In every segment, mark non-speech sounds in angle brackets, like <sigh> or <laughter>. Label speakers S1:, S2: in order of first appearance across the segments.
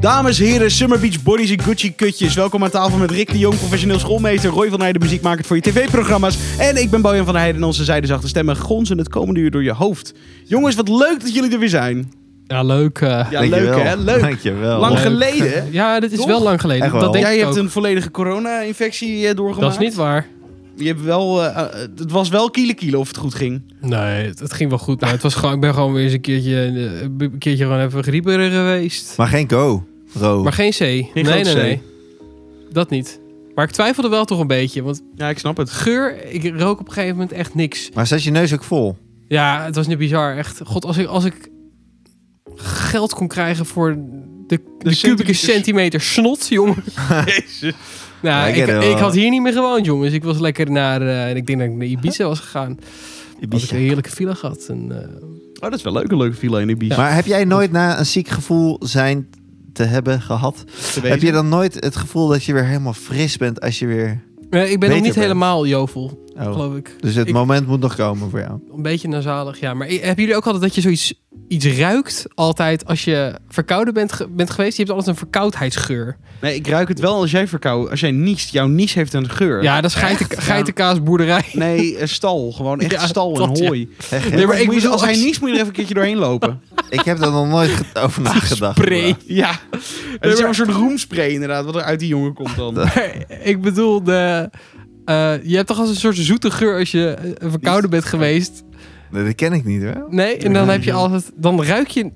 S1: Dames, heren, Summer Beach Bodies en Gucci Kutjes. Welkom aan tafel met Rick de Jong, professioneel schoolmeester. Roy van Heijden, muziekmaker voor je tv-programma's. En ik ben Bojan van der Heijden en onze zijdezachte stemmen gonzen het komende uur door je hoofd. Jongens, wat leuk dat jullie er weer zijn.
S2: Ja, leuk. eh.
S1: Ja, leuk
S3: Dankjewel.
S1: hè? Leuk.
S3: Dankjewel.
S1: Lang
S2: Leuk.
S1: geleden. hè?
S2: ja, dit is
S1: Toch?
S2: wel lang geleden.
S3: Echt wel.
S2: Dat denk
S1: Jij
S2: ik
S1: hebt
S2: ook.
S1: een volledige corona-infectie eh, doorgemaakt.
S2: Dat is niet waar.
S1: Je hebt wel, eh, eh, het was wel kiele kiele of het goed ging.
S2: Nee, het, het ging wel goed. Maar het was gewoon, ik ben gewoon weer eens een keertje, eh, een keertje gewoon even grieperig geweest.
S3: Maar geen go, Ro.
S2: Maar geen C. Nee, nee,
S1: grote C.
S2: nee. Dat niet. Maar ik twijfelde wel toch een beetje. Want
S1: Ja, ik snap het.
S2: geur, ik rook op een gegeven moment echt niks.
S3: Maar zat je neus ook vol?
S2: Ja, het was niet bizar. Echt, god, als ik, als ik geld kon krijgen voor de, de, kubieke
S1: centimeters.
S2: centimeter snot, jongen.
S1: <laughs> Jezus.
S2: Nou,
S3: Ja, ik
S2: ik,
S3: ken het
S2: ik,
S3: wel.
S2: had hier niet meer gewoond, jongens. Ik was lekker naar, eh, ik denk dat ik naar Ibiza was gegaan. Had ik een heerlijke villa gehad. En, eh,
S1: Oh, dat is wel leuk, een leuke villa in Ibiza.
S3: Maar heb jij nooit na een ziek gevoel zijn te hebben gehad?
S1: Te
S3: Heb
S1: wezen.
S3: je dan nooit het gevoel dat je weer helemaal fris bent als je weer...
S2: nee, ik ben nog
S3: Beter
S2: niet
S3: bent.
S2: helemaal jovel,
S3: Oh.
S2: geloof ik.
S3: Dus het
S2: Ik-
S3: moment moet nog komen voor jou.
S2: Een beetje nasalig, ja. Maar i- hebben jullie ook altijd dat je zoiets iets ruikt? Altijd als je verkouden bent, ge- bent geweest, je hebt altijd een verkoudheidsgeur.
S1: Nee, ik ruik het wel als jij verkouden. Als jij niest, jouw nies heeft een geur.
S2: Ja, dat is geiten, geitenkaasboerderij. <laughs>
S1: Nee, een stal. Gewoon echt
S2: Ja,
S1: stal
S2: klopt,
S1: en
S2: ja.
S1: hooi. <laughs>
S3: Echt, hè?
S2: Nee, maar ik
S1: Moet je-
S2: bedoel,
S1: als hij
S2: als-
S1: niest, moet je er even een keertje doorheen lopen.
S3: Ik heb daar nog nooit ge- over nagedacht.
S2: Spray.
S1: <laughs> ja. Het is
S2: maar-
S1: zo'n soort roemspray inderdaad, wat er uit die jongen komt
S3: <laughs>
S1: dan.
S2: ik bedoel, de, eh, je hebt toch als een soort zoete geur als je eh, verkouden bent geweest.
S3: Nee, dat ken ik niet hoor.
S2: Nee, en dan heb je altijd, dan ruik je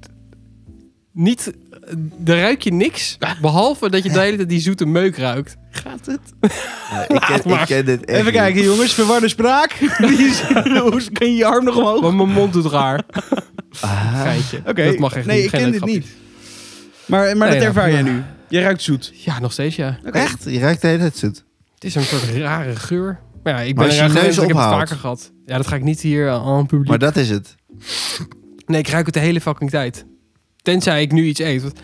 S2: niet, dan ruik je niks, behalve dat je de hele tijd die zoete meuk ruikt.
S1: Gaat het?
S3: Nee, ik, ken, ik
S2: maar.
S3: ken dit echt
S1: Even
S3: niet.
S1: kijken jongens, verwarde spraak. <laughs> Die is- Hoe kan je je arm nog omhoog?
S2: Maar mijn mond doet raar.
S3: Ah.
S2: Geintje.
S1: Oké,
S2: Dat mag echt
S1: nee,
S2: niet.
S1: ik
S2: Geen
S1: ken dit
S2: leuk grapje.
S1: niet. Maar, maar
S2: Nee,
S1: dat
S2: ja.
S1: ervaar jij nu. Jij ruikt zoet.
S2: Ja, nog steeds ja.
S3: Echt? Je ruikt de hele tijd zoet.
S2: Het is een soort rare geur. Maar ja, ik
S3: Maar
S2: ben
S3: als je
S2: eraan gewend,
S3: neus
S2: ik heb het
S3: ophoudt.
S2: vaker gehad. Ja, dat ga ik niet hier eh, aan aan publiek.
S3: Maar dat is het.
S2: Nee, ik ruik het de hele fucking tijd. Tenzij ik nu iets eet. Want-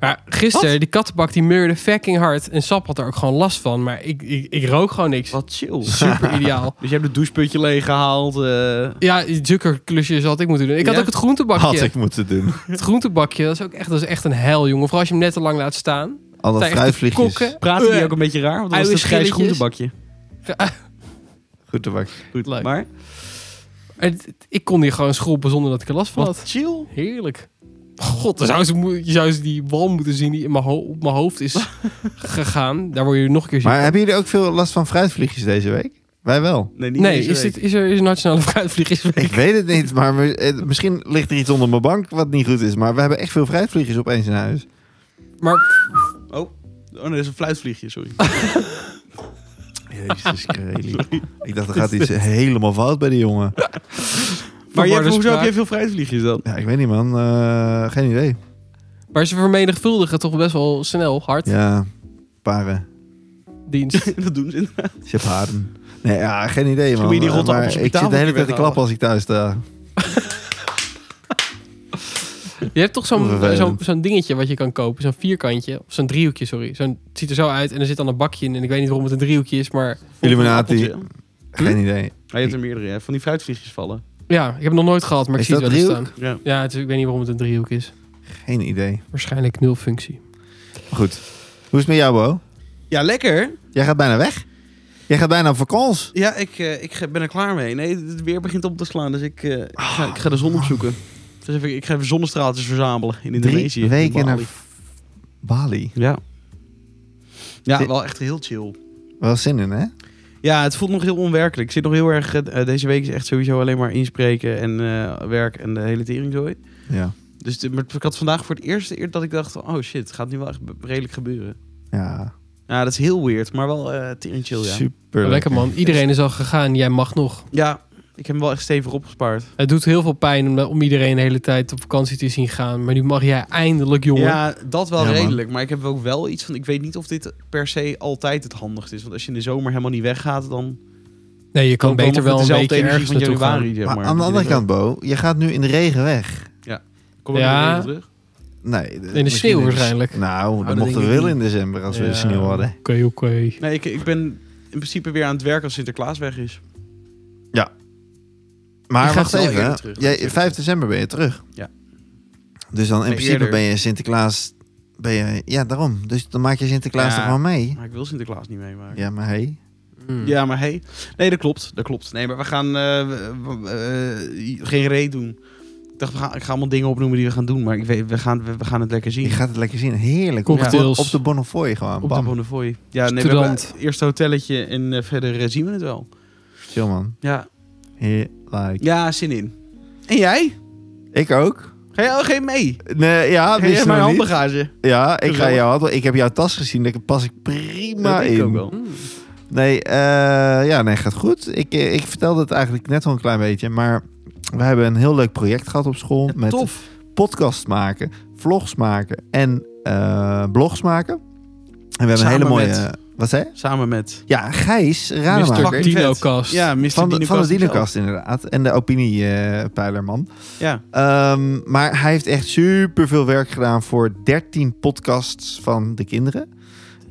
S2: Maar gisteren,
S1: Wat?
S2: die kattenbak die meurde fucking hard. En Sap had er ook gewoon last van. Maar ik, ik, ik rook gewoon
S3: <laughs>
S2: niks.
S1: Wat chill.
S2: Super ideaal.
S1: Dus je hebt het doucheputje leeggehaald. eh
S2: Ja, die zuckerklusjes had ik moeten doen. Ik had
S1: Ja?
S2: ook het groentebakje.
S3: Had ik moeten doen.
S2: Het groentebakje, dat is ook echt, dat is echt een hel, jongen. Vooral als je hem net te lang laat staan.
S3: Al dat
S2: Zijn echt de
S3: fruitvliegjes.
S2: kokken.
S1: Praten die
S2: Eh.
S1: ook een beetje raar? Want dat was
S2: Uien
S1: het grijs
S2: schilletjes.
S1: groentebakje.
S3: Goed te bak.
S1: Goed,
S2: Leuk.
S1: maar
S2: Het- het- Ik kon hier gewoon schroppen zonder dat ik er last van
S1: wat
S2: had.
S1: chill.
S2: Heerlijk. God, dan zou ze, moe- je zou eens die wal moeten zien die in mijn ho- op mijn
S1: <laughs>
S2: hoofd is gegaan. Daar word je nog een keer ziek
S3: Maar
S2: van.
S3: hebben jullie ook veel last van fruitvliegjes deze week? Wij wel.
S1: Nee, niet
S2: Nee,
S1: deze
S2: is,
S1: week.
S2: dit, is er is nationale <laughs> fruitvliegersweek?
S3: Ik weet het niet, maar mi- eh, misschien ligt er iets onder mijn bank wat niet goed is. Maar we hebben echt veel fruitvliegjes opeens in huis.
S2: Maar
S1: Oh, oh nee, dat is een fluitvliegje, <laughs> sorry.
S3: Jezus Sorry. <laughs> Ik dacht, er gaat iets helemaal fout bij die jongen.
S1: maar je hebt,
S2: Verwarde
S1: hoezo heb
S2: spraak.
S1: jij veel fruitvliegjes dan? <laughs>
S3: Ja, ik weet niet man. Eh, geen idee.
S2: Maar ze vermenigvuldigen toch best wel snel, hard,
S3: Ja, paren.
S2: dienst.
S1: dat doen ze inderdaad.
S3: Je hebt haren. Nee, ja, geen idee man.
S1: moet je die rotte
S3: Maar
S1: appels op je
S3: ik zit de
S1: tafeltje
S3: hele tijd te
S1: weghalen.
S3: klappen als ik thuis sta.
S2: Je hebt toch zo'n
S3: Vervelend.
S2: zo'n zo'n dingetje wat je kan kopen, zo'n vierkantje, of zo'n driehoekje, sorry. Zo'n het ziet er zo uit en er zit dan een bakje in en ik weet niet waarom het een driehoekje is, maar
S3: Illuminati.
S1: Appeltje.
S3: Geen idee.
S1: Maar je hebt er meerdere, hè? Van die fruitvliegjes vallen.
S2: ja, ik heb het nog nooit gehad, maar ik
S3: Is
S2: zie het
S3: dat
S2: wel eens
S3: driehoek?
S2: staan.
S1: Ja.
S2: Ja, het is, ik weet niet waarom het een driehoek is.
S3: Geen idee.
S2: Waarschijnlijk nulfunctie.
S3: Maar goed. Hoe is het met jou, Bo?
S1: Ja, lekker.
S3: Jij gaat bijna weg? Jij gaat bijna op vakantie?
S1: Ja, ik, eh, ik ge- ben er klaar mee. Nee, het weer begint op te slaan, dus ik, eh, ik, ga, ik ga de zon opzoeken. Dus even, ik ga even zonnestraaltjes verzamelen in Indonesië.
S3: Drie
S1: in
S3: weken
S1: Bali.
S3: naar Bali.
S1: Ja. Ja,
S3: Zit-
S1: wel echt heel chill.
S3: Wel zin in, hè?
S1: Ja, het voelt nog heel onwerkelijk. Ik zit nog heel erg... eh, deze week is echt sowieso alleen maar inspreken en eh, werk en de hele teringzooi.
S3: Ja.
S1: Dus de- maar ik had vandaag voor het eerst eer dat ik dacht van... Oh shit, het gaat nu wel echt be- redelijk gebeuren.
S3: Ja.
S1: Ja, dat is heel weird, maar wel eh tering chill, ja.
S3: Super
S2: Lekker man, iedereen is al gegaan, jij mag nog.
S1: Ja, ik heb hem wel echt stevig opgespaard.
S2: Het doet heel veel pijn om, om iedereen de hele tijd op vakantie te zien gaan, maar nu mag jij eindelijk, jongen.
S1: Ja, dat wel
S3: Ja, man.
S1: redelijk. Maar ik heb ook wel iets van... Ik weet niet of dit per se altijd het handigst is. Want als je in de zomer helemaal niet weggaat, dan...
S2: Nee, je kan
S1: dan
S2: beter
S1: nog
S2: wel
S1: met
S2: een
S1: dezelfde
S2: beetje
S1: energie
S2: ergens
S1: van
S2: naartoe gaan.
S1: januari, zeg maar.
S3: Maar aan de andere kant, Bo, je gaat nu in de regen weg.
S1: Kom ik ja.
S2: Ja.
S1: terug?
S3: Nee, in
S2: sneeuw waarschijnlijk.
S3: Nou,
S1: dat
S3: dan mochten we
S1: denk ik
S3: wel
S1: niet.
S3: in december als
S2: Ja.
S3: we sneeuw hadden.
S2: Oké, oké.
S1: Nee, ik, ik ben in principe weer aan het werk als Sinterklaas weg is.
S3: Maar
S2: gaat
S3: wacht
S1: wel
S3: even,
S1: eerder
S3: hè.
S1: terug,
S3: Jij,
S1: natuurlijk.
S3: 5 december ben je terug.
S1: Ja.
S3: Dus dan in
S1: Nee,
S3: principe
S1: eerder.
S3: ben je Sinterklaas ben je... Ja, daarom. Dus dan maak je Sinterklaas
S1: Ja.
S3: toch wel mee?
S1: Maar ik wil Sinterklaas niet meemaken.
S3: Ja, maar hey.
S2: Hmm.
S1: Ja, maar hey. Nee, dat klopt. Dat klopt. Nee, maar we gaan eh, we- we- eh, geen reet doen. Ik dacht, we gaan, ik ga allemaal dingen opnoemen die we gaan doen. Maar ik weet, we, gaan, we, we gaan het lekker zien.
S3: Je gaat het lekker zien. Heerlijk. Op de-
S2: Cocktails.
S3: Op de Bonnefoy gewoon.
S1: Op de
S3: Bam.
S1: Bonnefoy. Ja, nee, we
S2: Student.
S1: hebben het eerste hotelletje en eh, verder eh, zien we het wel.
S3: Chill man.
S1: Ja,
S3: Heerlijk.
S1: ja zin in. En jij?
S3: Ik ook.
S1: Ga jij, oh, ga je mee?
S3: Nee, ja,
S1: Ga jij
S3: wist
S1: mijn
S3: nog niet.
S1: handbagage?
S3: Ja, ik ga
S1: Gezellig.
S3: jou handel. Ik heb jouw tas gezien. Daar pas ik prima
S1: Dat denk
S3: in.
S1: ik ook wel.
S2: Hmm.
S3: Nee, eh, ja, nee, gaat goed. Ik, eh, ik vertelde het eigenlijk net al een klein beetje, maar we hebben een heel leuk project gehad op school
S2: Ja,
S3: met
S2: Tof.
S3: podcast maken, vlogs maken en eh, blogs maken. En we hebben
S1: Samen
S3: een hele mooie.
S1: met-
S3: Wat zei? je?
S1: Samen met...
S3: Ja, Gijs
S2: Mr.
S3: Radema.
S1: Fuck
S2: Dinocast.
S1: Ja, Mr.
S3: Van de, van de
S1: Dinocast zelf.
S3: Dinocast inderdaad. En de opiniepeilerman.
S1: Ja.
S3: Ehm, maar hij heeft echt super veel werk gedaan voor 13 podcasts van de kinderen.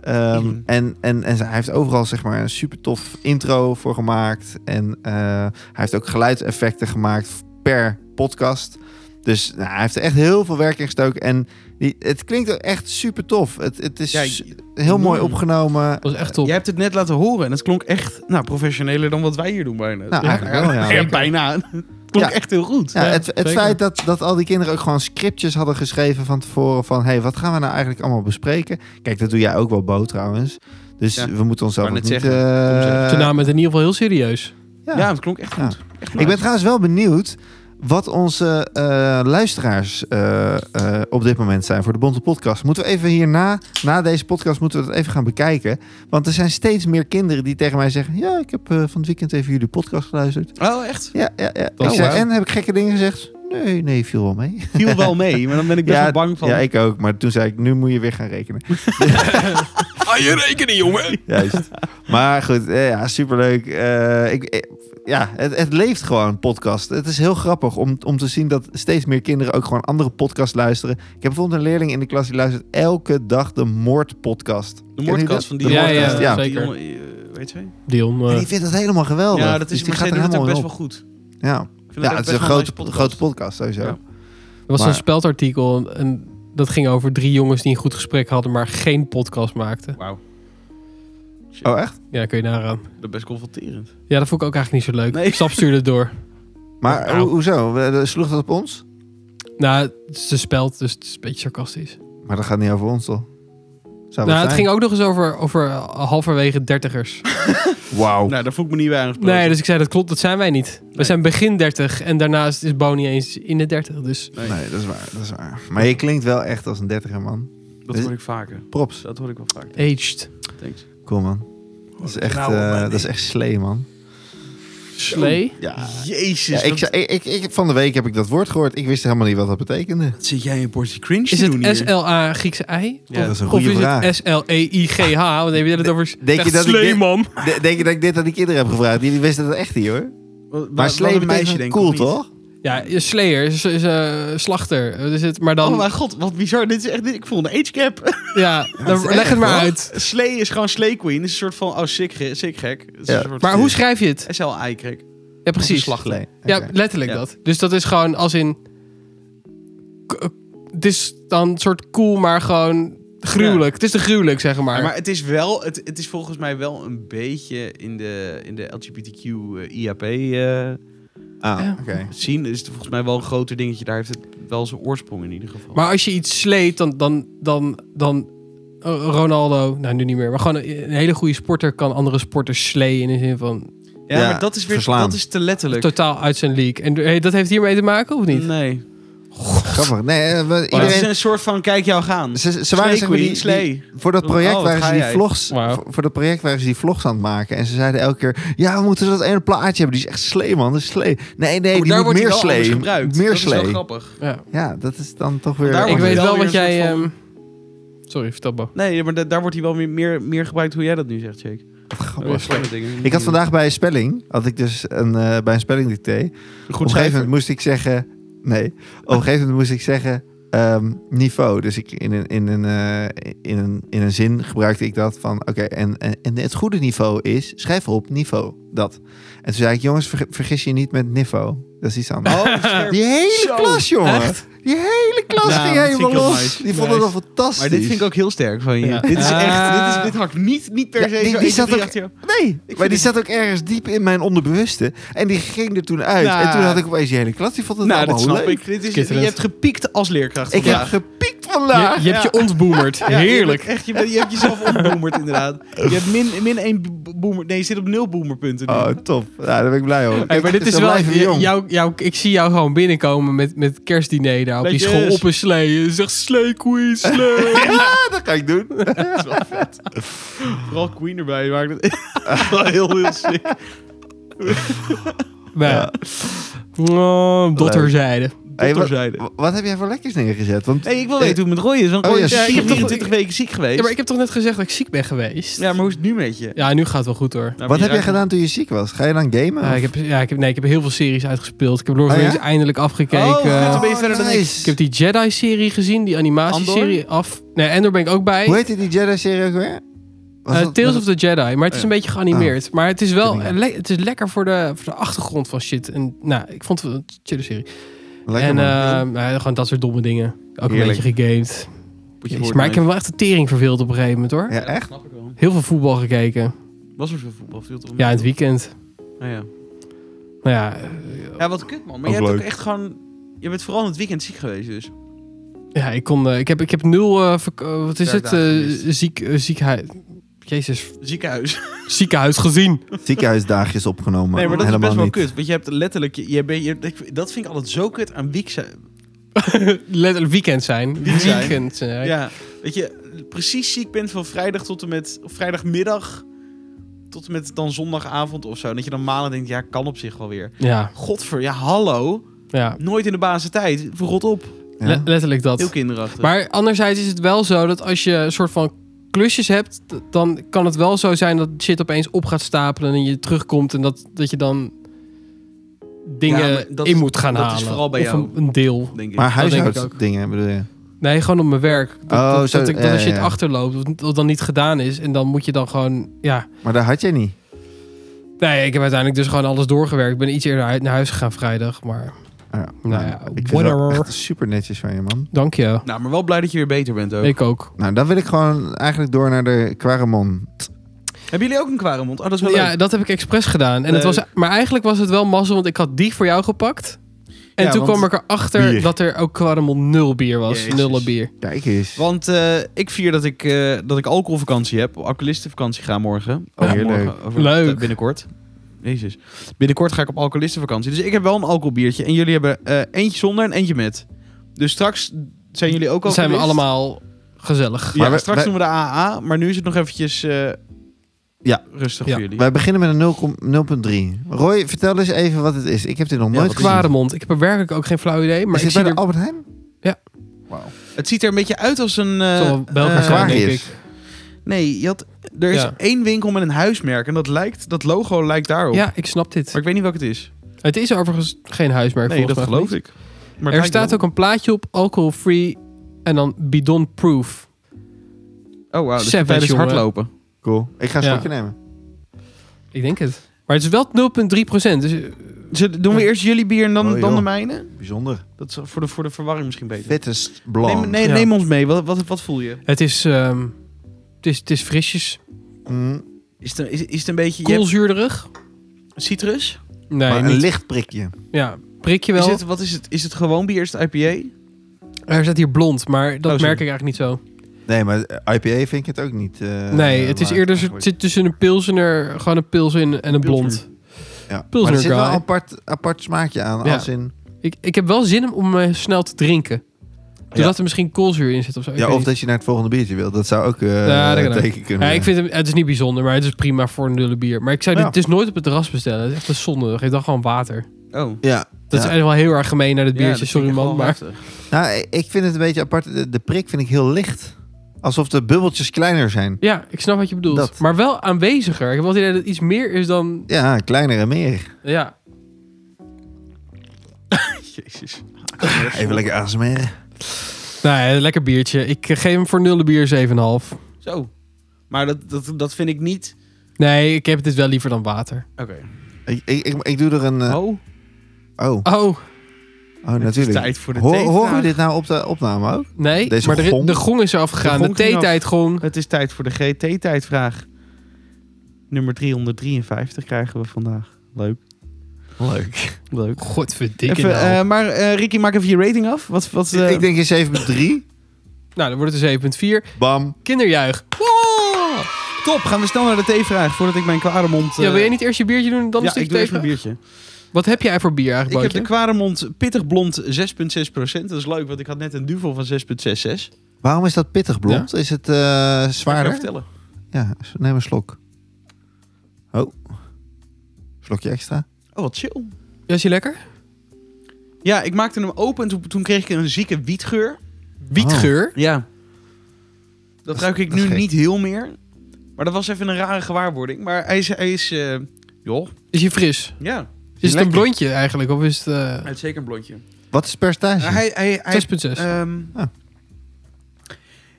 S3: Ehm,
S1: Mhm.
S3: en, en, en hij heeft overal zeg maar, een super tof intro voor gemaakt. En eh, hij heeft ook geluidseffecten gemaakt per podcast. Dus nou, hij heeft er echt heel veel werk in gestoken. En die, het klinkt ook echt super tof. Het, het is
S1: Ja,
S3: su- heel mooi
S1: Mm.
S3: opgenomen.
S2: Dat is echt top.
S1: Jij hebt het net laten horen en het klonk echt nou, professioneler dan wat wij hier doen bijna.
S3: Nou, eigenlijk
S1: <laughs>
S3: wel, ja. Zeker.
S1: bijna. Het klonk
S3: Ja.
S1: echt heel goed.
S3: Ja,
S2: Ja,
S3: het het
S2: zeker.
S3: feit dat, dat al die kinderen ook gewoon scriptjes hadden geschreven van tevoren van... hey, wat gaan we nou eigenlijk allemaal bespreken? Kijk, dat doe jij ook wel, Bo, trouwens. Dus
S1: Ja,
S3: we moeten onszelf
S1: wou
S3: ook
S1: net
S3: niet...
S1: zeggen.
S3: eh,
S1: Kom, zeg.
S2: Ze namen het in ieder geval heel serieus.
S3: ja.
S1: Ja, het klonk echt
S3: Ja.
S1: goed. Echt
S3: Ik ben
S1: nice.
S3: trouwens wel benieuwd wat onze eh, luisteraars eh, eh, op dit moment zijn voor de Bonte Podcast. Moeten we even hierna, na deze podcast, moeten we dat even gaan bekijken. Want er zijn steeds meer kinderen die tegen mij zeggen... ja, ik heb eh, van het weekend even jullie podcast geluisterd.
S1: Oh, echt?
S3: Ja, ja, Oh, ja.
S2: Dat
S3: ik zei,
S2: wauw.
S3: en heb ik gekke dingen gezegd? Nee, nee, viel wel mee.
S1: Viel wel mee, maar dan ben ik best wel bang van.
S3: Ja, ik ook. Maar toen zei ik, nu moet je weer gaan
S1: <laughs>
S3: rekenen.
S2: Ah, je rekening, jongen.
S3: Juist. maar goed, eh, ja, superleuk. Eh, ik, eh, ja, het, het leeft gewoon, podcast. Het is heel grappig om, om te zien dat steeds meer kinderen ook gewoon andere podcasts luisteren. Ik heb bijvoorbeeld een leerling in de klas die luistert elke dag de Moord-podcast.
S1: de
S3: Ken je
S1: moordkast
S3: dat?
S1: van die
S3: De
S2: Ja,
S1: moordkast,
S2: ja,
S1: die
S2: zeker.
S1: jongen, eh, weet je?
S2: Dion. eh,
S3: En die vindt dat helemaal geweldig.
S1: Ja, dat
S3: Dus
S1: is
S3: die
S1: maar
S3: gaat
S1: zij
S3: er
S1: doen het ook
S3: helemaal
S1: best
S3: in
S1: wel goed.
S3: op. Ja,
S1: Ik vind
S3: ja het is een
S1: best wel
S3: grote,
S1: nice
S3: grote podcast sowieso.
S1: Ja.
S2: Er was
S3: Maar-
S2: een speldartikel en, en dat ging over drie jongens die een goed gesprek hadden, maar geen podcast maakten.
S1: Wauw. Shit,
S3: Oh, echt?
S2: Ja, kun je nagaan.
S1: Dat is best confronterend.
S2: Ja, dat vond ik ook eigenlijk niet zo leuk.
S1: Nee.
S2: Stap stuurde het door.
S3: Maar
S2: Nou.
S3: ho- hoezo? We- Sloeg dat op ons?
S2: Nou, het is een speld, dus het is een beetje sarcastisch.
S3: Maar dat gaat niet over ons, toch? Zou
S2: nou,
S3: wat
S2: het
S3: zijn?
S2: ging ook nog eens over, over eh, halverwege dertigers.
S3: Wauw.
S1: Nou, daar voel ik me niet bij aangesproken.
S2: Nee, dus ik zei, dat klopt, dat zijn wij niet. We
S1: Nee.
S2: zijn begin dertig en daarnaast is Bo niet eens in de dertig. Dus
S1: Nee,
S3: Nee, dat is waar, dat is waar. Maar je klinkt wel echt als een dertiger man.
S1: dat hoor ik vaker.
S3: Props.
S1: Dat hoor ik wel vaker.
S2: aged.
S1: Thanks.
S3: Cool man. Dat is echt,
S1: Nou,
S3: eh,
S1: man,
S3: dat is echt slee man.
S2: Slee.
S3: Ja.
S1: Jezus,
S3: ik,
S1: wat
S3: zei- ik, ik, ik- van de week heb ik dat woord gehoord. Ik wist helemaal niet wat dat betekende.
S1: zit jij een portie cringe
S2: Is
S1: te doen
S2: het
S1: hier?
S2: SLA Griekse ei?
S1: Ja, dat
S3: is een
S2: Of-
S3: goede
S2: of is
S3: vraag.
S2: het E S-L-E-I-G-H? Want heb je het over
S3: Denk je dat ik
S2: slee,
S3: dit-
S2: man?
S3: De- denk je dat ik dit aan die kinderen heb gevraagd? Jullie wisten dat echt niet hoor.
S1: Wat- wat-
S3: Maar
S1: wat
S3: slee
S1: een
S3: meisje
S1: denk ik,
S3: cool
S1: of niet?
S3: toch?
S2: Ja, Slayer is, is eh, slachter. Wat is het? Maar dan.
S1: Oh mijn god, wat bizar. Dit is echt, dit- ik voel een age cap. <laughs>
S2: ja, dan
S3: is
S2: leg
S3: erg,
S2: het maar
S3: hoor.
S2: uit.
S1: Slee is gewoon Slee Queen. is een soort van, oh, sick, ge- sick gek. Het is
S3: Ja.
S1: een soort-
S2: Maar hoe schrijf je het?
S1: SLI krek.
S2: Ja, precies.
S1: Slaglee.
S2: Ja, letterlijk
S1: Ja.
S2: dat. Dus dat is gewoon als in. k- eh, Het is dan een soort cool, maar gewoon gruwelijk. Het is te gruwelijk, zeg maar.
S1: Ja, maar het is wel, het, het is volgens mij wel een beetje in de, in de LGBTQ eh, IAP eh,
S3: Ah,
S2: Ja.
S3: oké.
S1: scene. Is het volgens mij wel een groter dingetje. Daar heeft het wel zijn oorsprong in ieder geval.
S2: Maar als je iets sleet, dan. dan, dan, dan eh, Ronaldo, nou nu niet meer, maar gewoon een, een hele goede sporter kan andere sporters sleeën in de zin van
S1: ja,
S3: Ja,
S1: maar dat is weer
S3: verslaan.
S1: dat is te letterlijk.
S2: totaal uit zijn league. En hey, dat heeft hiermee te maken of niet?
S1: Nee.
S3: Grappig. Nee, eh, we-
S1: Maar het is
S3: iedereen...
S1: een soort van kijk jou gaan.
S3: Ze, ze waren
S1: Slee
S3: zeg maar,
S1: Queen,
S3: die, die-
S1: Slee.
S3: Voor dat project
S1: Oh, wat
S3: waren ze
S1: ga
S3: die
S1: jij?
S3: vlogs.
S2: Wauw.
S3: Voor, voor dat project waren ze die vlogs aan het maken. En ze zeiden elke keer: Ja, we moeten dat ene plaatje hebben. Die is echt slee, man. Dat is slee. Nee, nee,
S1: Oh,
S3: die
S1: daar
S3: moet
S1: wordt
S3: meer
S1: hij wel anders
S3: slee.
S1: gebruikt.
S3: Meer
S1: dat is wel
S3: slee.
S1: grappig.
S2: Ja.
S3: Ja, dat is dan toch weer.
S1: Daar
S2: Ik
S1: wordt
S2: weet
S1: hij
S2: wel
S1: wel
S2: wat
S1: weer een
S2: jij.
S1: soort
S2: ehm, Sorry, vertel maar.
S1: Nee, maar da- daar wordt hij wel meer, meer, meer gebruikt hoe jij dat nu zegt, Jake. Dat was
S3: Grappig.
S1: slimme dingen.
S3: Ik had vandaag bij spelling, had ik dus een, eh, bij een spelling dicté.
S1: een
S3: Op een
S1: goed
S3: gegeven
S1: cijfer.
S3: moment moest ik zeggen, nee, op een gegeven moment moest ik zeggen ehm, niveau. Dus ik, in, een, in, een, eh, in, een, in een zin gebruikte ik dat van, oké, en, en, en het goede niveau is, schrijf op niveau, dat. En toen zei ik, jongens, ver- vergis je niet met niveau. Dat
S1: <laughs>
S3: is iets anders.
S1: Oh, scherp.
S3: Die hele
S1: Zo.
S3: klas, jongen.
S2: Echt?
S3: Die hele klas
S1: Ja,
S3: ging
S1: dat
S3: helemaal
S1: vind ik wel
S3: los.
S1: nice.
S3: Die vonden dat
S1: Nice.
S3: fantastisch.
S1: Maar dit vind ik ook heel sterk van je.
S3: Ja.
S1: Dit is echt,
S2: Ah.
S1: dit, is, dit hakt niet, niet per
S3: Ja,
S1: se
S3: die-
S1: zo
S3: die
S1: 1,
S3: zat
S1: 2,
S3: ook-
S1: 3, 8, joh.
S3: Nee,
S1: vind
S3: maar die
S1: het-
S3: zat ook ergens diep in mijn onderbewuste. En die ging er toen uit.
S1: Nou.
S3: en toen had ik opeens die hele klas. Die vond het
S1: Nou, dat
S3: allemaal
S1: snap
S3: leuk.
S1: ik. Dit is, je
S2: Schitterend.
S1: hebt gepiekt als leerkracht
S3: Ik heb
S1: vandaag.
S3: gepiekt
S2: Je,
S3: vandaag.
S2: je hebt je ontboemerd.
S1: Ja, je
S2: Heerlijk.
S1: bent echt, je, bent- je hebt jezelf ontboomerd, inderdaad. Je hebt min, min één bo- boomer... Nee, je zit op nul boomerpunten nu.
S3: Oh, top. Ja, daar ben ik blij over.
S2: Hey, maar dit is wel.
S3: even jong.
S2: Jou, jou, ik zie jou gewoon binnenkomen met, met kerstdiner daar op je
S1: Leuk,
S2: school
S1: yes.
S2: op een slee. Je zegt slee queen, slee.
S3: Ja, dat ga ik doen.
S1: Dat is wel vet. Vooral Queen erbij maakt het echt wel heel, heel sick.
S2: Nou, oh, ja. dotterzijde.
S3: <laughs> Hey, wat,
S1: Dotterzijde.
S3: wat heb jij voor lekkers neergezet? Want
S1: Hey, ik wil weten hoe het met Roy is, want
S3: Oh
S1: Roy
S3: ja,
S1: is
S3: shit.
S1: 24 weken ziek geweest.
S2: Ja, maar ik heb toch net gezegd dat ik ziek ben geweest?
S1: Ja, maar hoe is het nu met je?
S2: Ja, nu gaat het wel goed hoor.
S1: Nou,
S3: wat
S1: je
S3: heb jij
S1: raakt-
S3: gedaan toen je ziek was? Ga je dan gamen?
S2: Ja,
S3: of-
S2: ik heb, ja, ik heb, nee, ik heb heel veel series uitgespeeld. Ik heb Lord of
S3: Oh,
S2: the
S3: ja?
S2: Rings eindelijk afgekeken.
S1: Oh, goed, dan ben je
S3: Oh,
S1: verder dan
S3: nice.
S1: ik.
S2: Ik heb die Jedi-serie gezien, die animatieserie af. Nee, Endor ben ik ook bij.
S3: Hoe heette die Jedi-serie ook weer? Was
S2: Eh,
S3: dat-
S2: Tales
S3: was-
S2: of the Jedi, maar het is
S1: Oh,
S2: een beetje geanimeerd. Maar het is wel
S3: Ik weet
S2: eh, le- het is lekker voor de, voor de achtergrond van shit. En nou, ik vond het een chille serie.
S3: Lekker,
S2: en
S3: man.
S2: eh, nou ja, gewoon dat soort domme dingen. Ook
S3: Heerlijk.
S2: een beetje gegamed.
S1: Moet je
S2: Jezus,
S1: woorden
S2: maar ik heb
S1: mee.
S2: me wel echt de tering verveeld op een gegeven moment hoor.
S3: Ja,
S1: Ja, dat
S3: echt?
S1: snap ik wel.
S2: Heel veel voetbal gekeken.
S1: Was er veel voetbal? Viel toch
S2: Ja, in het weekend.
S1: Ah, ja.
S2: Nou ja, eh,
S1: ja, wat kut man. Maar
S3: Ook
S1: je hebt ook
S3: leuk.
S1: echt gewoon... Je bent vooral in het weekend ziek geweest dus.
S2: ja ik, kon, eh, ik, heb, ik heb nul, eh, verk- eh, wat is
S1: Daar
S2: het,
S1: dagen
S2: eh,
S1: gemist.
S2: ziek, eh, ziekheid. Jezus,
S1: Ziekenhuis.
S2: ziekenhuis gezien.
S3: Ziekenhuisdagjes opgenomen.
S1: nee, maar dat is
S3: Helemaal
S1: best wel
S3: niet.
S1: kut. Want je hebt letterlijk... Je, je bent- je- dat vind ik altijd zo kut aan weekse,
S2: Letterlijk weekend zijn.
S1: Weekend zijn.
S2: Weekend zijn.
S1: Ja, dat je precies ziek bent van vrijdag tot en met of vrijdagmiddag tot en met dan zondagavond of zo. Dat je dan maanden denkt, ja, kan op zich wel weer.
S2: Ja,
S1: Godver, ja, hallo.
S2: ja.
S1: Nooit in de basis tijd. Verrot op.
S3: Ja?
S2: Le- letterlijk dat.
S1: Heel kinderachtig.
S2: Maar anderzijds is het wel zo dat als je een soort van klusjes hebt, d- dan kan het wel zo zijn dat shit opeens op gaat stapelen en je terugkomt en dat, dat je dan dingen
S1: Ja, maar dat
S2: in
S1: is-
S2: moet gaan
S1: dat is
S2: halen.
S1: vooral bij
S2: of
S1: jou.
S2: Een, een deel.
S1: denk ik.
S3: Maar
S2: denk ik ook.
S3: huishoudsdingen bedoel je?
S2: Nee, gewoon op mijn werk. Dat,
S3: Oh,
S2: dat,
S3: zo,
S2: dat ik, dat
S3: ja,
S2: er
S3: ja,
S2: shit
S3: ja.
S2: achterloopt, of dat dan niet gedaan is. En dan moet je dan gewoon, ja.
S3: Maar dat had jij niet.
S2: Nee, ik heb uiteindelijk dus gewoon alles doorgewerkt. Ik ben iets eerder uit- naar huis gegaan vrijdag, maar
S3: Ah, ja.
S2: Nou ja,
S3: ik vind het wel
S2: whatever.
S3: echt super netjes van je, man.
S2: dank je.
S1: Nou, maar wel blij dat je weer beter bent ook.
S2: Ik ook.
S3: Nou, dan wil ik gewoon eigenlijk door naar de Quaremon.
S1: Hebben jullie ook een kware mond? Oh, dat is wel
S2: Ja,
S1: leuk.
S2: dat heb ik expres gedaan. En het
S1: Leuk.
S2: was, maar eigenlijk was het wel mazzel, want ik had die voor jou gepakt. En
S1: Ja,
S2: toen
S1: want-
S2: kwam ik erachter
S3: Bier.
S2: dat er ook Quaremont nul bier was.
S1: Jezus.
S2: Nullen bier.
S3: Kijk eens.
S1: Want eh, ik vier dat ik, eh, dat ik alcoholvakantie heb. Alcoholistenvakantie ga morgen.
S3: Oh,
S1: Ja,
S3: heerlijk.
S1: morgen, over- eh,
S2: Leuk.
S1: Binnenkort. Jezus. Binnenkort ga ik op alcoholistenvakantie. Dus ik heb wel een alcoholbiertje. En jullie hebben eh, eentje zonder en eentje met. Dus straks zijn jullie ook
S2: Dan
S1: al.
S2: zijn we allemaal gezellig.
S1: Ja,
S3: Maar we-
S1: straks
S3: wij-
S1: doen we de AA. Maar nu is het nog eventjes eh,
S3: Ja.
S1: rustig
S2: Ja.
S1: voor jullie.
S3: Wij beginnen met een 0,3. Roy, vertel eens even wat het is. Ik heb dit nog
S1: Ja,
S3: nooit
S1: wat is
S3: gezien.
S2: Quaremont. Ik heb er werkelijk ook geen flauw idee. Maar
S3: is
S2: ik
S3: dit
S2: zie
S3: bij de
S2: er
S3: Albert Heijn?
S2: Ja.
S3: Wauw.
S1: Het ziet er een beetje uit als een... eh,
S2: wel Belgisch
S1: eh,
S2: zijn,
S3: Aquarius.
S2: denk ik.
S1: nee, je had, er is
S2: Ja.
S1: één winkel met een huismerk. En dat, lijkt, dat logo lijkt daarop.
S2: Ja, ik snap dit.
S1: Maar ik weet niet welk het is.
S2: Het is overigens geen huismerk
S1: nee, dat
S2: volgens mij.
S1: geloof ik. Maar
S2: Er staat ook een plaatje op, alcohol-free en dan bidon proof.
S1: Oh, wauw. Dus
S2: Savage,
S1: tijdens
S2: jongen.
S1: hardlopen.
S3: Cool. Ik ga een
S2: Ja.
S3: slokje nemen.
S2: Ik denk het. Maar het is wel 0,3 procent. Dus eh,
S1: Zullen- Doen we eerst jullie bier en dan,
S3: Oh, joh.
S1: dan de mijne?
S3: Bijzonder.
S1: Dat is voor de, voor de verwarring misschien beter.
S3: Fittest blond.
S1: Neem, nee,
S2: Ja.
S1: neem ons mee. Wat, wat, wat voel je?
S2: het is, ehm, het is, het is frisjes.
S3: Mm,
S1: Is het, een- is, is het een beetje... je
S2: Koolzuurderig.
S1: hebt citrus?
S2: Nee,
S3: maar een
S2: niet.
S3: licht prikje.
S2: Ja, prik je wel.
S1: Is het, wat is het? Is het gewoon bier? Is het IPA?
S2: Er staat hier blond, maar dat
S1: Oh, sorry.
S2: merk ik eigenlijk niet zo.
S3: Nee, maar IPA vind ik het ook niet. eh,
S2: nee, het is
S3: maar-
S2: eerder zo-
S3: eigenlijk.
S2: het zit tussen een pilsener, gewoon een pils in en een blond.
S3: Ja.
S2: Pilsner
S3: Maar er zit wel
S2: Dry.
S3: een apart, apart smaakje aan.
S2: Ja.
S3: Als in,
S2: Ik, ik heb wel zin om eh, snel te drinken. Doordat er misschien koolzuur in zit of zo. Ik
S3: ja,
S2: weet
S3: of
S2: niet.
S3: dat je naar het volgende biertje wilt. Dat zou ook eh
S2: Ja, dat kan ook.
S3: teken kunnen
S2: Ja, ik
S3: zijn.
S2: vind hem, het is niet bijzonder, maar het is prima voor een nulle bier. Maar ik zou
S3: Ja.
S2: dit dus nooit op het terras bestellen. Het is echt een zonde. Geef dan gewoon water.
S1: Oh.
S3: Ja.
S2: Dat
S3: Ja.
S2: is eigenlijk wel heel erg gemeen naar dit
S1: Ja,
S2: biertje.
S1: dat
S2: Sorry
S1: vind ik
S2: man,
S1: echt
S2: maar...
S1: wel heftig.
S3: Nou, ik- ik vind het een beetje apart. De, de prik vind ik heel licht. Alsof de bubbeltjes kleiner zijn.
S2: Ja, ik snap wat je bedoelt.
S3: Dat.
S2: Maar wel aanweziger. Ik heb wel het idee dat het iets meer is dan...
S3: Ja, kleiner en meer.
S2: Ja,
S1: Jezus.
S3: Even lekker ASMR.
S2: Nou, ja, lekker biertje. Ik eh, geef hem voor nulle bier 7,5.
S1: Zo. Maar dat, dat, dat vind ik niet...
S2: Nee, ik heb dit wel liever dan water.
S1: Oké.
S3: Ik, ik, ik, ik doe er een... eh,
S1: Oh.
S3: Oh,
S2: Oh,
S3: oh
S1: Het is
S3: natuurlijk.
S1: tijd voor de
S3: Hoor-
S1: theevraag.
S3: horen we dit nou op de opname ook?
S2: nee.
S3: Deze
S2: maar de,
S3: gong.
S2: de gong is eraf gegaan.
S1: De
S2: De,
S1: gong ging af.
S2: theetijd gong.
S1: Het is tijd voor de GT-tijdvraag. Nummer 353 krijgen we vandaag. Leuk.
S3: Leuk.
S1: Leuk.
S2: Godverdikke
S1: Even,
S2: nou.
S1: eh, maar eh, Ricky, maak even je rating af. Wat, wat, eh,
S3: Ik denk eens even met drie.
S2: nou, dan wordt het een 7.4.
S3: Bam.
S2: Kinderjuich. Wow!
S1: Top, gaan we snel naar de theevraag voordat ik mijn kwaremond...
S2: Ja, wil je niet eerst je biertje doen en dan
S1: eh, ja,
S2: een
S1: ik
S2: stukje
S1: doe even een
S2: tegen?
S1: biertje.
S2: Wat heb jij voor bier eigenlijk,
S1: Ik heb de
S2: Bootje?
S1: kwaremond pittig blond 6,6%. Dat is leuk, want ik had net een duvel van 6,66. Ga
S3: Waarom is dat pittig blond? Is het eh,
S1: ik jou
S3: zwaarder?
S1: vertellen.
S3: Ja, s- neem een slok. Oh. Slokje extra.
S1: Oh, wat chill.
S2: Ja, Is je lekker?
S1: Ja, ik maakte hem open en toen, toen kreeg ik een zieke wietgeur.
S2: Wietgeur.
S1: Ja. Dat ruik ik
S3: dat is
S1: nu
S3: gek.
S1: niet heel meer. Maar dat was even een rare gewaarwording. Maar hij is... Hij is eh, joh,
S2: Is je fris?
S1: ja.
S2: Is, het
S3: lekker?
S2: een blondje eigenlijk? Of is het eh,
S1: Hij is zeker een blondje.
S3: Wat is het percentage?
S1: Hij, hij, hij,
S2: 6.6?
S1: ehm,
S3: Ah.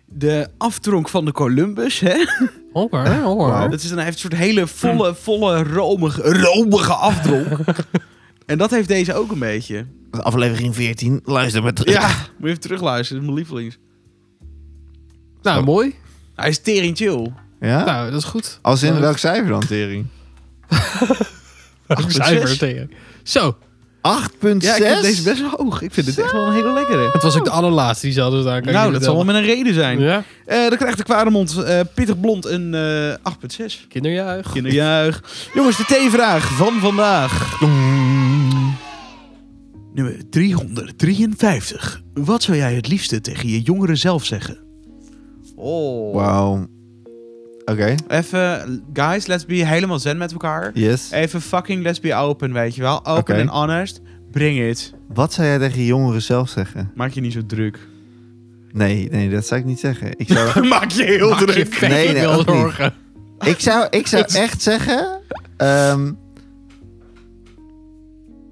S1: De aftronk van de Columbus, hè?
S2: Hoor,
S1: eh,
S2: hè, hoor.
S3: Wauw.
S1: Dat is dan, hij heeft een soort hele volle, volle, romige, romige afdronk. en dat heeft deze ook een beetje.
S3: Aflevering 14. Luister maar terug.
S1: Ja, moet je even terugluisteren, dat is mijn lievelings.
S2: Nou,
S3: Zo.
S2: mooi.
S1: Hij is tering chill.
S3: Ja?
S2: Nou, dat is
S1: <laughs>
S2: goed.
S3: Als in
S2: Leuk.
S3: welk cijfer dan, Tering?
S1: 8,6.
S2: Cijfer tegen. Zo,
S3: 8,6?
S1: Ja, ik vind deze best wel hoog. Ik vind dit echt wel een hele lekkere.
S2: dat was ook de allerlaatste die ze hadden daar. kan ik
S1: Nou,
S2: je
S1: dat zal wel
S2: vertellen.
S1: met een reden zijn.
S2: Ja,
S1: Eh, dan krijgt de Kwaremond eh, pittig blond een eh 8,6.
S2: kinderjuich.
S1: Kinderjuich. Jongens, de T-vraag van vandaag. Nummer 353. Wat zou jij het liefste tegen je jongeren zelf zeggen? Oh.
S3: Wauw. Oké.
S1: Even, guys, let's be helemaal zen met elkaar.
S3: Yes.
S1: Even fucking let's be open, weet je wel. Open
S3: Oké.
S1: en honest. Bring it.
S3: Wat zou jij tegen je jongeren zelf zeggen?
S1: Maak je niet zo druk.
S3: Nee, nee, dat zou ik niet zeggen. Ik
S1: <laughs>
S3: zou,
S2: <laughs>
S1: Maak je heel
S2: Maak je vet
S3: Nee, nee,
S2: wel
S3: ook niet.
S2: zorgen.
S3: ik zou, ik zou echt zeggen... ehm,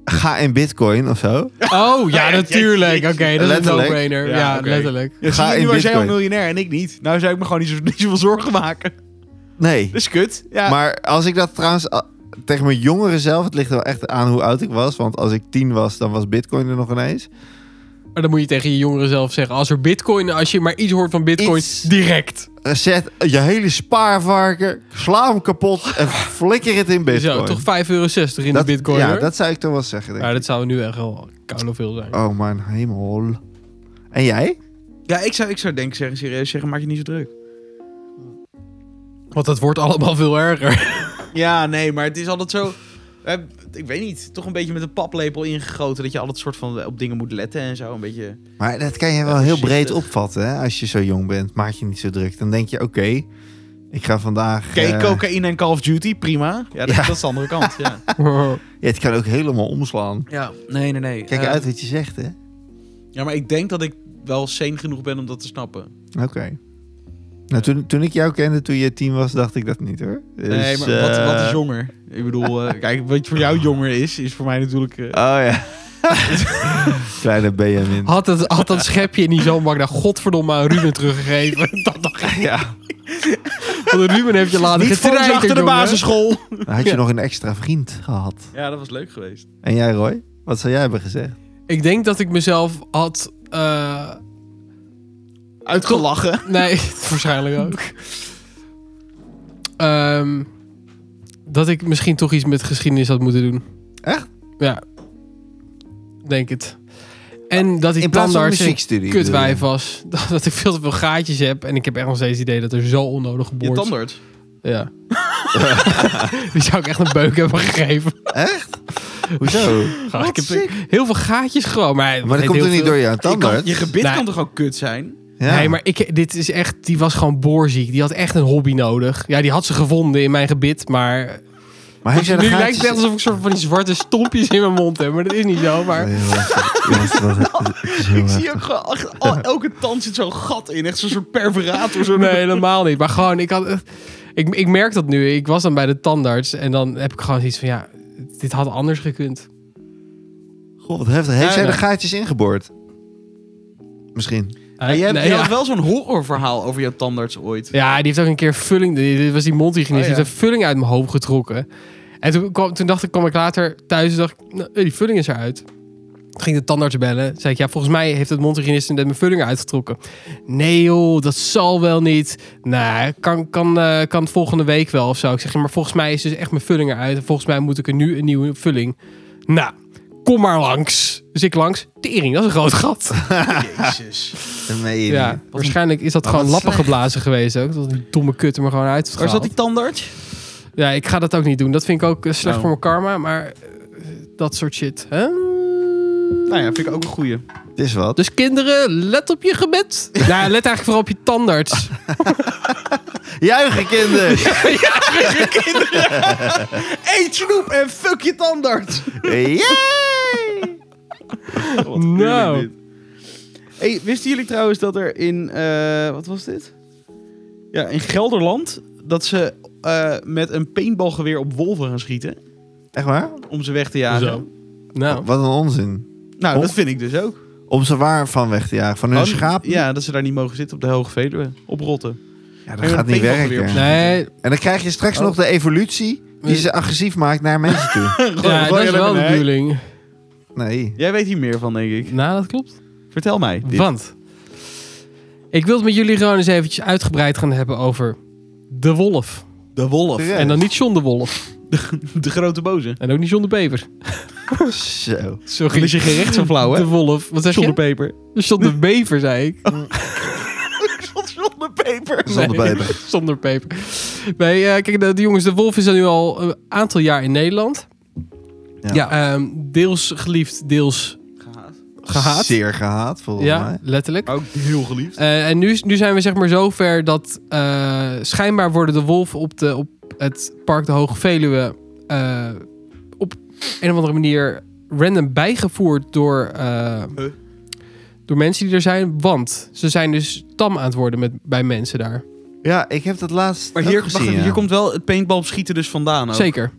S3: ga in bitcoin of zo.
S2: Oh, ja, natuurlijk. Oké, dat is een
S3: Letterlijk.
S2: no-brainer.
S1: Ja,
S2: Ja,
S1: oké.
S2: letterlijk.
S1: <laughs> Ja,
S3: Ga
S1: zie je,
S3: in
S1: nu was jij al
S3: Bitcoin.
S1: miljonair en ik niet. Nou zou ik me gewoon niet, zo, <laughs> niet zoveel zorgen maken.
S3: Nee.
S2: Dus
S1: Dat is kut. Ja.
S3: Maar als ik dat trouwens a- tegen mijn jongeren zelf... Het ligt er wel echt aan hoe oud ik was. Want als ik tien was, dan was bitcoin er nog ineens.
S2: Maar dan moet je tegen je jongeren zelf zeggen. Als er bitcoin, als je maar iets hoort van bitcoin,
S3: Iets.
S2: direct.
S3: Eh, Zet je hele spaarvarken, sla hem kapot
S2: <laughs>
S3: en flikker het in bitcoin.
S2: Zo, toch 5,60 euro in
S3: dat,
S2: de bitcoin.
S3: Ja,
S2: hoor.
S3: dat zou ik toch wel zeggen. denk
S2: Maar
S3: ik.
S2: dat zou nu echt wel koude veel zijn.
S3: Oh mijn hemel. En jij?
S1: Ja, ik zou, ik zou denk ik zeggen, serieus zeggen, maak je niet zo druk.
S2: Want dat wordt allemaal veel erger.
S1: Ja, nee, maar het is altijd zo... eh, Ik weet niet, toch een beetje met een paplepel ingegoten... dat je altijd soort van op dingen moet letten en zo. Een beetje...
S3: Maar dat kan je
S1: Ja,
S3: wel heel
S1: voorzichtig.
S3: breed opvatten. Hè? Als je zo jong bent, maak je niet zo druk. Dan denk je, oké, ik ga vandaag...
S1: Oké,
S3: eh,
S1: cocaïne en Call of Duty, prima. Ja, dat,
S3: Ja.
S1: dat is de andere kant, ja.
S3: ja, het kan ook helemaal omslaan.
S1: <laughs> Ja, nee, nee, nee.
S3: Kijk
S1: Eh,
S3: uit wat je zegt, hè?
S1: Ja, maar ik denk dat ik wel sane genoeg ben om dat te snappen.
S3: Oké. Nou, toen, toen ik jou kende, toen je tien was, dacht ik dat niet, hoor.
S1: nee,
S3: Dus,
S1: maar wat,
S3: eh,
S1: wat is jonger? Ik bedoel, <laughs> eh, kijk, wat voor jou jonger is, is voor mij natuurlijk... eh,
S3: Oh ja. <laughs> Kleine Benjamin.
S2: Had, het, had dat schepje niet zo makkelijk naar godverdomme aan Ruben teruggegeven. Dat dacht ik.
S3: Ja.
S2: Want Ruben heeft je laten
S1: Niet voor
S2: getreiterd,
S1: achter de
S2: jongen.
S1: basisschool.
S3: Dan had je
S2: Ja.
S3: nog een extra vriend gehad.
S1: Ja, dat was leuk geweest.
S3: En jij, Roy? Wat zou jij hebben gezegd?
S2: Ik denk dat ik mezelf had... eh,
S1: Uitgelachen.
S2: Nee, <laughs> waarschijnlijk ook. Ehm, dat ik misschien toch iets met geschiedenis had moeten doen.
S3: Echt?
S2: Ja. Denk het. En dat
S3: In
S2: ik
S3: plaats van
S2: tandarts een
S3: muziekstudie. bedoel je?
S2: kutwijf was. <laughs> Dat ik veel te veel gaatjes heb. En ik heb echt nog steeds het idee dat er zo onnodig
S1: Je
S2: geboord
S1: tandarts.
S2: Ja. <laughs> Die zou ik echt een beuk hebben gegeven.
S3: Echt? Hoezo?
S2: Gewoon, ik heb heel veel gaatjes gewoon. Maar, hij-
S3: Maar dat
S2: heet
S3: komt
S2: heel
S3: er niet
S2: veel-
S3: door je tandarts?
S1: Je gebit
S2: Nee.
S1: kan toch ook kut zijn?
S3: Ja.
S2: Nee, maar ik, dit is echt, die was gewoon boorziek. Die had echt een hobby nodig. Ja, die had ze gevonden in mijn gebit, maar...
S3: Maar heeft
S2: nu
S3: jij de gaatjes...
S2: lijkt het net alsof ik soort van die zwarte stompjes in mijn mond heb, maar dat is niet zo. Maar...
S3: Heel heftig. Jongens, het was- het is heel
S1: Ik zie
S3: heftig.
S1: ook gewoon, echt- al- elke tand zit zo'n gat in. Echt zo'n soort perforator. Zo
S2: <laughs> Nee, helemaal niet. Maar gewoon, ik had... echt- Ik, ik merk dat nu. Ik was dan bij de tandarts en dan heb ik gewoon zoiets van, ja, dit had anders gekund.
S3: Goh, wat heftig. Heeft
S1: Ja,
S3: zij de
S1: ja.
S3: gaatjes ingeboord? Misschien.
S1: Maar je hebt,
S2: Nee,
S1: je
S2: ja.
S1: had wel zo'n horrorverhaal over jouw tandarts ooit.
S2: Ja, die heeft ook een keer vulling. Dit was die mondhygiënist.
S1: Oh, ja.
S2: Die heeft een vulling uit mijn hoofd getrokken. En toen, kwam, toen dacht ik, kwam ik later thuis en dacht ik, nou, die vulling is eruit. Toen ging de tandarts bellen. Toen zei ik, ja, volgens mij heeft het mondhygiënist net mijn vulling uitgetrokken. Nee joh, dat zal wel niet. Nou, kan, kan, eh, kan volgende week wel of zo. Ik zeg, ja, maar volgens mij is dus echt mijn vulling eruit. En volgens mij moet ik er nu een nieuwe vulling. Nou, kom maar langs. Dus ik langs. Tering, dat is een groot gat.
S1: Jezus.
S3: Nee,
S2: Ja, waarschijnlijk is dat
S3: Maar
S2: gewoon
S3: wat
S2: lappen
S3: slecht.
S2: geblazen geweest ook. Dat die domme kut er maar gewoon uit
S1: Waar
S2: heeft
S1: zat
S2: gehaald.
S1: die tandarts?
S2: Ja, ik ga dat ook niet doen. Dat vind ik ook eh, slecht
S1: Oh.
S2: voor mijn karma. Maar eh, dat soort shit. Hè?
S1: Nou ja, vind ik ook een <laughs> goeie.
S3: Het is wat.
S2: Dus kinderen, let op je gebed. nou, let eigenlijk vooral op je tandarts.
S3: Juichen, kinderen!
S1: Eet snoep en fuck je tandarts.
S3: Yay!
S1: Wat
S2: Nou.
S1: gruwelijk dit. Hey, wisten jullie trouwens dat er in... eh, wat was dit? Ja, in Gelderland... dat ze eh, met een paintballgeweer op wolven gaan schieten...
S3: Echt waar?
S1: om ze weg te jagen.
S2: Zo. Nou,
S3: Wat een onzin.
S1: Nou,
S3: Om-
S1: dat vind ik dus ook.
S3: Om ze waar van weg te jagen. Van hun
S1: Oh,
S3: schaap?
S1: Ja, dat ze daar niet mogen zitten op de Hoge Veluwe. Op rotten.
S3: Ja, dat
S1: Weer
S3: gaat
S1: een
S3: niet
S1: pinkel weer
S3: werken.
S1: op.
S2: nee.
S3: En dan krijg je straks
S1: Oh.
S3: nog de evolutie die ze agressief maakt naar mensen toe.
S1: <laughs> Gewoon-
S2: Ja,
S1: gewoon
S2: dat is
S1: helemaal
S2: wel de
S1: nee.
S2: bedoeling.
S3: Nee.
S1: Jij weet hier meer van, denk ik.
S2: Nou, dat klopt.
S1: Vertel mij. dit.
S2: Want ik wil het met jullie gewoon eens eventjes uitgebreid gaan hebben over de wolf.
S1: De wolf.
S3: Ja.
S2: En dan niet John de Wolf.
S1: De grote boze.
S2: En ook niet John de Bever.
S3: Zo.
S2: Sorry.
S1: Dan is je geen recht zo flauw, hè?
S2: De wolf. Wat zeg
S1: Zonder
S2: je?
S1: peper.
S2: John
S3: <laughs>
S2: de Dus Bever, zei ik. <laughs>
S1: Zonder peper.
S3: Zonder
S2: Nee,
S3: baby.
S2: Zonder peper. Nee, eh, kijk, de, de jongens, de Wolf is al nu al een aantal jaar in Nederland.
S3: Ja.
S2: Ja. ehm, deels geliefd, deels gehaat.
S3: Zeer gehaat, volgens
S2: ja,
S3: mij.
S2: letterlijk.
S1: Ook heel geliefd.
S2: Eh, en nu, is- nu zijn we zeg maar zover dat eh, schijnbaar worden de wolven op, de, op het park de Hoge Veluwe eh, op een of andere manier random bijgevoerd door, eh,
S1: Huh?
S2: door mensen die er zijn. Want ze zijn dus tam aan het worden met, bij mensen daar.
S3: Ja, ik heb dat laatst
S1: Maar
S3: ook
S1: hier,
S3: gezien,
S1: wacht even,
S3: ja.
S1: hier komt wel het paintball schieten dus vandaan ook.
S2: Zeker.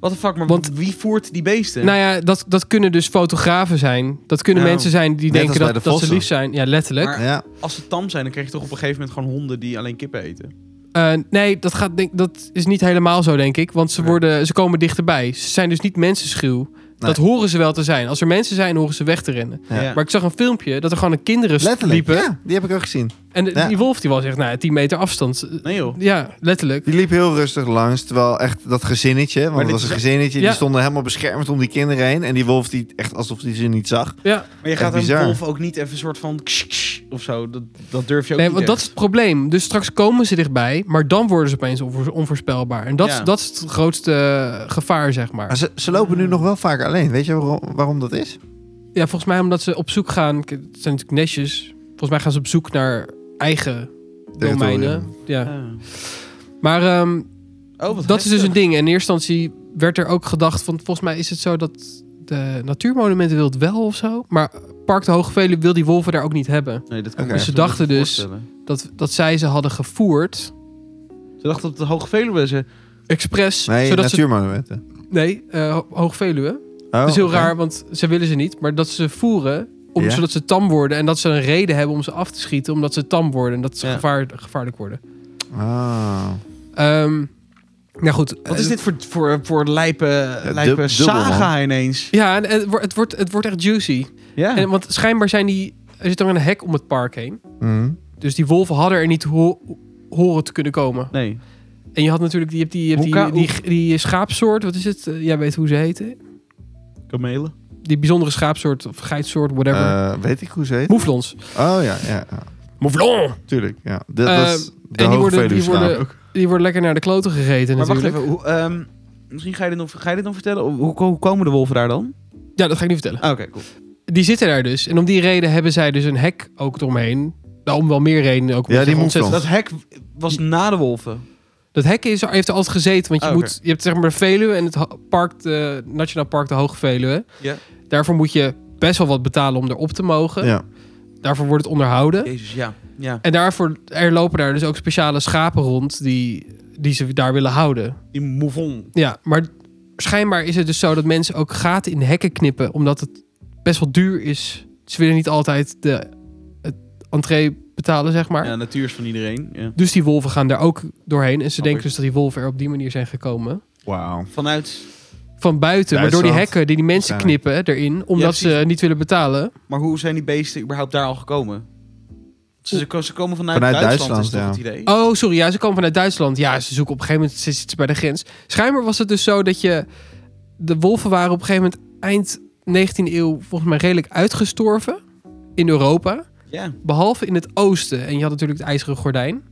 S1: What the fuck, maar
S2: Want-
S1: wie voert die beesten?
S2: Nou ja, dat, dat kunnen dus fotografen zijn. Dat kunnen
S1: Ja.
S2: mensen zijn die
S3: Net als
S2: denken
S3: bij
S2: dat,
S3: de
S2: dat ze
S3: vossen.
S2: lief zijn. Ja, letterlijk.
S1: Maar-
S3: Ja.
S1: Als ze tam zijn, dan krijg je toch op een gegeven moment gewoon honden die alleen kippen eten.
S2: Eh, nee, dat, gaat, denk, dat is niet helemaal zo, denk ik. Want ze,
S1: Nee.
S2: worden, ze komen dichterbij. Ze zijn dus niet mensenschuw. Dat horen ze wel te zijn. Als er mensen zijn, horen ze weg te rennen.
S3: Ja.
S2: Maar ik zag een filmpje dat er gewoon een kinderen
S3: Letterlijk,
S2: Dus liepen.
S3: ja, die heb ik ook gezien.
S2: En de-
S3: Ja.
S2: die wolf die was echt nou, 10 meter afstand.
S1: Nee joh.
S2: Ja, letterlijk.
S3: Die liep heel rustig langs, terwijl echt dat gezinnetje, want
S1: dit
S3: het was een
S1: is-
S3: gezinnetje,
S2: Ja.
S3: die stonden helemaal beschermd om die kinderen heen. En die wolf, die echt alsof hij ze niet zag.
S2: Ja.
S1: Maar je
S3: Echt
S1: gaat een
S3: bizar.
S1: wolf ook niet even een soort van ksh, ksh of zo. Dat, dat durf je ook
S2: Nee,
S1: niet
S2: want dat
S1: echt.
S2: is het probleem. Dus straks komen ze dichtbij, maar dan worden ze opeens onvo- onvoorspelbaar. En dat, is-
S1: Ja.
S2: dat is het grootste gevaar, zeg maar.
S3: Maar ze, ze lopen nu nog wel vaak alleen. Weet je waarom, waarom dat is?
S2: Ja, volgens mij omdat ze op zoek gaan. k- Het zijn natuurlijk nestjes. Volgens mij gaan ze op zoek naar eigen domeinen. Ja. Maar ehm,
S1: Ah. Oh, wat
S2: eh, dat is dus
S1: heftig.
S2: een ding. En in eerste instantie werd er ook gedacht van... Volgens mij is het zo dat de natuurmonumenten wil het wel of zo. Maar Park de Hoge Veluwe wil die wolven daar ook niet hebben.
S1: Nee, dat kan ik me
S3: Oké.
S2: Ze
S1: zo niet
S2: dachten dus-
S1: voorstellen.
S2: Dat, dat zij ze hadden gevoerd,
S1: Ze dachten dat de Hoge Veluwe ze...
S2: expres.
S3: Nee,
S2: zodat ze,
S3: natuurmonumenten.
S2: nee eh, Ho- Hoge Veluwe.
S3: Oh,
S2: dat is heel
S3: oké.
S2: raar, want ze willen ze niet. Maar dat ze voeren, om,
S3: Ja.
S2: zodat ze tam worden. En dat ze een reden hebben om ze af te schieten, omdat ze tam worden. En dat ze
S1: Ja.
S2: gevaar, gevaarlijk worden.
S3: Ah.
S2: Ehm nou goed.
S1: Wat is dit voor, voor, voor lijpe, lijpe
S3: dub- dubbel,
S1: saga ineens?
S2: Ja, en eh, het, wordt- het, wordt, het wordt echt juicy.
S1: Ja.
S2: En, want schijnbaar zijn die... Er zit ook een hek om het park heen.
S3: Mhm.
S2: Dus die wolven hadden er niet ho- horen te kunnen komen.
S1: Nee.
S2: En je had natuurlijk... Je hebt die, je hebt
S1: Hoe ka-
S2: die, die, die, schaapsoort. Wat is het? Eh, jij weet hoe ze heten.
S1: Kamelen.
S2: Die bijzondere schaapsoort of geitsoort, whatever.
S3: Eh, weet ik hoe ze heet?
S2: Moeflons.
S3: Oh ja, ja, ja.
S2: Mouflon!
S3: tuurlijk. Ja. De, dat
S2: Eh,
S3: is de
S2: En die
S3: hoge
S2: worden, die,
S3: Veluwschaap.
S2: worden, die worden lekker naar de kloten gegeten
S1: Maar wacht
S2: natuurlijk.
S1: even. Hoe, ehm, misschien ga je, dit nog, ga je dit nog vertellen? Hoe, hoe komen de wolven daar dan?
S2: Ja, dat ga ik niet vertellen.
S1: Ah, Oké, cool.
S2: Die zitten daar dus. En om die reden hebben zij dus een hek ook eromheen. Nou, om wel meer redenen. Ook omdat
S3: Ja,
S2: ze
S3: die
S2: ontzettend-
S1: Dat hek was na de wolven.
S2: Dat hek is, heeft er altijd gezeten, want je,
S1: Ah, oké.
S2: moet, je hebt zeg maar de Veluwe en het ho- park, de, Nationaal Park de Hoge Veluwe.
S1: Ja.
S2: Daarvoor moet je best wel wat betalen om erop te mogen.
S3: Ja.
S2: Daarvoor wordt het onderhouden.
S1: Jezus, ja. ja.
S2: En daarvoor er lopen daar dus ook speciale schapen rond die, die ze daar willen houden.
S1: Die mouvon.
S2: Ja, maar schijnbaar is het dus zo dat mensen ook gaten in hekken knippen, omdat het best wel duur is. Ze willen niet altijd de het entree betalen, zeg maar.
S1: Ja, natuur is van iedereen. Ja.
S2: Dus die wolven gaan daar ook doorheen. En ze
S1: Snap
S2: denken
S1: ik.
S2: dus dat die wolven er op die manier zijn gekomen.
S3: Wauw.
S1: Vanuit.
S2: Van buiten, maar door die
S3: Duitsland.
S2: hekken die die mensen
S3: Waarschijnlijk.
S2: knippen erin, omdat ze
S1: precies.
S2: eh, niet willen betalen.
S1: Maar hoe zijn die beesten überhaupt daar al gekomen? Ze, ze, ze komen vanuit,
S3: Vanuit
S1: Duitsland, is
S3: Duitsland,
S1: toch het idee?
S2: Oh, sorry, ja, ze komen vanuit Duitsland. Ja, ze zoeken op een gegeven moment, ze zitten bij de grens. Schijnbaar was het dus zo dat je... De wolven waren op een gegeven moment eind 19e eeuw volgens mij redelijk uitgestorven in Europa.
S1: Ja.
S2: Behalve in het oosten. En je had natuurlijk het ijzeren gordijn.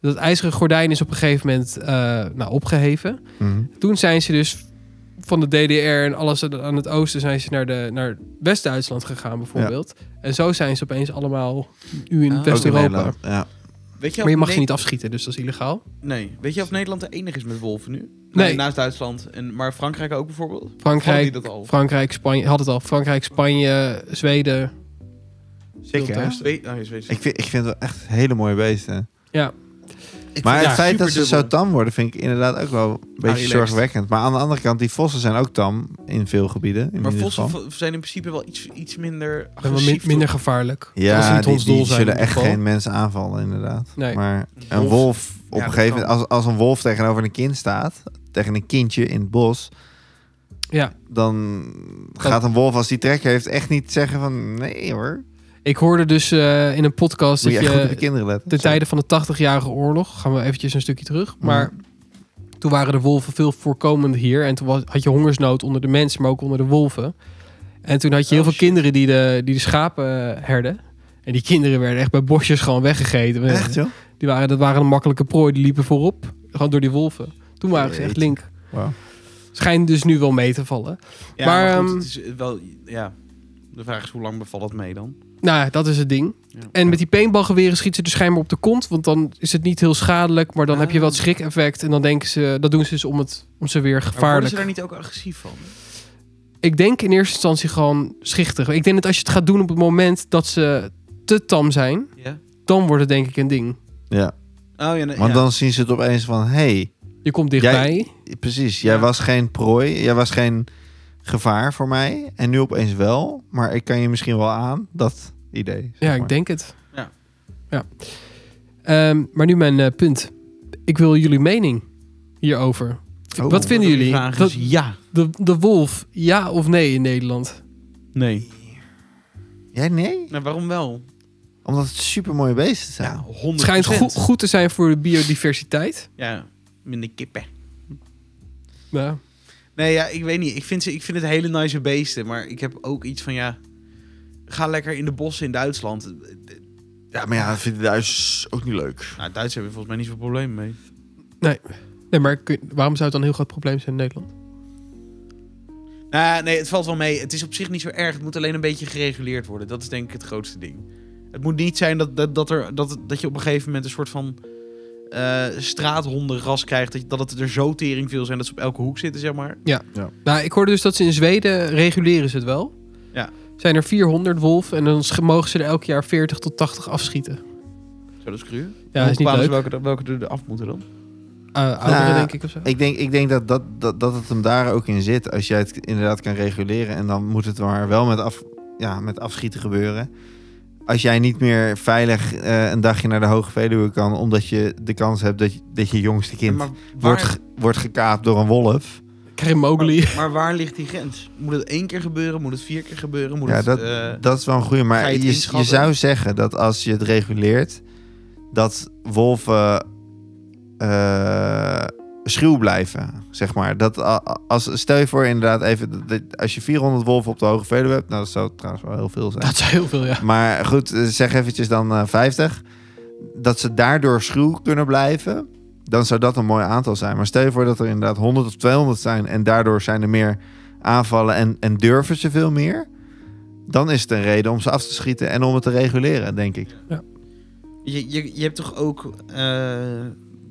S2: Dat ijzeren gordijn is op een gegeven moment eh, nou, opgeheven.
S3: Mhm.
S2: Toen zijn ze dus van de DDR en alles aan- aan het oosten zijn ze naar, de, naar West-Duitsland gegaan bijvoorbeeld. En zo zijn ze opeens allemaal nu in
S1: Ah.
S3: Ook in
S2: West-Europa.
S3: Nederland, Ja.
S1: Weet je
S2: Maar je
S1: of
S2: mag ze
S1: Ne-
S2: niet afschieten, dus dat is illegaal.
S1: Nee. Weet je of Nederland de enige is met wolven nu?
S2: Nee.
S1: Naast Duitsland. En, maar Frankrijk ook bijvoorbeeld? Hadden die
S2: Frankrijk,
S1: dat al?
S2: Frankrijk, Spanje, had het al. Frankrijk, Spanje, Zweden.
S3: Zeker.
S2: Stilte.
S1: Weet, oh, je weet
S3: Ik vind, ik vind het wel echt hele mooie beesten.
S1: Ik
S3: Maar
S1: vind
S3: het
S1: ja,
S3: feit dat ze zo
S1: superdubbel.
S3: tam worden vind ik inderdaad ook wel een beetje
S1: relaxed.
S3: zorgwekkend. Maar aan de andere kant, die vossen zijn ook tam in veel gebieden. In
S1: Maar
S3: ieder
S1: vossen
S3: geval.
S1: v- zijn in principe wel iets, iets minder
S2: En wel min-
S1: agressief.
S2: minder gevaarlijk. Als ze
S3: Ja,
S2: niet
S3: die,
S2: ons doel
S3: die
S2: zijn
S3: zullen
S2: in ieder
S3: echt
S2: geval.
S3: geen mensen aanvallen inderdaad.
S2: Nee.
S3: Maar
S1: toch?
S3: een wolf op
S1: dat
S3: een gegeven moment, als, als een wolf tegenover een kind staat, tegen een kindje in het bos,
S2: Ja.
S3: dan gaat een wolf als die trek heeft echt niet zeggen van nee hoor.
S2: Ik hoorde dus eh, in een podcast
S3: Moet je
S2: dat
S3: echt goed op de
S2: je
S3: kinderen letten.
S2: ten tijde van de 80-jarige oorlog, gaan we eventjes een stukje terug. Maar
S3: Mhm.
S2: toen waren de wolven veel voorkomend hier. En toen was, had je hongersnood onder de mensen, maar ook onder de wolven. En toen had je heel
S1: Oh,
S2: veel
S1: shit.
S2: kinderen die de, die de schapen eh, herden. En die kinderen werden echt bij bosjes gewoon weggegeten.
S3: Echt joh?
S2: Die waren, dat waren een makkelijke prooi, die liepen voorop. Gewoon door die wolven. Toen waren ze echt
S3: Jeetje.
S2: link.
S3: Wauw.
S2: Schijnt dus nu wel mee te vallen.
S1: Ja, maar,
S2: Maar,
S1: goed,
S2: ehm,
S1: het is wel... Ja. De vraag is, hoe lang bevalt dat mee dan?
S2: Nou, dat is het ding.
S1: Ja.
S2: En met die paintballgeweren schieten ze dus schijnbaar op de kont. Want dan is het niet heel schadelijk. Maar dan heb je wel het
S1: Ah.
S2: schrik-effect. En dan denken ze... Dat doen ze dus om, het, om ze weer
S1: Maar worden
S2: gevaarlijk.
S1: ze daar niet ook agressief van?
S2: Ik denk in eerste instantie gewoon schichtig. Ik denk dat als je het gaat doen op het moment dat ze te tam zijn...
S1: Ja.
S2: Dan wordt het denk ik een ding.
S3: Ja,
S1: Oh, ja, nee,
S3: want
S1: ja.
S3: dan zien ze het opeens van hey,
S2: Je komt dichtbij.
S3: precies, jij
S1: Ja.
S3: was geen prooi, jij was geen gevaar voor mij en nu opeens wel, maar ik kan je misschien wel aan, dat idee. zeg
S2: Ja,
S3: maar.
S2: ik denk het.
S1: Ja.
S2: ja. Ehm, maar nu mijn eh, punt. Ik wil jullie mening hierover.
S3: Oh.
S2: Wat vinden
S1: De
S2: jullie?
S1: vraag
S2: Dat
S1: is ja.
S2: de, de wolf, ja of nee in Nederland?
S1: Nee.
S3: Jij nee?
S1: Nou, waarom wel?
S3: Omdat het super mooie beesten zijn.
S1: Ja, 100
S2: Het schijnt goed, goed te zijn voor de biodiversiteit.
S1: Ja, minder kippen.
S2: Ja.
S1: Nee, ja, ik weet niet. Ik vind, ze, ik vind het hele nice beesten. Maar ik heb ook iets van, ja... Ga lekker in de bossen in Duitsland.
S3: Ja, maar ja, dat vinden Duits ook niet leuk.
S1: Nou, Duitsers hebben volgens mij niet zo'n probleem mee.
S2: Nee, maar kun- waarom zou het dan een heel groot probleem zijn in Nederland?
S1: Nou, ja, nee, het valt wel mee. Het is op zich niet zo erg. Het moet alleen een beetje gereguleerd worden. Dat is denk ik het grootste ding. Het moet niet zijn dat, dat, dat, er, dat, dat je op een gegeven moment een soort van eh, straathondenras krijgt. Dat, dat het er zo tering veel zijn dat ze op elke hoek zitten, zeg maar.
S2: Nou, ik hoorde dus dat ze in Zweden reguleren ze het wel.
S1: Ja.
S2: Zijn er 400 wolven en dan sch- mogen ze er elk jaar 40 tot 80 afschieten.
S1: Zo, dat is cru.
S2: Ja, is niet
S1: Bepalen ze
S2: leuk.
S1: Welke, er- welke er af moeten dan?
S2: Eh, ouderen,
S3: Nou,
S2: denk ik of zo.
S3: Ik denk, ik denk dat, dat, dat, dat het hem daar ook in zit. Als jij het inderdaad kan reguleren. En dan moet het maar wel met, af, ja, met afschieten gebeuren. Als jij niet meer veilig eh, een dagje naar de Hoge Veluwe kan. Omdat je de kans hebt dat, je- dat je jongste kind
S1: Maar
S3: wordt, ge- wordt gekaapt door een wolf.
S2: Karim
S3: <laughs>
S2: Mowgli.
S1: Maar, maar waar ligt die grens? Moet het één keer gebeuren? Moet het vier keer gebeuren? Moet
S3: Ja,
S1: het,
S3: dat,
S1: eh,
S3: dat is wel een goede.
S1: ga
S3: Maar
S1: je het
S3: je, je,
S1: inschatten?
S3: zou zeggen dat als je het reguleert. Dat wolven eh, schuw blijven, zeg maar. Dat a- a- als, stel je voor inderdaad even... dat- dat Als je 400 wolven op de Hoge Veluwe hebt... Nou, dat zou trouwens wel heel veel zijn.
S2: Dat is heel veel, ja.
S3: Maar goed, eh, zeg eventjes dan eh, 50. Dat ze daardoor schuw kunnen blijven, dan zou dat een mooi aantal zijn. Maar stel je voor dat er inderdaad 100 of 200 zijn en daardoor zijn er meer aanvallen en, en durven ze veel meer. Dan is het een reden om ze af te schieten en om het te reguleren, denk ik.
S1: Je, je, je hebt toch ook. eh,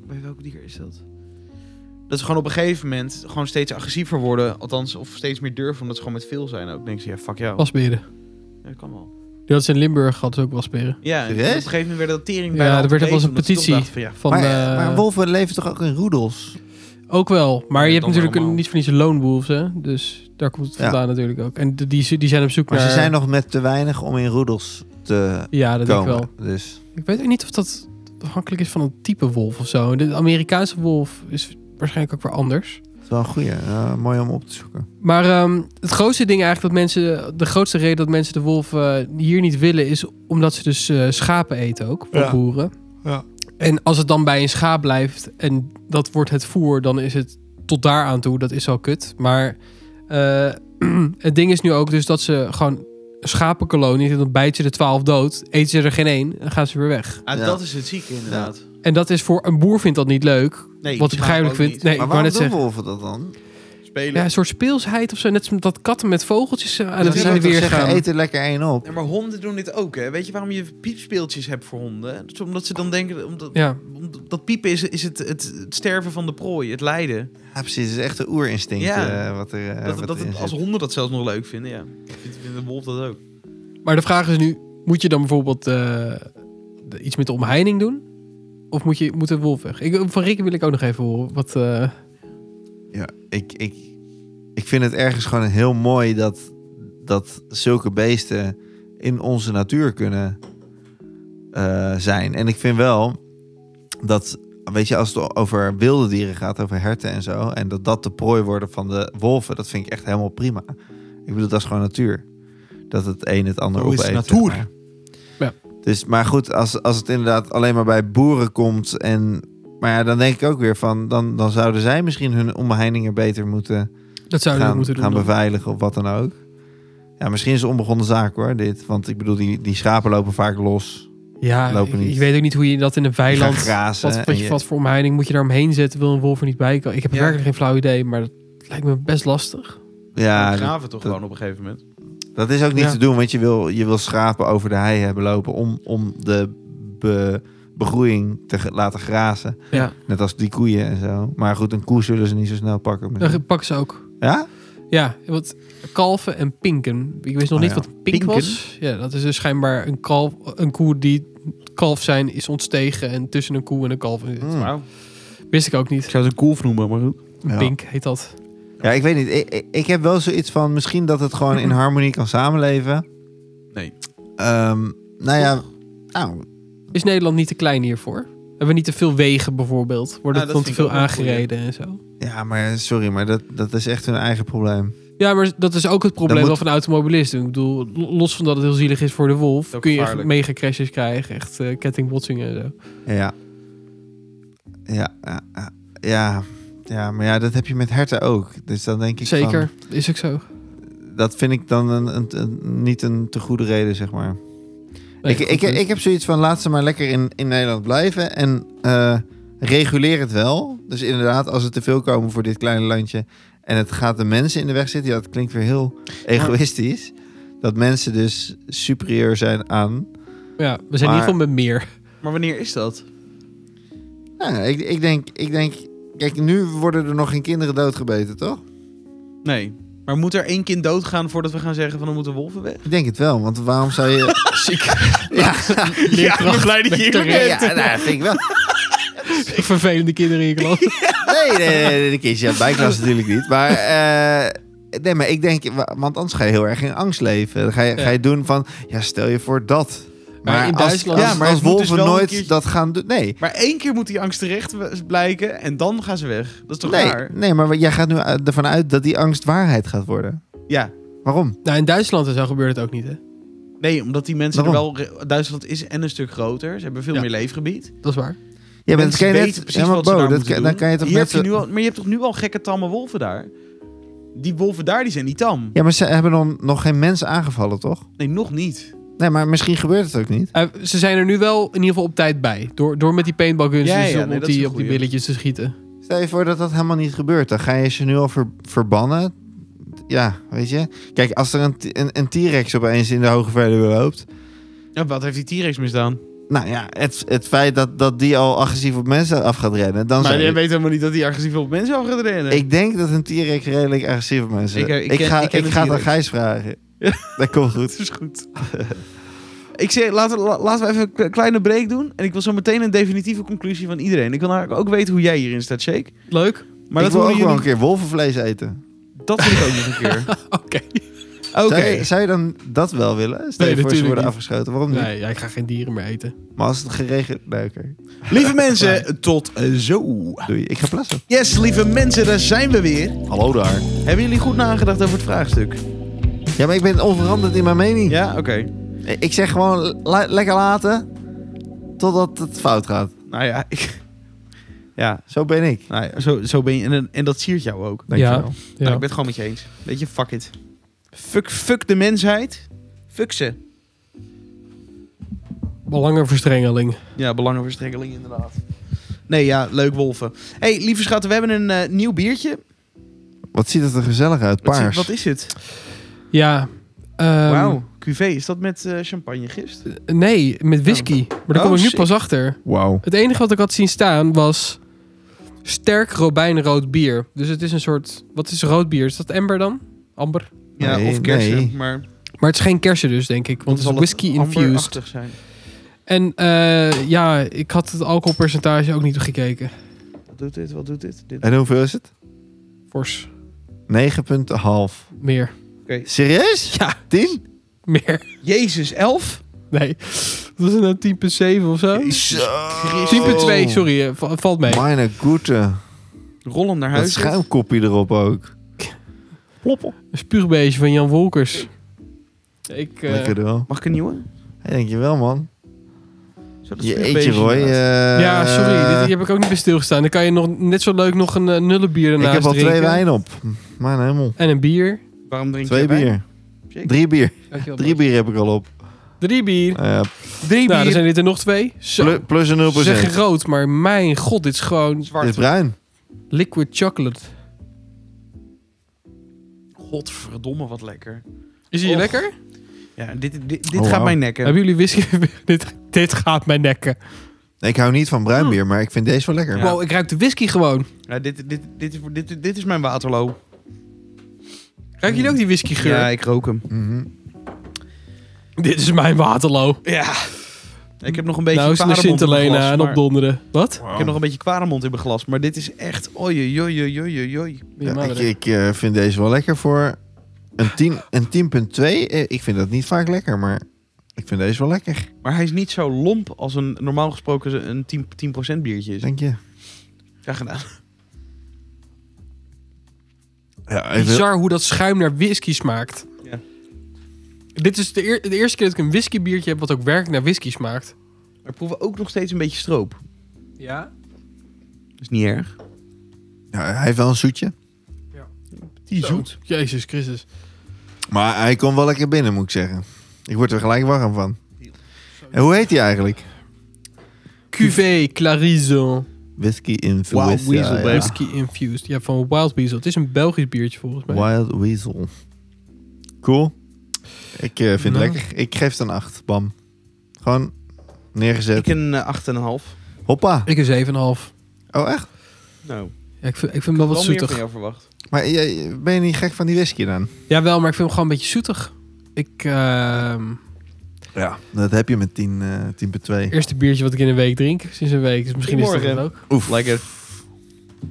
S1: bij welk dier is dat? Dat ze gewoon op een gegeven moment gewoon steeds agressiever worden. Althans, of steeds meer durven, omdat ze gewoon met veel zijn. Ook denk ze, ja, fuck jou.
S2: Wasperen.
S1: Ja, dat kan wel.
S2: Die had ze in Limburg, had ze ook wasperen.
S1: Ja, en op een
S3: Serieus?
S1: gegeven moment werden dat tering bij.
S2: Ja, er werd ook wel eens een petitie
S1: Van, ja,
S2: van...
S3: maar,
S2: eh,
S3: maar wolven leven toch ook in roedels?
S2: Ook wel, maar
S1: Ja, dan
S2: je hebt natuurlijk
S1: allemaal.
S2: een- niet van die lone wolves, hè? Dus daar komt het
S3: Ja.
S2: vandaan natuurlijk ook. En de- die, die zijn op zoek
S3: Maar
S2: naar...
S3: ze zijn nog met te weinig om in roedels te
S2: Ja, dat denk ik
S3: komen.
S2: wel.
S3: Dus
S2: Ik weet ook niet of dat afhankelijk is van het type wolf of zo. De Amerikaanse wolf is waarschijnlijk ook weer anders.
S3: het is wel een goeie. Eh, mooi om op te zoeken.
S2: Maar ehm, het grootste ding eigenlijk dat mensen, de grootste reden dat mensen de wolf eh, hier niet willen, is omdat ze dus eh, schapen eten ook van
S1: Ja.
S2: boeren.
S1: Ja.
S2: En als het dan bij een schaap blijft en dat wordt het voer, dan is het tot daar aan toe. Dat is al kut. Maar eh, <clears throat> het ding is nu ook dus dat ze gewoon schapenkolonie, dan bijten ze de twaalf dood, eten ze er geen één en gaan ze weer weg.
S1: Ah,
S3: Ja.
S1: Dat is het zieke inderdaad.
S2: En dat is voor een boer vindt dat niet leuk.
S1: Nee,
S2: Wat
S1: schaap
S2: ik begrijpelijk
S1: ook
S2: vind.
S1: niet.
S2: Nee,
S3: maar
S2: ik wou
S3: waarom
S2: net
S3: doen
S2: zeggen.
S3: wolven dat dan?
S1: Spelen.
S2: Ja, een soort speelsheid of zo. Net als dat katten met vogeltjes eh, aan het
S3: Ze
S2: zijn
S3: willen
S2: weer
S3: toch zeggen,
S2: gaan.
S3: eten lekker één op.
S1: Nee, maar honden doen dit ook, hè? Weet je waarom je piepspeeltjes hebt voor honden? Dat is omdat ze dan denken... Omdat,
S2: Ja.
S1: omdat- dat piepen is, is het, het, het sterven van de prooi, het lijden.
S3: Ja, precies. Het is echt een oerinstinct
S1: Ja.
S3: eh, wat er eh,
S1: dat,
S3: wat
S1: dat,
S3: erin
S1: als
S3: zit.
S1: honden dat zelfs nog leuk vinden, ja. Vindt, vindt de wolf dat ook.
S2: Maar de vraag is nu, moet je dan bijvoorbeeld eh, de- iets met de omheining doen? Of moet, je, moet de wolf weg? Ik, van Rikke wil ik ook nog even horen. Wat, eh,
S3: Ja, ik, ik, ik vind het ergens gewoon heel mooi dat, dat zulke beesten in onze natuur kunnen eh, zijn. En ik vind wel dat, weet je, als het over wilde dieren gaat, over herten en zo, en dat dat de prooi worden van de wolven, dat vind ik echt helemaal prima. Ik bedoel, dat is gewoon natuur. Dat het een het ander
S1: Zo is
S3: opeet. zeg
S1: natuur.
S3: maar.
S2: Ja.
S3: Dus, maar goed, als, als het inderdaad alleen maar bij boeren komt en maar ja, dan denk ik ook weer van, dan, dan zouden zij misschien hun omheiningen beter moeten
S2: dat zouden we
S3: gaan,
S2: moeten doen.
S3: gaan
S2: dan.
S3: beveiligen of wat dan ook. Ja, misschien is het een onbegonnen zaak hoor, dit. Want ik bedoel, die, die schapen lopen vaak los.
S2: ja, ik,
S3: lopen niet.
S2: ik weet ook niet hoe je dat in een
S3: Die gaan
S2: weiland...
S3: grazen.
S2: Wat,
S3: en
S2: wat, je,
S3: je-
S2: wat voor omheining moet je daar omheen zetten? Wil een wolf er niet bij komen? Ik heb
S1: Ja.
S2: werkelijk geen flauw idee, maar dat lijkt me best lastig.
S1: Ja,
S3: ja, dat,
S1: graven toch gewoon op een gegeven moment.
S3: dat is ook niet
S2: Ja.
S3: te doen, want je wil, je wil schapen over de hei hebben lopen om, om de be- begroeiing te ge- laten grazen.
S2: Ja.
S3: Net als die koeien en zo. Maar goed, een koe zullen ze niet zo snel pakken. misschien.
S2: Dan pakken ze ook.
S3: Ja?
S2: Ja, want kalven en pinken. Ik wist nog
S3: Oh
S2: niet
S3: ja.
S2: wat een pink
S3: Pinken?
S2: was. Ja, dat is dus schijnbaar een, kalf, een koe die kalf zijn is ontstegen en tussen een koe en een kalf. zit.
S3: Mm.
S1: Wauw.
S2: Wist ik ook niet.
S1: Ik zou het een kolf noemen, maar goed.
S3: Ja.
S2: Pink heet dat.
S3: Ja, ik weet niet. Ik, ik, ik heb wel zoiets van misschien dat het gewoon
S2: <laughs>
S3: in harmonie kan samenleven.
S1: Nee.
S3: Ehm, nou ja, nou,
S2: Is Nederland niet te klein hiervoor? Hebben we niet te veel wegen bijvoorbeeld? Worden
S1: Ah, dat
S2: dan
S1: vind
S2: te
S1: ik
S2: veel
S1: ook wel een goeie.
S2: aangereden en zo?
S3: ja, maar sorry, maar dat, dat is echt hun eigen probleem.
S2: Ja, maar dat is ook het probleem
S3: moet-
S2: wel van automobilisten. Ik bedoel, lo- los van dat het heel zielig is voor de wolf,
S1: Ook
S2: kun je echt
S1: gevaarlijk.
S2: mega crashes krijgen. Echt eh, kettingbotsingen en zo.
S3: Ja. Ja, ja, ja, ja, ja, maar ja, dat heb je met herten ook. Dus dan denk ik van-
S2: Zeker, is ook zo.
S3: dat vind ik dan een, een, een- niet een te goede reden, zeg maar.
S2: Nee,
S3: ik,
S2: goed
S3: ik,
S2: punt.
S3: ik heb zoiets van, laat ze maar lekker in, in Nederland blijven. En eh, reguleer het wel. Dus inderdaad, als er te veel komen voor dit kleine landje... en het gaat de mensen in de weg zitten... Ja, dat klinkt weer heel egoïstisch. Dat mensen dus superieur zijn aan...
S2: ja, we zijn in
S3: maar-
S2: ieder geval met meer.
S1: Maar wanneer is dat?
S3: Nou, ja, ik, ik, denk, ik denk... Kijk, nu worden er nog geen kinderen doodgebeten, toch?
S1: Nee. Maar moet er één kind doodgaan voordat we gaan zeggen van dan moeten wolven weg?
S3: Ik denk het wel, want waarom zou je...
S2: Ziek.
S3: <laughs> ja,
S2: Leerkracht
S1: ik ben blij dat je
S2: met
S1: hier
S2: de
S3: ja, nou, dat vind ik wel.
S2: Vervelende kinderen in je klas.
S3: Nee, nee, nee, nee, de kindjes uit mijn klas natuurlijk niet. Maar, eh, nee, maar ik denk, wa- want anders ga je heel erg in angst leven. Dan ga je,
S2: Ja.
S3: ga je doen van, ja, stel je voor dat. Maar,
S2: Maar in
S3: als,
S2: Duitsland-
S3: als,
S1: Ja, maar
S3: als
S1: het moet dus
S3: wolven
S1: wel een
S3: nooit
S1: keertje-
S3: dat gaan doen. Nee,
S1: Maar één keer moet die angst terecht blijken en dan gaan ze weg. Dat is toch
S3: nee,
S1: raar?
S3: nee, maar jij gaat nu uit- ervan uit dat die angst waarheid gaat worden.
S1: Ja.
S3: Waarom?
S2: Nou, in Duitsland en zo gebeurt het ook niet, hè?
S1: Nee, omdat die mensen er
S3: Waarom?
S1: wel... re- Duitsland is en een stuk groter. Ze hebben veel
S2: Ja.
S1: meer leefgebied.
S2: Dat is waar.
S3: Je bent
S1: Mensen
S3: geen
S1: weten
S3: net,
S1: precies
S3: ja, maar
S1: wat ze
S3: Bo,
S1: daar
S3: dat
S1: moeten
S3: kan-
S1: doen.
S3: dan kan je toch
S1: Hier
S3: net
S1: heb je
S3: zo-
S1: nu al, maar je hebt toch nu al gekke tamme wolven daar? Die wolven daar, die zijn niet tam.
S3: Ja, maar ze hebben dan nog geen mens aangevallen, toch?
S1: Nee, nog niet.
S3: Nee, maar misschien gebeurt het ook niet.
S2: Eh, ze zijn er nu wel in ieder geval op tijd bij. Door, door met die paintballguns
S1: Ja,
S2: dus
S1: ja,
S2: op,
S1: nee,
S2: op
S1: dat is
S2: die,
S1: een
S2: op die
S1: goeie.
S2: billetjes te schieten.
S3: Stel je voor dat dat helemaal niet gebeurt. Dan ga je ze nu al ver- verbannen. Ja, weet je. Kijk, als er een, t- een, een T-Rex opeens in de Hoge Veluwe loopt.
S1: Ja, wat heeft die T-Rex misdaan?
S3: Nou ja, het, het feit dat, dat die al agressief op mensen af gaat rennen. Dan
S1: Maar
S3: zou
S1: je
S3: je-
S1: weet helemaal niet dat die agressief op mensen af gaat rennen. <laughs>
S3: Ik denk dat een T-Rex redelijk agressief op mensen
S1: Ik, eh,
S3: is.
S1: ik
S3: Ik,
S1: ken-
S3: ga,
S1: ik
S3: ik,
S1: ken een
S3: ga het aan
S1: T-Rex.
S3: Gijs vragen.
S1: Ja.
S3: Dat komt goed.
S1: Het is goed. ik zeg, laten, we- la- laten we even een k- kleine break doen. En ik wil zo meteen een definitieve conclusie van iedereen. Ik wil eigenlijk ook weten hoe jij hierin staat, Shake.
S2: Leuk.
S1: <laughs>
S2: <laughs>
S1: Maar
S3: ik
S1: dat
S3: wil ook
S1: horen
S3: wel
S1: jullie...
S3: een keer wolvenvlees eten.
S1: <laughs> Dat wil ik ook nog een keer.
S2: Oké.
S1: Oké.
S3: Zou, je, zou je dan dat wel willen? Stel
S2: Nee,
S3: je voor ze
S2: natuurlijk
S3: worden
S2: niet.
S3: afgeschoten. Waarom niet?
S2: Nee, ja, ik ga geen dieren meer eten.
S3: Maar als het geregeld... Nee, oké.
S1: Lieve mensen, tot eh, zo.
S3: Doei. Ik ga plassen.
S1: Yes, lieve mensen, daar zijn we weer.
S3: Hallo daar.
S1: Hebben jullie goed nagedacht over het vraagstuk?
S3: Ja, maar ik ben onveranderd in mijn mening.
S1: Ja, oké.
S3: Ik zeg gewoon le- lekker laten totdat het fout gaat.
S1: Nou ja, ik... <laughs> Ja,
S3: Zo ben ik.
S1: nou ja, zo, zo ben je. En, en dat siert jou ook.
S3: Dankjewel.
S2: Ja.
S1: Nou,
S2: Ja.
S1: ik ben het gewoon met je eens. Weet je, fuck it. Fuck, fuck de mensheid. Fuck ze.
S2: Belangenverstrengeling.
S1: Ja, belangenverstrengeling inderdaad. Nee, ja, leuk wolven. hey, lieve schatten, we hebben een eh, nieuw biertje.
S3: Wat ziet het er gezellig uit.
S1: Wat, zie-
S3: Paars.
S1: wat is het?
S2: Ja. ehm,
S1: Wauw, cuvée. Is dat met eh, champagne gist?
S2: Nee, met whisky. Maar daar kom
S1: Oh,
S2: ik nu
S1: sick.
S2: pas achter.
S3: Wauw.
S2: Het enige wat ik had zien staan was sterk robijnrood bier. Dus het is een soort... Wat is rood bier? Is dat amber dan? Amber?
S1: Ja,
S3: Nee,
S1: of kersen.
S3: nee.
S1: Maar
S2: Maar het is geen kersen dus, denk ik. Want het
S1: zal
S2: is whisky infused.
S1: amberachtig zijn.
S2: En eh, ja, ik had het alcoholpercentage ook niet gekeken.
S1: Wat doet dit? Wat doet dit? dit.
S3: En hoeveel is het?
S2: Fors.
S3: 9,5.
S2: Meer. <laughs>
S3: Serieus?
S2: Ja,
S3: 10?
S2: meer.
S1: Jezus, 11?
S2: Nee. Dat is een 10,7 of zo. 10,2,
S3: Oh.
S2: sorry. eh, va- valt mee.
S3: Meine Güte.
S1: Rollen naar
S3: Dat
S1: huis.
S3: schuimkopje erop ook.
S1: Ploppen.
S2: Een spuugbeestje van Jan Wolkers. Ik, eh,
S3: Lekker wel.
S1: Mag ik een nieuwe?
S3: Hey, dankjewel man.
S1: Zo, dat
S3: Je
S1: is een
S3: eet je
S1: beestje,
S3: Roy.
S1: inderdaad.
S3: eh,
S2: ja, sorry. Dit, hier heb ik ook niet bij stilgestaan. Dan kan je nog net zo leuk nog een eh, nullenbier
S3: Ik
S2: ernaast
S3: heb al
S2: drinken.
S3: twee wijn op. Maar helemaal.
S2: En een bier.
S1: Waarom drink
S3: eh, Twee
S1: je wijn?
S3: bier.
S1: Zeker.
S3: Drie bier.
S2: Dankjewel,
S3: Drie bier heb ik al op.
S2: Drie bier.
S3: Eh,
S1: Drie
S2: Nou, dan
S1: bier.
S2: zijn dit er nog twee. Zo.
S3: plu- plus een 0%.
S2: Ze zeggen rood, maar mijn god, dit is gewoon
S3: Dit is
S1: Zwart.
S3: bruin.
S2: liquid chocolate.
S1: Godverdomme, wat lekker.
S2: Is
S1: die
S2: hij
S1: Och.
S2: lekker?
S1: Ja, dit, dit, dit
S3: Oh,
S1: gaat
S3: wauw.
S1: mij nekken.
S2: Hebben jullie whisky? <laughs> dit, dit gaat mij nekken.
S3: Ik hou niet van bruin bier, maar ik vind deze wel lekker.
S1: Ja.
S2: Wow, ik ruik de whisky gewoon.
S1: Ja, dit, dit, dit, is, dit, dit is mijn Waterloo.
S2: Ruiken jullie ook die whiskygeur?
S1: Mm. Ja, ik rook hem.
S3: Mhm.
S2: Dit is mijn Waterloo.
S1: Ja. Ik heb nog een beetje
S2: Nou is het naar
S1: kwaremond in mijn
S2: Sint-Helena
S1: glas,
S2: en
S1: maar-
S2: opdonderen. Wat?
S1: Ik heb nog een beetje kwaremond in mijn glas, maar dit is echt... Oei, oei, oei, oei, oei, oei.
S3: Ja,
S2: Ja,
S3: ik ik eh, vind deze wel lekker voor een 10 een 10.2. eh, ik vind dat niet vaak lekker, maar ik vind deze wel lekker.
S1: Maar hij is niet zo lomp als een normaal gesproken een 10%, 10 biertje is.
S3: Denk je?
S1: Ja, gedaan.
S3: Ja,
S2: Bizar hoe dat schuim naar whisky smaakt.
S1: Ja.
S2: Dit is de, eer- de eerste keer dat ik een whiskybiertje heb wat ook werkelijk naar whisky smaakt.
S1: Maar proeven ook nog steeds een beetje stroop.
S2: Ja?
S1: Dat is niet erg.
S3: hij heeft wel een zoetje,
S1: Die
S2: Zo. Jezus Christus.
S3: maar hij komt wel lekker binnen, moet ik zeggen. Ik word er gelijk warm van. En hoe heet hij eigenlijk?
S2: Cuvée Clarison.
S3: Whisky in
S1: Wild Weasel,
S3: ja.
S1: baby.
S2: Whisky infused. Ja, van Wild Weasel. Het is een Belgisch biertje volgens mij.
S3: Wild Weasel. Cool. Ik eh, vind het
S2: Nou.
S3: lekker. Ik geef het een 8. Bam. Gewoon
S1: Ik
S3: neergezet.
S1: een eh, 8,5.
S3: Hoppa.
S2: Ik een 7,5.
S3: Oh, echt?
S1: Nou,
S2: Ja, ik vind, ik vind hem wel
S1: wel
S2: wat
S1: meer van
S2: zoetig.
S1: jou verwacht.
S3: Maar jij- ben je niet gek van die whisky dan?
S2: Jawel, maar ik vind hem gewoon een beetje zoetig. Ik, ehm,
S3: Ja. Dat heb je met 10, eh 10.2.
S2: eerste biertje wat ik in een week drink, sinds een week. Dus misschien is dat het
S1: Goedemorgen.
S2: ook.
S3: Oef.
S1: Lekker.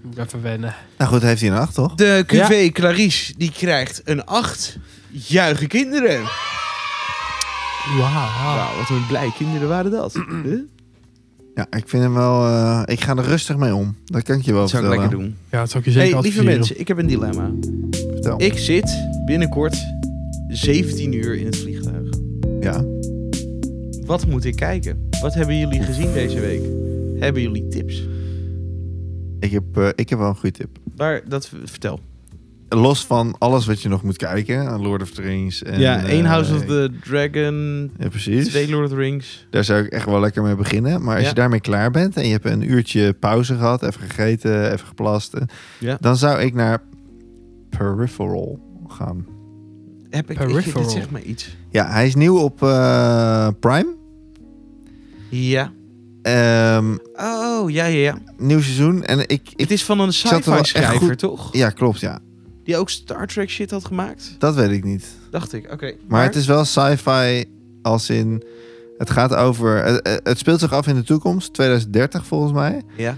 S2: Moet ik Even wennen.
S3: Nou goed, heeft hij een 8, toch?
S1: De QV Clarice, die krijgt een 8. Juichen kinderen.
S2: Ah. Wauw.
S1: Wauw, wat een blij kinderen waren
S2: <clears throat>
S1: dat. Huh?
S3: Ja, ik vind hem wel... eh, ik ga er rustig mee om. Dat kan ik je wel
S1: Dat zou ik
S3: vertellen.
S1: lekker doen.
S2: Ja, dat zou ik je zeker
S1: Hey, lieve
S2: adviseren.
S1: mensen, ik heb een dilemma.
S3: Vertel.
S1: Ik zit binnenkort 17 uur in het vliegtuig.
S3: Ja.
S1: Wat moet ik kijken? Wat hebben jullie gezien deze week? Hebben jullie tips?
S3: Ik heb, eh, ik heb wel een goede tip.
S1: Waar, dat vertel. Los
S3: Los van alles wat je nog moet kijken. Lord of the Rings. En,
S1: ja, één
S3: eh,
S1: House of the Dragon,
S3: Ja, precies.
S1: twee Lord of the Rings.
S3: Daar zou ik echt wel lekker mee beginnen. Maar als
S1: Ja.
S3: je daarmee klaar bent en je hebt een uurtje pauze gehad, even gegeten, even geplast, eh,
S1: Ja.
S3: dan zou ik naar Peripheral gaan.
S1: Heb ik, ik
S2: Peripheral.
S1: dit zeg maar iets.
S3: Ja, hij is nieuw op eh, Prime.
S1: Ja.
S3: Ehm,
S1: Oh, ja, ja, ja.
S3: nieuw seizoen. En ik, ik,
S1: Het is van een
S3: er wel
S1: sci-fi
S3: echt
S1: schrijver,
S3: goed-
S1: toch?
S3: ja, klopt, ja.
S1: Die ook Star Trek shit had gemaakt.
S3: Dat weet ik niet.
S1: Dacht ik, oké.
S3: Maar het is wel sci-fi als in... Het gaat over... Het, het- het speelt zich af in de toekomst. 2030 volgens mij.
S1: Ja.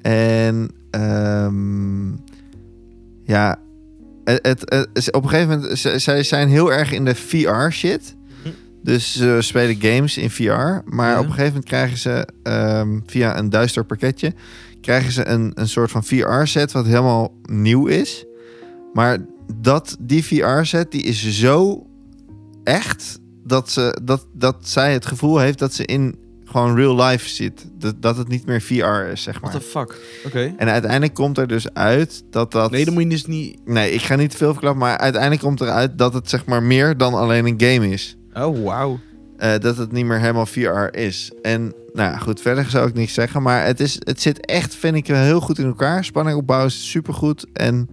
S3: En... ehm, ja... het, het, het- op een gegeven moment, z- zij zijn heel erg in de VR-shit. Dus ze spelen games in VR. Maar
S1: Ja.
S3: op een gegeven moment krijgen ze ehm, via een duister pakketje... krijgen ze een, een soort van VR-set wat helemaal nieuw is. Maar dat, die VR-set die is zo echt... Dat, ze, dat, dat zij het gevoel heeft dat ze in gewoon real life zit. Dat, dat het niet meer VR is, zeg
S1: What
S3: maar.
S1: the fuck? Oké.
S3: En uiteindelijk komt er dus uit dat dat...
S1: Nee, dan moet je dus niet...
S3: Nee, ik ga niet te veel verklappen, maar uiteindelijk komt eruit dat het zeg maar meer dan alleen een game is.
S1: Oh, wauw.
S3: Eh, dat het niet meer helemaal VR is. En nou ja, goed, verder zou ik niks zeggen, maar het, is, het zit echt, vind ik, wel heel goed in elkaar. Spanning opbouwen is supergoed en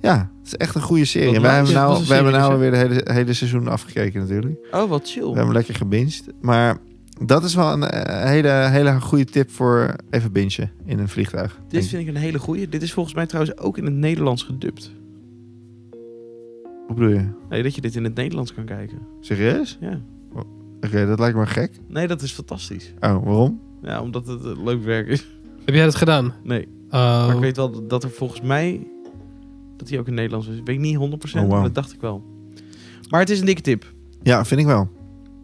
S3: ja, het is echt een goede serie.
S1: Dat
S3: En wij
S1: lijkt-
S3: hebben
S1: ja, het
S3: nou,
S1: was
S3: we
S1: een
S3: hebben
S1: serie,
S3: nou weer de hele, hele seizoen afgekeken natuurlijk.
S1: Oh, wat
S3: We
S1: chill.
S3: hebben lekker gebinged, maar dat is wel een eh, hele, hele goede tip voor even bingen in een vliegtuig.
S1: Dit vind ik een hele goeie. Dit is volgens mij trouwens ook in het Nederlands gedubt.
S3: Hoe bedoel je?
S1: Nee, dat je dit in het Nederlands kan kijken.
S3: Serieus? Oh,
S1: Ja.
S3: Oké, dat lijkt me gek.
S1: Nee, dat is fantastisch.
S3: Oh, waarom?
S1: Ja, omdat het eh, leuk werk is.
S2: Heb jij dat gedaan?
S1: Nee.
S2: Oh.
S1: Maar ik weet wel dat- dat er volgens mij... Dat hij ook in het Nederlands is. Weet ik niet 100%,
S3: Oh, wauw.
S1: maar dat dacht ik wel. Maar het is een dikke tip.
S3: Ja, vind ik wel.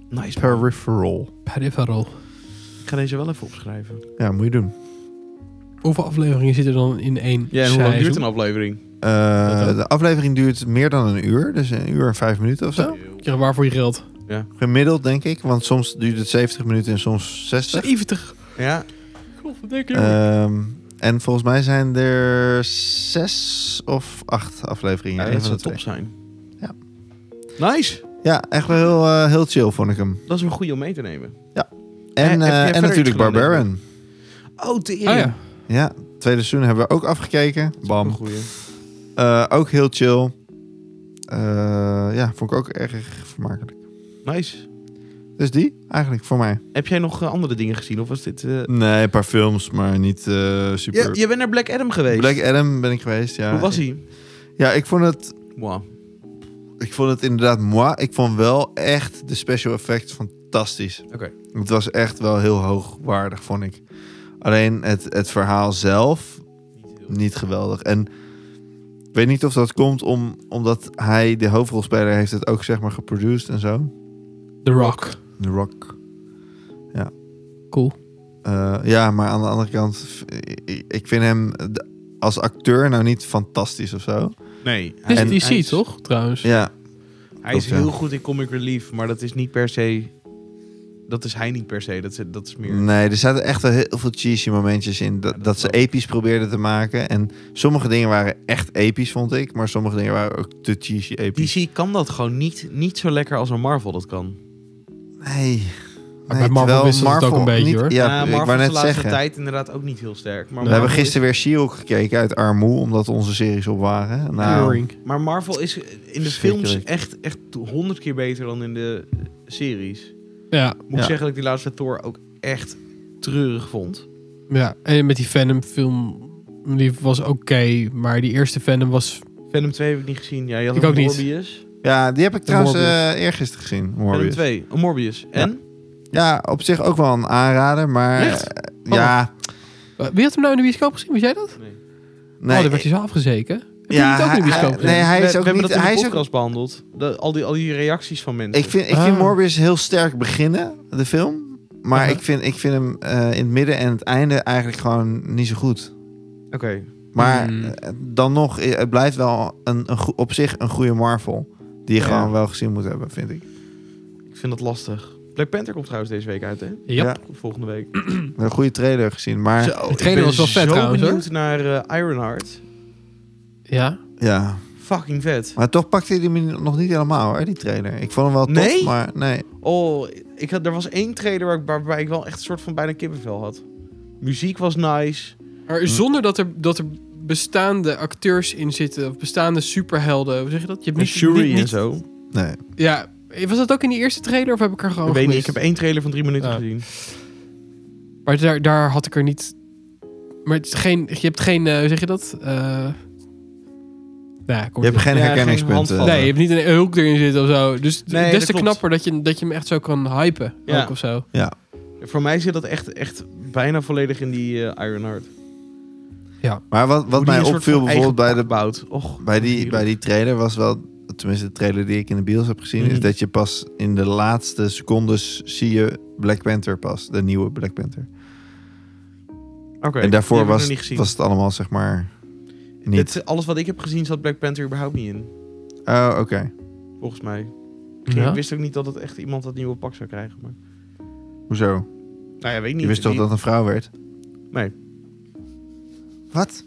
S1: Nice. man.
S3: Peripheral.
S2: Peripheral.
S1: Ik ga deze wel even opschrijven.
S3: Ja, moet je doen.
S2: Hoeveel afleveringen zitten er dan in één
S1: Ja, en hoe lang
S2: seizoen?
S1: duurt een aflevering?
S3: Eh,
S2: Dat ook.
S3: de aflevering duurt meer dan een uur. Dus een uur en vijf minuten of zo.
S2: Ja, waar voor je geld?
S3: Gemiddeld, denk ik. Want soms duurt het 70 minuten en soms 60.
S2: 70.
S1: Ja, Eh,
S2: God, wat denk je?
S3: Ehm, en volgens mij zijn er zes of acht afleveringen.
S1: ja,
S3: Eén
S1: dat
S3: van
S1: zou
S3: de
S1: top
S3: twee.
S1: zijn.
S3: Ja.
S1: Nice.
S3: Ja, echt wel heel, eh, heel chill vond ik hem.
S1: Dat is een goede om mee te nemen. Eh, heb
S3: En,
S1: je
S3: eh,
S1: verder
S3: en
S1: iets
S3: natuurlijk
S1: gedaan,
S3: Barbarian.
S1: Oh, tering.
S2: Oh ja.
S3: Ja, tweede seizoen hebben we ook afgekeken.
S1: Ook een
S3: Bam.
S1: goeie.
S3: Eh, ook heel chill. Eh, ja, vond ik ook erg vermakelijk.
S1: Nice.
S3: Dus die eigenlijk voor mij.
S1: Heb jij nog eh, andere dingen gezien? Of was dit... eh,
S3: Nee, een paar films, maar niet eh,
S1: Je,
S3: super.
S1: je bent naar Black Adam geweest.
S3: Black Adam ben ik geweest, ja.
S1: Hoe was hij?
S3: Ja, ik vond het,
S1: Wow.
S3: ik vond het inderdaad moi. Ik vond wel echt de special effects fantastisch.
S1: Oké.
S3: Het was echt wel heel hoogwaardig, vond ik. Alleen het, het verhaal zelf niet geweldig. En ik weet niet of dat komt om, omdat hij, de hoofdrolspeler, heeft het ook zeg maar geproduced en zo.
S2: The Rock.
S3: The Rock. Ja.
S2: Cool.
S3: Eh, ja, maar aan de andere kant, v- ik- ik vind hem d- als acteur nou niet fantastisch of zo.
S1: Nee. Hij,
S2: Dit is
S3: En-
S1: hij
S2: DC,
S1: is-
S2: toch? Trouwens.
S3: Ja,
S1: Hij is
S3: Klopt, ja.
S1: heel goed in comic relief, maar dat is niet per se... Dat is hij niet per se. Dat is, dat is meer...
S3: nee, er zaten echt wel heel veel cheesy momentjes in dat,
S1: Ja, dat
S3: dat ze
S1: wel.
S3: episch probeerden te maken. En sommige dingen waren echt episch, vond ik, maar sommige dingen waren ook te cheesy episch.
S1: DC kan dat gewoon niet, niet zo lekker als een Marvel dat kan.
S3: Nee.
S2: Maar bij Marvel
S3: terwijl
S2: wisselt het ook een beetje,
S3: niet-
S2: hoor.
S3: Ja,
S1: Eh, Marvel
S3: ik wou
S1: is
S3: net
S1: de laatste
S3: zeggen.
S1: tijd inderdaad ook niet heel sterk. Maar
S3: We
S1: Marvel
S3: hebben gisteren weer She-Hulk gekeken uit armoe, omdat onze series op waren. Nou,
S2: Boring.
S1: Is, maar Marvel is in de films
S3: Verschrikkelijk.
S1: echt echt honderd keer beter dan in de eh, series.
S2: Ja.
S1: Moet
S3: Ja.
S1: ik zeggen dat ik die laatste Thor ook echt treurig vond.
S2: ja. En met die Venom film... Die was oké, maar die eerste Venom was...
S1: Venom 2 heb ik niet gezien. Ja, je had
S2: Ik
S1: ook
S2: ook niet.
S1: Morbius.
S3: ja, die heb ik
S2: De
S3: trouwens
S2: Morbius.
S3: eh eergisteren gezien.
S1: Venom
S3: Morbius.
S1: 2. Een Morbius. En?
S3: Ja, op zich ook wel een aanrader, maar
S1: Echt?
S3: eh,
S2: Oh.
S3: ja,
S2: Eh, Wie had hem nou in de bioscoop gezien? Was jij dat?
S1: Nee.
S3: nee,
S2: oh, daar werd hij zo afgezeken. Heb je
S3: ja,
S2: niet ook in de bioscoop
S3: hij,
S2: gezien?
S3: nee, hij
S1: we,
S3: is
S1: we
S3: ook
S1: hebben
S3: niet.
S1: dat in de
S3: Hij is ook
S1: podcast behandeld. De- al, die, al die reacties van mensen.
S3: Ik vind, ik vind
S2: Ah.
S3: Morbius heel sterk beginnen, de film. Maar
S2: Aha.
S3: ik, vind, ik vind hem eh, in het midden en het einde eigenlijk gewoon niet zo goed.
S1: Oké.
S3: Maar
S2: Hmm.
S3: eh, dan nog, eh, het blijft wel een, een, goe- op zich een goede Marvel. Die je
S1: Ja.
S3: gewoon wel gezien moet hebben, vind ik.
S1: Ik vind dat lastig. Black Panther komt trouwens deze week uit, hè?
S2: Ja.
S3: Ja.
S1: Volgende week.
S3: Een goede trailer gezien. Maar
S1: Zo,
S2: de trailer
S1: Oh, ik ben
S2: was wel vet
S1: zo
S2: trouwens, hoor.
S1: benieuwd naar eh, Ironheart.
S2: ja.
S3: ja,
S1: Fucking vet.
S3: maar toch pakte hij me nog niet helemaal, hè, die trailer. Ik vond hem wel tof,
S1: Nee?
S3: maar nee.
S1: Oh, ik had, er was één trailer waar ik, waarbij ik wel echt een soort van bijna kippenvel had. Muziek was nice.
S2: Maar zonder dat er, dat er bestaande acteurs in zitten, of bestaande superhelden, hoe zeg je dat? Je hebt niet, niet- niet-
S1: en zo.
S3: nee.
S2: Ja, was dat ook in die eerste trailer of heb ik er gewoon
S1: ik weet niet, ik
S2: gemist?
S1: heb één trailer van drie minuten
S2: Ah.
S1: gezien.
S2: Maar daar, daar had ik er niet... Maar het is geen, je hebt geen, eh, hoe zeg je dat? Eh, nou, kom
S3: Je hebt geen
S1: Ja, geen
S3: herkenningspunten.
S1: handvat.
S2: Nee, je hebt niet een hulk erin zitten of zo. Dus
S1: Nee,
S2: des
S1: dat
S2: te
S1: klopt.
S2: knapper dat je, dat je hem echt zo kan hypen.
S1: Ja.
S2: Ook of zo.
S1: Voor mij zit dat echt, echt bijna volledig in die eh, Ironheart.
S2: Ja.
S3: Maar wat, wat
S1: Hoe die
S3: mij
S1: een soort
S3: opviel
S1: van eigen
S3: bijvoorbeeld bij,
S1: pak
S3: de,
S1: bouwt. Och,
S3: bij, die,
S1: natuurlijk.
S3: bij die trailer was wel... Tenminste, de trailer die ik in de bios heb gezien...
S1: Mhm.
S3: is dat je pas in de laatste secondes zie je Black Panther pas. De nieuwe Black Panther.
S1: Oké,
S3: en
S1: die
S3: daarvoor
S1: heb ik nog
S3: was,
S1: niet gezien.
S3: was het allemaal zeg maar... Niet.
S1: Dit- alles wat ik heb gezien zat Black Panther überhaupt niet in.
S3: Oh, oké.
S1: Volgens mij. Ik
S2: Ja?
S1: wist ook niet dat het echt iemand dat nieuwe pak zou krijgen. Maar...
S3: Hoezo?
S1: Nou ja, weet ik niet.
S3: Je wist toch
S1: Die-
S3: dat het een vrouw werd?
S1: Nee.
S3: Wat?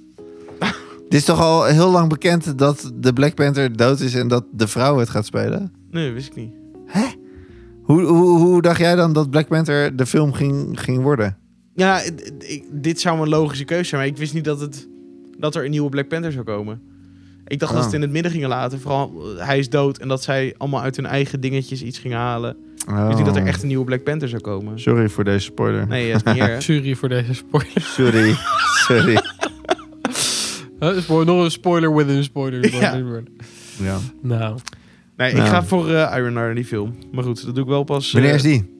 S3: <laughs> Het is toch al heel lang bekend dat de Black Panther dood is en dat de vrouw het gaat spelen?
S1: Nee, wist ik niet.
S3: Hoe, hoe, hoe dacht jij dan dat Black Panther de film ging, ging worden?
S1: Ja, d- d- ik- dit zou een logische keuze zijn. Maar ik wist niet dat, het, dat er een nieuwe Black Panther zou komen. Ik dacht dat ze het
S3: Oh.
S1: in het midden gingen laten. Vooral, eh, hij is dood. En dat zij allemaal uit hun eigen dingetjes iets gingen halen. Ik wist niet dat er echt een nieuwe Black Panther zou komen.
S3: Oh. Sorry voor deze spoiler.
S1: Nee, dat is niet
S3: <laughs>
S1: erg.
S2: Jury voor deze spoiler. <laughs>
S3: Sorry.
S1: <laughs>
S3: Sorry.
S2: Huh? Spo- Nog een spoiler with een spoiler.
S1: Ja.
S3: Ja.
S2: Nou,
S1: Nee, ik
S3: Nou.
S1: ga voor eh, Iron Man in die film. Maar goed, dat doe ik wel pas... eh,
S3: Wanneer is die?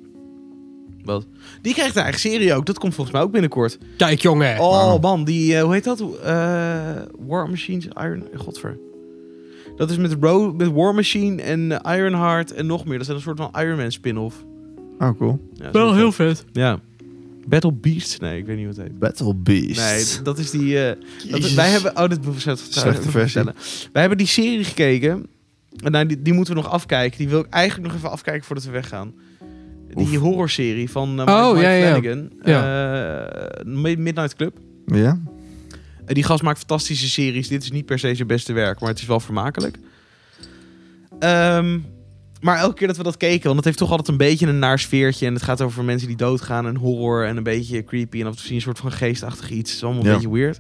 S1: Wat? Die krijgt een eigen serie ook. Dat komt volgens mij ook binnenkort.
S2: kijk jongen.
S1: Oh
S3: Wauw.
S1: man, die, eh, hoe heet dat? Eh, War Machines, Iron... Godver. Dat is met, Ro met War Machine en eh, Ironheart en nog meer. Dat zijn een soort van Iron Man spin-off.
S3: Oh, cool.
S1: Ja, dat is
S2: Wel
S1: vet.
S2: heel vet.
S1: Ja. Battle Beast? Nee, ik weet niet wat het heet.
S3: Battle Beast.
S1: Nee, d- dat is die... eh, dat,
S3: Jezus.
S1: wij hebben... Oh, dit moet ik zelf trouwens
S3: Slechte
S1: even
S3: versie.
S1: vertellen. Wij hebben die serie gekeken. En nou, die, die moeten we nog afkijken. Die wil ik eigenlijk nog even afkijken voordat we weggaan. Die
S3: Oef.
S1: horrorserie van eh, Mike,
S2: Oh,
S1: Mike
S2: ja, ja, ja.
S1: Flanagan. eh, Mi- Midnight Club.
S3: Ja?
S1: Eh, die gast maakt fantastische series. Dit is niet per se zijn beste werk, maar het is wel vermakelijk. Ehm, maar elke keer dat we dat keken, want het heeft toch altijd een beetje een naar sfeertje. En het gaat over mensen die doodgaan en horror en een beetje creepy. En af en toe zie je een soort van geestachtig iets. Het is allemaal een
S3: Ja.
S1: beetje weird.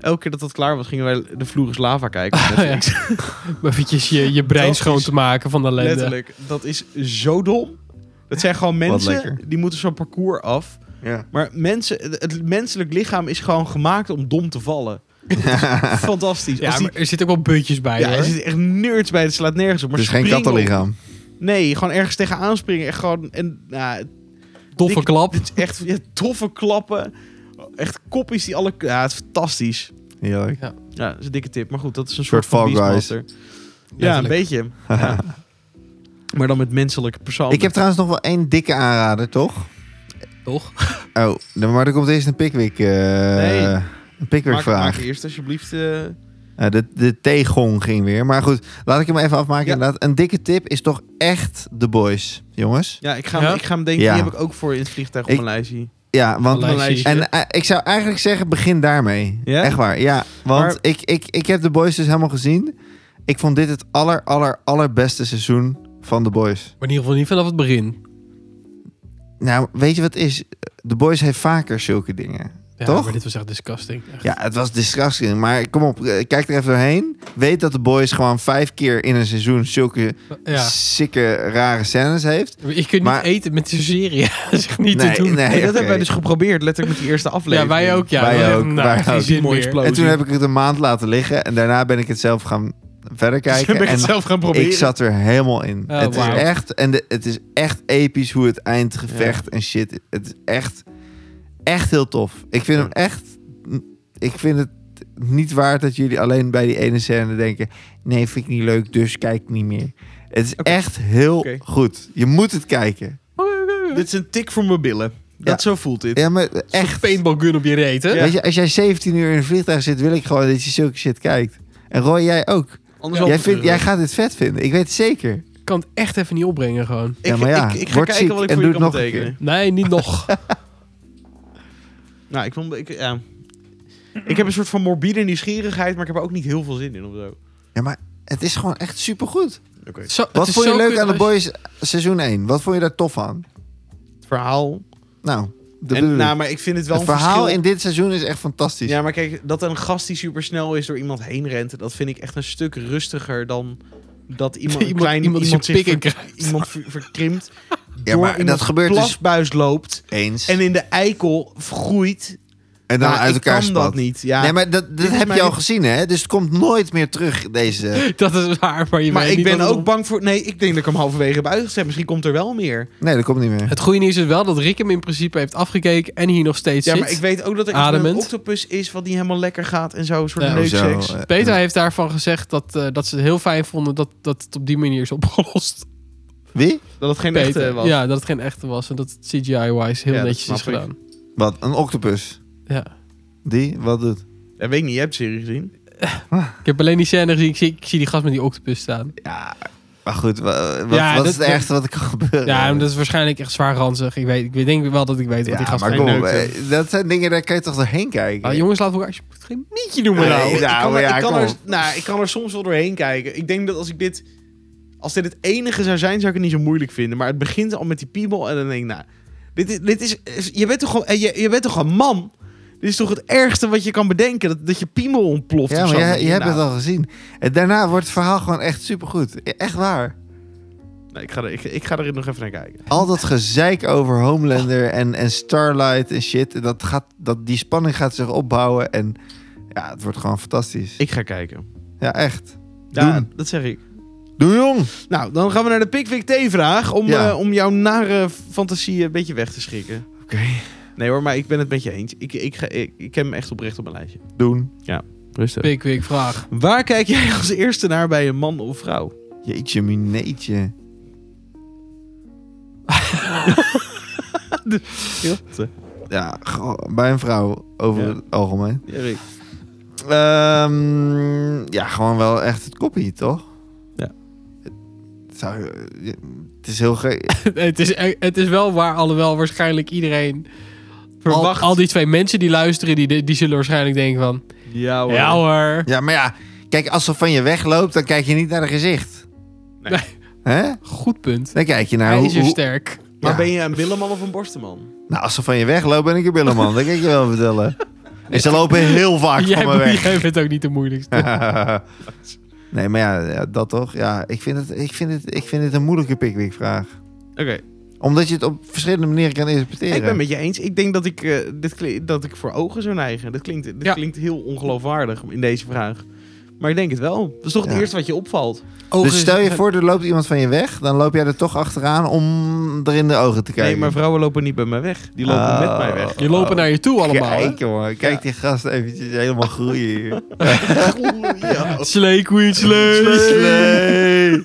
S1: Elke keer dat dat klaar was, gingen wij de vloer is lava kijken. op
S2: Ah, <laughs> ja.
S1: Netflix.
S2: Om eventjes je, je brein
S1: Fantastisch.
S2: schoon te maken van de ellende.
S1: Letterlijk. Dat is zo dom. Dat zijn gewoon mensen,
S3: lekker.
S1: die moeten zo'n parcours af.
S3: Ja.
S1: Maar mensen, het- het menselijk lichaam is gewoon gemaakt om dom te
S2: <laughs>
S1: vallen. Fantastisch. Als
S2: Ja,
S1: die-
S2: maar er zitten ook wel beutjes bij
S1: Ja,
S2: hoor.
S1: er zitten echt nerds bij. Het slaat nergens op. Maar
S3: Het is geen
S1: springen
S3: kattenlichaam.
S1: op- Nee, gewoon ergens tegenaan springen. Echt gewoon... En, nou, het
S2: Doffe
S1: dik-
S2: klap.
S1: is echt ja, toffe klappen. Echt koppies die alle... Ja, het is fantastisch.
S3: Heerlijk.
S1: Ja, dat is een dikke tip. Maar goed, dat is een
S3: Soort
S1: soort, van
S3: Fall Guys.
S1: Beastmaster. Ja, een beetje.
S3: <laughs>
S1: Ja. maar dan met menselijke persoon.
S3: Ik heb trouwens nog wel één dikke aanrader, toch?
S2: Toch?
S3: Oh, dan- maar er komt eerst een Pickwick... eh
S1: Nee.
S3: Een Pickwick
S1: maak,
S3: vraag.
S1: maak eerst alsjeblieft... eh,
S3: Eh, de, de theegong ging weer. Maar goed, laat ik hem even afmaken.
S1: Ja.
S3: Inderdaad, een dikke tip is toch echt The Boys, jongens.
S1: ja, ik ga, hem-
S2: Ja?
S1: ik ga hem denken.
S3: Ja.
S1: Die heb ik ook voor in het vliegtuig op
S3: Ik-
S1: mijn lijstje.
S3: Ja, want...
S2: Allee.
S3: En eh, ik zou eigenlijk zeggen, begin daarmee.
S1: Ja?
S3: Echt waar, ja. Want
S1: Maar-
S3: ik, ik, ik heb The Boys dus helemaal gezien. Ik vond dit het aller, aller, allerbeste seizoen van The Boys.
S2: Maar in ieder geval niet vanaf het begin.
S3: Nou, weet je wat het is? The Boys heeft vaker zulke dingen.
S2: Ja,
S3: Toch?
S2: Maar dit was echt disgusting. Echt.
S3: Ja, het was disgusting. Maar kom op, eh, kijk er even doorheen. Weet dat The Boys gewoon vijf keer in een seizoen zulke
S2: Ja.
S3: sikke, rare scènes heeft.
S2: Maar Je kunt
S3: Maar-
S2: niet eten met zo'n serie. <laughs> dat is echt niet
S3: nee,
S2: te doen.
S3: nee,
S1: Hey, dat hebben
S3: oké.
S1: wij dus geprobeerd. Letterlijk met die eerste
S2: ja,
S1: aflevering.
S2: wij ook. Ja.
S3: Wij
S2: Dat was echt,
S3: ook,
S2: nou,
S3: wij
S2: geen
S3: ook.
S2: zin
S1: Mooi
S2: meer.
S1: explosie.
S3: En toen heb ik het een maand laten liggen. En daarna ben ik het zelf gaan verder
S1: Dus
S3: kijken.
S1: heb ik
S3: en
S1: het zelf gaan proberen.
S3: ik zat er helemaal in.
S2: Oh,
S3: het,
S2: wauw.
S3: is echt, en de- het is echt episch hoe het eindgevecht en shit. Het is echt, echt heel tof. Ik vind
S1: Ja.
S3: hem echt... Ik vind het niet waard dat jullie alleen bij die ene scène denken... Nee, vind ik niet leuk, dus kijk niet meer. Het is
S1: Oké.
S3: echt heel
S1: Oké.
S3: goed. Je moet het kijken.
S2: Oh,
S1: <laughs> Dit is een tik voor mijn billen. Dat zo voelt dit.
S3: Ja, maar
S2: Echt.
S3: echt.
S2: Paintball gun op je reet, hè?
S1: Ja.
S3: Weet je, als jij 17 uur in een vliegtuig zit, wil ik gewoon dat je zulke shit kijkt. En Roy, jij ook.
S1: Anders
S2: Ja.
S1: wel
S3: Jij, vindt, jij
S1: terug.
S3: gaat dit vet vinden. Ik weet het zeker.
S2: Ik kan het echt even niet opbrengen gewoon.
S1: Ik,
S3: Ja, maar ja,
S1: ik, ik ga
S3: word
S1: kijken
S3: ziek
S1: wat ik
S3: en
S1: voor
S3: doe
S1: je
S3: het
S1: kan
S3: nog een
S1: betekenen.
S2: Nee, niet
S3: <laughs>
S2: nog.
S1: Nou, ik, wil, ik, ja. ik heb een soort van morbide nieuwsgierigheid, maar ik heb er ook niet heel veel zin in of zo.
S3: Ja, maar het is gewoon echt supergoed.
S1: Oké.
S2: Zo, het
S3: Wat
S2: is
S3: vond je
S2: zo
S3: leuk
S2: kut
S3: aan de
S2: als je-
S3: Boys seizoen 1? Wat vond je daar tof aan?
S1: Het verhaal.
S3: Nou, de
S1: En, nou, maar ik vind het wel
S3: het
S1: een
S3: verhaal
S1: verschil.
S3: in dit seizoen is echt fantastisch.
S1: Ja, maar kijk, dat een gast die supersnel is door iemand heen rent, dat vind ik echt een stuk rustiger dan
S2: <laughs>
S1: dat iemand, een
S2: Iemand,
S1: klein,
S2: iemand die zijn
S1: zich
S2: pik in
S1: ver-
S2: krijgt.
S1: iemand ver- verkrimpt.
S3: <laughs> Ja,
S1: door
S3: maar dat
S1: iemands
S3: gebeurt dus-
S1: plasbuis loopt
S3: Eens.
S1: en in de eikel groeit.
S3: En dan
S1: Maar
S3: uit
S1: ik
S3: elkaar
S1: kan dat
S3: spat.
S1: niet. Ja.
S3: Nee, maar dat, dat
S1: is
S3: heb je
S1: mijn-
S3: al gezien, hè? Dus het komt nooit meer terug,
S1: <laughs>
S3: deze...
S2: <laughs> Dat is waar, maar je
S1: maar
S2: weet
S1: ik
S2: niet
S1: ben
S2: wat het
S1: ook
S2: op-
S1: bang voor... Nee, ik denk dat ik hem halverwege heb uitgezet. Misschien komt er wel meer.
S3: Nee, dat komt niet meer.
S2: Het goede nieuws is wel dat Rick hem in principe heeft afgekeken en hier nog steeds
S1: Ja,
S2: zit.
S1: maar ik weet ook dat er iets met een
S2: Ademend.
S1: octopus is wat niet helemaal lekker gaat en zo. Een soort
S2: Ja.
S1: leuk
S3: Hoezo,
S1: seks.
S3: eh,
S2: Peter heeft daarvan gezegd dat, eh, dat ze het heel fijn vonden dat, dat het op die manier is opgelost.
S3: Wie?
S1: Dat het <laughs> geen
S2: Peter.
S1: echte was.
S2: Ja, dat het geen echte was en dat het CGI-wise heel
S1: Ja, dat
S2: netjes is
S1: snap ik.
S2: gedaan.
S3: Wat? Een octopus?
S2: Ja.
S3: Die? Wat doet?
S1: Dat weet ik niet. Je hebt de serie gezien.
S2: Ik heb alleen die scène gezien, ik zie, ik zie die gast met die octopus staan.
S3: Ja, maar goed. wa- Wat,
S2: Ja,
S3: wat is
S2: dat-
S3: het ergste wat er kan
S1: Eh,
S3: gebeuren?
S2: Ja, maar dat is waarschijnlijk echt zwaar ranzig. Ik, weet, ik denk wel dat ik weet wat die
S3: Ja,
S2: gast
S3: maar
S1: gaat
S3: kom,
S1: neuken.
S3: eh, dat zijn dingen, daar kan je toch doorheen kijken?
S1: Oh,
S2: Ah, jongens, laten we elkaar alsjeblieft geen mietje doen.
S3: Nee,
S2: nou.
S3: ja,
S1: ik, kan
S3: maar
S1: er,
S3: ja,
S1: ik, kan
S3: kom
S1: er,
S3: op.
S1: nou, ik kan er soms wel doorheen kijken. Ik denk dat als ik dit... Als dit het enige zou zijn, zou ik het niet zo moeilijk vinden. Maar het begint al met die piemel en dan denk ik, nou... Dit, is- dit is, is- je, bent toch, gewoon- eh, je, je bent toch een man? Dit is toch het ergste wat je kan bedenken? Dat, dat je piemel ontploft
S3: Ja,
S1: of
S3: maar
S1: zo.
S3: jij, jij hebt
S1: Nou,
S3: het al gezien. En daarna wordt het verhaal gewoon echt supergoed. E-, Echt waar.
S1: nee, ik, ga er, ik, ik ga er nog even naar kijken.
S3: Al dat gezeik over Homelander en, en Starlight en shit. Dat gaat, dat, die spanning gaat zich opbouwen. En ja, het wordt gewoon fantastisch.
S1: Ik ga kijken.
S3: Ja, echt.
S1: Ja,
S3: Doen.
S1: dat zeg ik.
S3: Doe jong!
S1: Nou, dan gaan we naar de Pickwick T-vraag. Om,
S3: Ja.
S1: eh, om jouw nare fantasie een beetje weg te schrikken.
S3: Oké.
S1: Nee hoor, maar ik ben het met je eens. Ik, ik, ga, ik, ik heb hem echt oprecht op mijn lijstje.
S3: Doen.
S1: Rustig.
S2: Pik, pik, vraag. <laughs>
S1: Waar kijk jij als eerste naar bij een man of vrouw?
S3: Jeetje, mineetje. Ja, goh, bij een vrouw over
S1: Ja.
S3: het algemeen.
S1: Ja, Rick.
S3: Ehm, ja, gewoon wel echt het koppie, toch?
S1: Ja.
S3: Het, zou, eh, het is heel gek.
S2: het, is, e- het is wel waar, alhoewel waarschijnlijk iedereen... Al,
S1: Verwacht.
S2: al die twee mensen die luisteren, die, die, die zullen waarschijnlijk denken van...
S1: Oh, Ja hoor.
S2: Ja hoor.
S3: <laughs> Ja, maar ja, kijk, als ze van je wegloopt, dan kijk je niet naar haar gezicht.
S1: Nee.
S3: Hè?
S2: Goed punt.
S3: Dan kijk je naar
S2: Hij
S3: hoe,
S2: is er
S3: hoe-
S2: sterk.
S1: Maar
S3: Ja.
S1: ben je een billenman of een borstenman?
S3: Nou, als ze van je wegloopt, ben ik een billeman. dat kan ik je wel
S1: <laughs>
S3: vertellen. En ze lopen heel vaak
S2: Jij,
S3: van me weg.
S2: jij bent ook niet de moeilijkste.
S3: <laughs>
S1: <laughs>
S3: nee, maar ja, ja, dat toch? Ja, ik vind het, ik vind het, ik vind het een moeilijke pickwick-vraag.
S1: Oké,
S3: Omdat je het op verschillende manieren kan interpreteren.
S1: ik ben met je eens. Ik denk dat ik, eh, dit kli- dat ik voor ogen zou neigen. Dat klinkt, dit
S2: Ja.
S1: klinkt heel ongeloofwaardig in deze vraag. Maar ik denk het wel. Dat is toch
S3: Ja.
S1: het eerste wat je opvalt?
S2: Ogen
S3: Dus
S2: is-
S3: stel je voor, er loopt iemand van je weg. Dan loop jij er toch achteraan om er in de ogen te kijken.
S1: Nee, maar vrouwen lopen niet bij mij weg. Die lopen
S3: Oh.
S1: met mij weg.
S2: Je lopen naar je toe allemaal. hè?
S3: Kijk, jongen. Kijk die gast eventjes helemaal groeien hier.
S2: <laughs>
S1: ja.
S2: Slay queen, slay.
S3: Slee.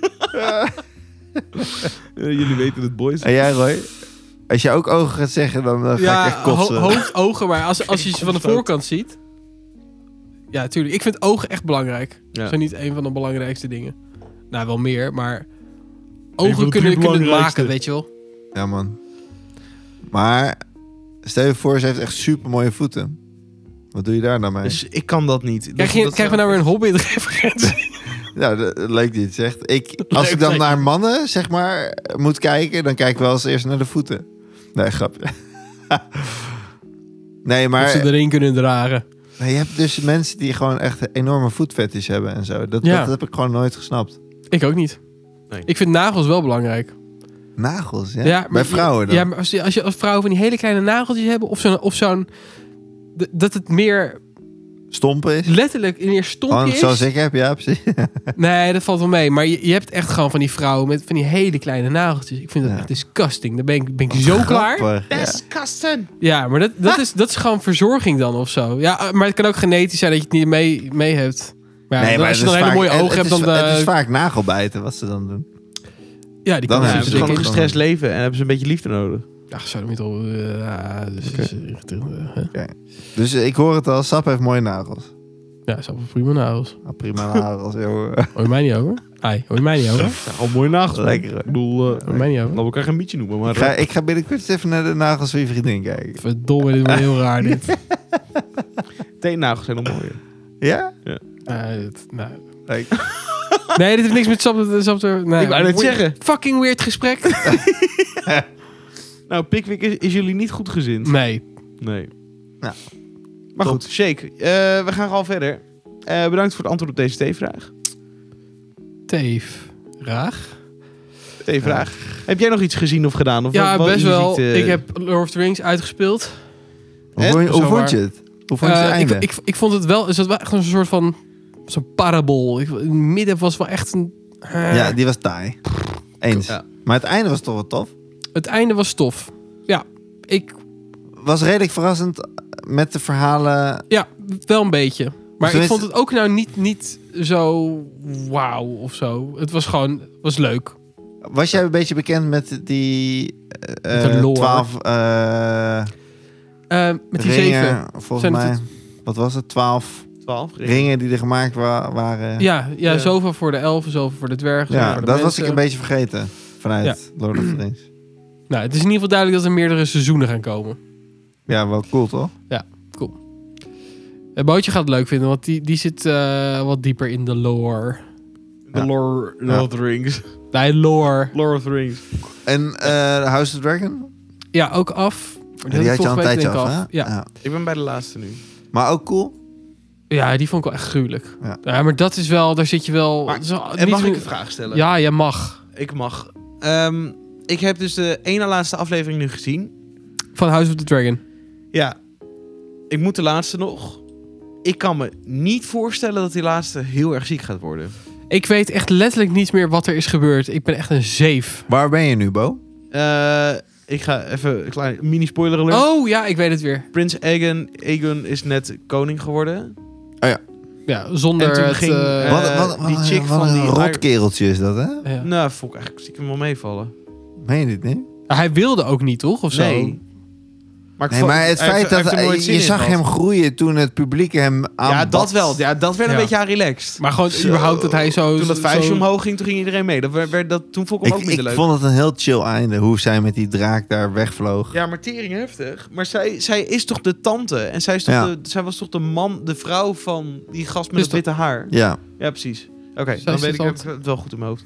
S1: Eh, Jullie weten het, boys.
S3: En jij, Roy? Als je ook ogen gaat zeggen, dan eh, ga
S2: Ja,
S3: ik echt kotsen.
S2: ho-
S3: <laughs>
S2: hoofd, ogen. Maar als, als je ze van de
S1: kopstoot.
S2: voorkant ziet... Ja, tuurlijk. Ik vind ogen echt belangrijk.
S1: Ja.
S2: Zijn niet een van de belangrijkste dingen. Nou, wel meer, maar...
S1: van
S2: Ogen
S1: de
S2: kunnen,
S1: drie
S2: kunnen het
S1: belangrijkste.
S2: maken, weet je wel.
S3: Ja, man. Maar stel je voor, ze heeft echt super mooie voeten. Wat doe je daar nou mee?
S1: Dus ik kan dat niet. Dat-
S2: Krijg, je,
S1: dat
S2: krijgen we nou weer een hobbit-referentie?
S3: Nou, de- leuk dat je het zegt. Ik, als
S2: <laughs> Leuk
S3: ik dan
S2: dat
S3: naar mannen, zeg maar, moet kijken, dan kijk ik wel als eerst naar de voeten. Nee, grapje. <laughs> nee,
S2: Dat ze
S3: maar
S2: erin kunnen dragen.
S3: nee, je hebt dus mensen die gewoon echt een enorme voetfetish hebben en zo. Dat,
S2: Ja.
S3: dat heb ik gewoon nooit gesnapt.
S2: Ik ook niet.
S1: Nee.
S2: Ik vind nagels wel belangrijk.
S3: Nagels, ja.
S2: Ja, maar
S3: Bij
S2: je-
S3: vrouwen dan.
S2: Ja, maar als je, als je als vrouwen van die hele kleine nageltjes hebben, of zo'n. Of zo'n d- dat het meer
S3: Stompen is.
S2: letterlijk in je
S3: Gewoon
S2: stompje is.
S3: Oh, zoals ik heb, ja, precies.
S2: Nee, dat valt wel mee. Maar je, je hebt echt gewoon van die vrouwen met van die hele kleine nageltjes. Ik vind dat
S3: Ja.
S2: echt disgusting. Dan ben ik, ben ik zo
S3: <laughs>
S2: klaar.
S3: Grappig, Ah. ja.
S1: Disgusting.
S2: Ja, maar dat, dat, is, dat is gewoon verzorging dan of zo. Ja, eh, maar het kan ook genetisch zijn dat je het niet mee, mee hebt. Maar, ja,
S3: Nee,
S2: dan-
S3: maar
S2: als je dan
S3: het is
S2: hele
S3: vaak-
S2: mooie
S3: het-
S2: ogen
S3: het
S2: hebt,
S3: is
S2: dan...
S3: va- Het
S2: eh,
S3: is vaak nagelbijten, wat ze dan doen.
S2: ja, die
S3: dan
S2: kan dus
S1: Ja,
S3: hebben
S1: hebben
S3: ze
S1: ze gewoon
S3: zeker.
S1: een gestrest leven en hebben ze een beetje liefde nodig.
S2: Ach, zou niet op... eh, ja, dus, eh, hè?
S3: Dus eh, ik hoor het al, Sap heeft mooie nagels.
S2: ja, is allemaal prima nagels.
S3: Ah,
S2: <laughs>
S3: prima nagels, joh.
S2: Hoor je mij niet over? Ai, hoor je mij niet over?
S1: Nou, gewoon mooie nagels. man.
S3: Lekker, hoor.
S1: Ik bedoel, eh,
S2: Hoor je mij niet over?
S1: laten we elkaar geen mietje noemen, maar...
S3: Ik ga, ik ga binnenkort eens even naar de nagels van je vriendin kijken.
S2: Verdomme, dit wordt heel raar
S1: <laughs>
S2: dit.
S1: Teennagels eh, zijn nog mooier.
S3: Ja?
S2: Nee, dit, nee.
S3: Leuk.
S2: nee, dit heeft niks met Sap Sap te... Nee.
S1: Ik wou net
S2: Weird-
S1: zeggen.
S2: Fucking weird
S1: <laughs>
S2: gesprek.
S1: Nou, Pickwick is, is jullie niet goed gezind.
S2: Nee.
S1: Nee.
S3: Nou,
S1: Maar
S3: top.
S1: goed, Shake, eh, we gaan gewoon verder. Eh, bedankt voor het antwoord op deze T-vraag.
S2: Teef. Raag.
S1: T-vraag. Heb jij nog iets gezien of gedaan? Of wat-
S2: Ja,
S1: wat
S2: best wel.
S1: ziet, eh,
S2: Ik heb Lord of the Rings uitgespeeld.
S3: Hoe, vond je-
S2: Zo
S3: hoe
S2: waar.
S3: vond je het? Hoe vond je het
S2: Eh,
S3: einde?
S2: Ik, ik, ik vond het wel, er zat wel echt een soort van zo'n parabol. Ik, in het midden was wel echt een. eh,
S3: ja, die was taai. Eens.
S1: Ja.
S3: Maar het einde was toch wel tof.
S2: Het einde was tof. Ja, ik
S3: Was redelijk verrassend met de verhalen.
S2: ja, wel een beetje. Maar
S3: Tenminste-
S2: ik vond het ook nou niet, niet zo wauw of zo. Het was gewoon was leuk.
S3: Was jij een beetje bekend met die eh,
S2: Met de lore.
S3: twaalf eh,
S2: Eh, met die
S3: ringen?
S2: zeven.
S3: Volgens
S2: Zijn het
S3: mij. Wat was het? Twaalf
S1: 12.
S3: ringen die er gemaakt wa- waren.
S2: Ja, ja,
S1: Ja.
S2: zoveel voor de elfen, zoveel voor de dwergen.
S3: Ja,
S2: zoveel voor
S3: dat
S2: de
S3: was ik
S2: mensen.
S3: een beetje vergeten vanuit Lord of the Rings.
S2: Nou, het is in ieder geval duidelijk dat er meerdere seizoenen gaan komen.
S3: Ja, wel cool toch?
S2: Het bootje gaat het leuk vinden, want die, die zit eh, wat dieper in de lore.
S3: Ja.
S1: The Lord, Lord
S3: Ja.
S1: of the Rings.
S2: Nee, lore.
S1: Lord of the Rings.
S3: En eh, House of Dragon?
S2: Ja, ook af. Maar
S3: Die, had je
S2: volgens
S3: al een
S2: mij
S3: tijdje
S2: denk ik
S3: af, hè?
S2: Ja.
S1: Ik ben bij de laatste nu.
S3: Maar ook cool.
S2: ja, die vond ik wel echt gruwelijk.
S3: Ja.
S2: Ja, maar dat is wel, daar zit je wel...
S1: Maar-
S2: dat is wel
S1: En
S2: niet
S1: mag
S2: zo-
S1: ik een vraag stellen?
S2: Ja, jij mag.
S1: Ik mag. Ehm, ik heb dus de ene laatste aflevering nu gezien.
S2: Van House of the Dragon.
S1: Ja. Ik moet de laatste nog. Ik kan me niet voorstellen dat die laatste heel erg ziek gaat worden.
S2: Ik weet echt letterlijk niets meer wat er is gebeurd. Ik ben echt een zeef.
S3: Waar ben je nu, Bo?
S1: Eh, ik ga even een klein mini-spoiler alert.
S2: Oh ja, ik weet het weer.
S1: Prins Aegon, Aegon is net koning geworden.
S2: Ja, zonder
S1: En toen
S2: het...
S1: ging,
S2: eh,
S1: eh,
S3: wat, wat, wat,
S1: die chick
S3: wat
S1: van
S3: een
S1: die-
S3: rotkereltje is dat, hè?
S2: ja.
S1: Nou, vond ik eigenlijk zie ik hem wel meevallen.
S3: Meen je dit niet?
S2: Hij wilde ook niet, toch? Of zo?
S1: Nee. Maar, ik
S3: Nee,
S1: vond-
S3: maar het
S1: hij
S3: feit
S1: heeft- hij
S3: dat
S1: heeft er nooit zin
S3: je
S1: in
S3: zag
S1: gehad.
S3: hem groeien toen het publiek hem aan
S1: Ja, dat wel. Ja, dat werd een
S2: Ja.
S1: beetje aan relaxed.
S2: Maar gewoon
S3: Zo.
S2: überhaupt dat hij zo...
S1: toen dat
S2: zo-
S1: vuistje omhoog ging, toen ging iedereen mee. Dat werd, werd dat, toen vond ik hem
S3: Ik,
S1: ook minder
S3: ik
S1: leuk.
S3: vond het een heel chill einde, hoe zij met die draak daar wegvloog.
S1: Ja, maar tering heftig. Maar zij, zij is toch de tante? En zij, is toch
S3: Ja.
S1: de, zij was toch de man, de vrouw van die gast met
S2: Dus
S1: het witte haar? Ja,
S3: Ja,
S1: precies. Oké,
S2: Zij
S1: dan
S2: is de
S1: weet ik heb ik
S2: tante.
S1: het wel goed in mijn hoofd.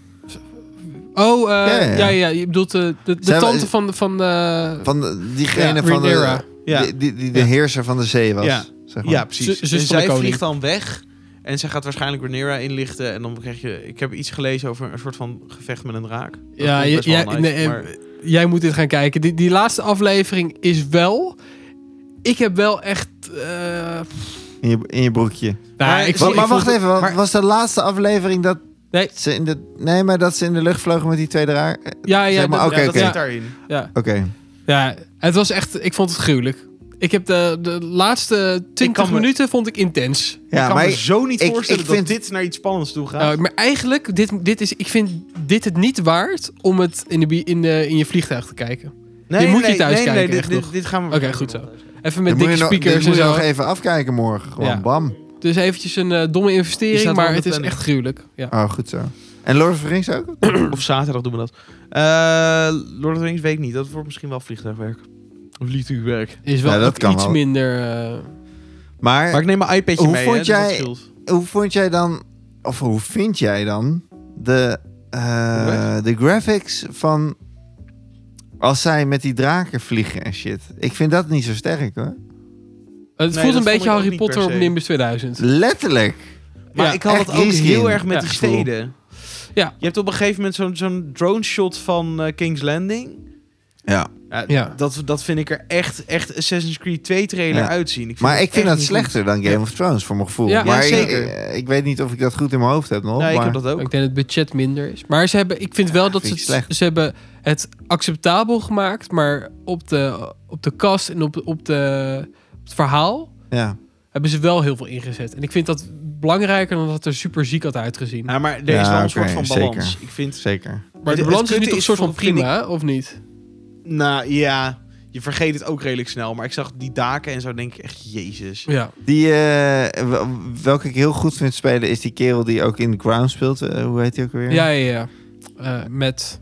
S2: Oh, eh,
S3: Ja,
S2: ja,
S3: ja.
S2: ja, Je bedoelt eh, de, de
S3: Zij-
S2: tante van... van, eh
S3: van de- diegene
S2: Ja,
S3: van de,
S2: Rhaenyra.
S1: Ja,
S3: die, die, die de
S1: Ja.
S3: heerser van de zee was.
S1: Ja.
S3: Zeg maar.
S1: ja precies.
S2: Z- zus
S1: en
S2: van de
S1: zij
S2: koning.
S1: vliegt dan weg. En zij gaat waarschijnlijk Rhaenyra inlichten. En dan krijg je... Ik heb iets gelezen over een soort van gevecht met een draak. Dat
S2: Ja,
S1: vond ik
S2: je-
S1: best wel
S2: jij-
S1: nice,
S2: nee, eh,
S1: maar-
S2: Jij moet dit gaan kijken. Die, die laatste aflevering is wel... Ik heb wel echt... eh,
S3: In, je, in je broekje.
S2: nou,
S1: Maar- Wa-
S2: ik, vond-
S3: Maar,
S2: ik
S3: maar
S2: vond
S3: wacht
S2: het-
S3: even, wa-
S2: maar-
S3: was de laatste aflevering dat
S2: Nee.
S3: ze in de nee, maar dat ze in de lucht vlogen met die twee draak? Eh, Oké,
S2: ja, ja,
S3: zeg maar,
S2: dat-
S3: oké,
S1: ja,
S2: ja,
S1: dat
S3: oké.
S1: zit
S2: ja,
S1: daarin.
S2: ja. Ja, het was echt... Ik vond het gruwelijk. Ik heb de, de laatste 20
S1: kan me-
S2: minuten vond ik intens.
S1: Ja, ik
S3: ja,
S1: kan
S3: maar
S1: me zo niet
S3: ik-
S1: voorstellen
S3: ik vind-
S1: dat dit naar iets spannends toe gaat.
S2: Nou, maar eigenlijk, dit, dit is, ik vind dit het niet waard om het in, de, bi- in, de, in je vliegtuig te kijken.
S1: nee,
S2: die moet je
S1: nee,
S2: thuis
S1: nee, nee,
S2: kijken,
S1: dit-
S2: echt
S1: dit,
S2: nog.
S1: dit gaan we...
S2: Oké, goed zo. Even met
S3: Dan moet
S2: dikke
S3: je nog-
S2: speakers
S3: dit
S2: en
S3: moet je
S2: zo.
S3: nog even afkijken morgen, gewoon
S2: Ja.
S3: bam.
S2: Dus eventjes een eh, domme
S1: Die
S2: investering,
S1: staat wel
S2: maar
S1: op
S2: het
S1: de
S2: is
S1: planning.
S2: echt gruwelijk. Ja.
S3: Oh, goed zo. En Lord of the Rings ook?
S1: Of zaterdag doen we dat. Eh, Lord of the Rings weet ik niet. Dat wordt misschien wel vliegtuigwerk. Of vliegtuigwerk.
S2: Is wel
S3: Ja, dat
S2: ook
S3: kan
S2: iets
S3: wel.
S2: minder... eh,
S3: Maar,
S1: Maar ik neem mijn iPadje
S3: Hoe
S1: mee.
S3: vond
S1: hè, dus dat
S3: jij-
S1: scheelt.
S3: hoe vond jij dan, of hoe vind jij dan de, eh,
S1: Hoe
S3: de graphics van als zij met die draken vliegen en shit? Ik vind dat niet zo sterk
S2: het
S3: hoor.
S1: Nee,
S2: voelt
S1: dat
S2: een
S1: vond ik
S2: beetje
S1: ook
S2: Harry
S1: niet per
S2: Potter op
S1: se.
S2: Nimbus 2000.
S3: Letterlijk.
S1: Maar
S2: Ja,
S1: ik had
S3: echt
S1: het ook
S3: easy
S1: heel
S3: in.
S1: erg met
S2: Ja,
S1: die
S3: gevoel.
S1: steden.
S2: Ja.
S1: Je hebt op een gegeven moment zo'n zo'n drone shot van eh, King's Landing.
S3: Ja.
S1: Ja,
S2: Ja.
S1: Dat, dat vind ik er echt, echt Assassin's Creed 2 trailer
S3: Ja.
S1: uitzien. Ik vind
S3: Maar
S1: het
S3: ik vind
S1: echt
S3: dat
S1: niet goed.
S3: slechter dan Game of Thrones voor mijn gevoel.
S2: Ja,
S3: maar
S1: ja,
S3: ik-
S1: zeker.
S3: Ik, ik weet niet of ik dat goed in mijn hoofd heb nog.
S1: Nee, ik
S3: maar
S1: heb dat ook.
S2: Ik denk dat het budget minder is. Maar ze hebben, ik vind wel dat
S3: vind
S2: ze,
S3: ik
S2: het- ze hebben het acceptabel gemaakt, maar op de, op de kast en op, op, de, op het verhaal
S3: ja.
S2: hebben ze wel heel veel ingezet. En ik vind dat belangrijker dan dat het er super ziek had uitgezien.
S1: Ja, maar er is
S3: Ja,
S1: wel een
S3: oké,
S1: soort van
S3: zeker.
S1: balans. Ik vind...
S3: zeker.
S2: maar de
S1: het- het
S2: balans is
S1: kutte
S2: nu toch een
S1: is
S2: soort van
S1: voor- vind ik-
S2: prima, hè? of niet?
S1: Nou ja, je vergeet het ook redelijk snel. Maar ik zag die daken en zo denk ik echt, jezus.
S2: Ja.
S3: Die, eh, wel- welke ik heel goed vind spelen is die kerel die ook in The Crown speelt. Eh, hoe heet hij ook
S2: Ja,
S3: weer?
S2: ja, ja. Eh, met,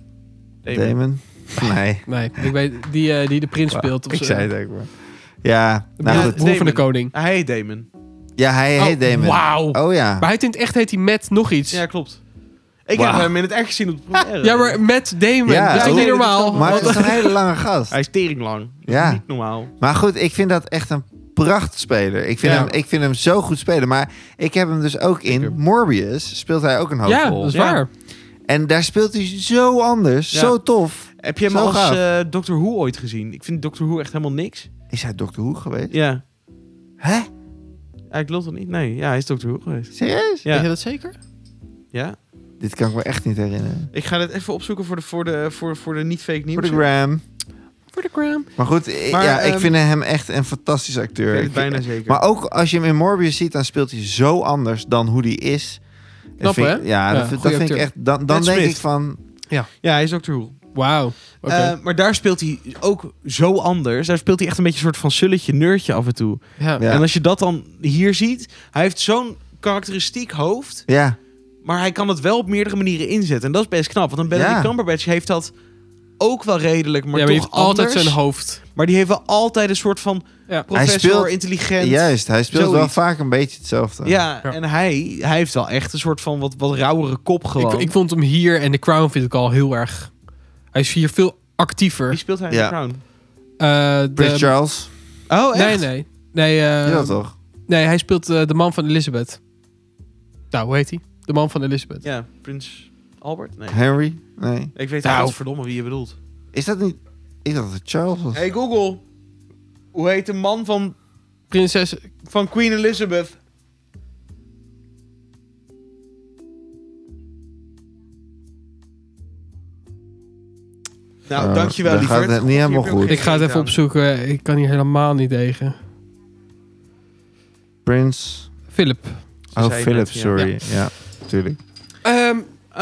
S1: Nee,
S3: Damon. <laughs> Nee.
S2: nee, ik weet, die, eh, die de prins speelt. Of
S3: Ik
S2: zo.
S3: zei het ook maar. Ja,
S2: De
S3: nou
S2: broer-
S1: Ja,
S3: goed.
S2: broer van
S1: Damon.
S2: de koning.
S1: Hij heet Damon.
S3: Ja, hij heet
S2: Oh,
S3: Damon.
S2: Wauw.
S3: Oh ja.
S2: Maar hij heet in het echt heet hij Matt nog iets.
S1: Ja,
S2: Ja,
S1: klopt. Ik
S3: Wauw.
S1: heb hem in het echt gezien op de première.
S2: maar Matt Damon.
S3: Ja,
S2: dat is toch
S1: ook-
S2: niet normaal?
S3: Maar
S2: Wat-
S3: het is een hele lange gast.
S1: Hij is teringlang. Dat is
S3: Ja.
S1: Niet normaal.
S3: Maar goed, ik vind dat echt een prachtspeler. Ik vind,
S2: Ja.
S3: hem, ik vind hem zo goed spelen. Maar ik heb hem dus ook in Morbius. Speelt hij ook een
S2: ja,
S3: hoofdrol.
S2: dat is
S1: Ja.
S2: waar.
S3: En daar speelt hij zo anders.
S1: Ja.
S3: Zo tof.
S1: Heb je hem
S3: Zo
S1: als
S3: gaaf.
S1: eh, Doctor Who ooit gezien? Ik vind Doctor Who echt helemaal niks.
S3: Is hij Doctor Who geweest?
S1: Ja.
S3: Hè?
S1: Hij klopt toch niet? Nee, ja, hij is Doctor Who geweest.
S3: Serieus?
S1: Ja.
S2: Weet je dat zeker?
S1: Ja.
S3: Dit kan ik me echt niet herinneren.
S1: Ik ga dit even opzoeken voor de, voor de, voor, voor de niet-fake
S3: Voor de
S1: nieuws.
S3: gram.
S2: Voor de gram.
S3: Maar goed, i-
S1: Maar,
S3: ja, ik
S1: ehm,
S3: vind hem echt een fantastische
S1: Ik
S3: acteur.
S1: weet
S3: Ik-
S1: het bijna zeker.
S3: Maar ook als je hem in Morbius ziet, dan speelt hij zo anders dan hoe hij is. Dat
S2: Knap,
S3: vind ik-
S2: hè?
S3: Ja,
S2: Ja,
S3: dat, vind- dat
S2: goeie
S3: vind ik
S2: acteur.
S3: echt... Dan, dan
S1: Ned
S3: denk
S1: Smith.
S3: ik van...
S1: Ja, hij is Doctor Who.
S2: Wauw. Oké.
S1: Eh, maar daar speelt hij ook zo anders. Daar speelt hij echt een beetje een soort van sulletje, nerdje af en toe.
S2: ja.
S3: ja.
S1: En als je dat dan hier ziet, hij heeft zo'n karakteristiek hoofd,
S3: Ja,
S1: maar hij kan het wel op meerdere manieren inzetten. En dat is best knap, want een Benedict
S3: Ja.
S1: Cumberbatch heeft dat ook wel redelijk, maar
S2: ja, maar je
S1: toch
S2: hebt altijd
S1: anders.
S2: zijn hoofd.
S1: Maar die heeft wel altijd een soort van
S2: Ja.
S1: professor,
S3: Hij speelt-
S1: intelligent.
S3: juist. Hij speelt wel
S1: Zoiets.
S3: vaak een beetje hetzelfde.
S1: Ja,
S2: Ja.
S1: en hij, hij heeft wel echt een soort van wat, wat rauwere kop
S2: Ik,
S1: gewoon.
S2: ik vond hem hier en The Crown vind ik al heel erg... Hij is hier veel actiever.
S1: Wie speelt hij in
S3: Ja.
S1: The Crown?
S2: Eh, de-
S1: ehm,
S3: Prins Charles.
S1: Oh, echt?
S2: Nee, nee. Nee, eh,
S1: ehm,
S3: ja, toch?
S2: nee hij speelt eh, de man van Elizabeth. Nou, hoe heet hij? De man van Elizabeth.
S1: Ja, Prins Albert? Nee.
S3: Henry? Nee.
S1: Ik weet
S2: Nou.
S1: nou. verdomme wie je bedoelt.
S3: Is dat niet... Ik dacht dat het Charles was.
S1: Hey Google, hoe heet de man van,
S2: Prinses...
S1: van Queen Elizabeth? Nou,
S3: Eh,
S1: Nou, dankjewel
S3: dan
S1: lieverd.
S3: gaat het niet helemaal
S1: Hier heb je ook
S3: goed.
S1: geen
S2: Ik ga het even
S1: idee aan.
S2: opzoeken. Ik kan hier helemaal niet tegen.
S3: Prins...
S2: Philip.
S1: Ze
S3: Oh,
S1: zei
S3: Philip,
S1: net, ja.
S3: sorry. Ja. tuurlijk.
S2: Ehm,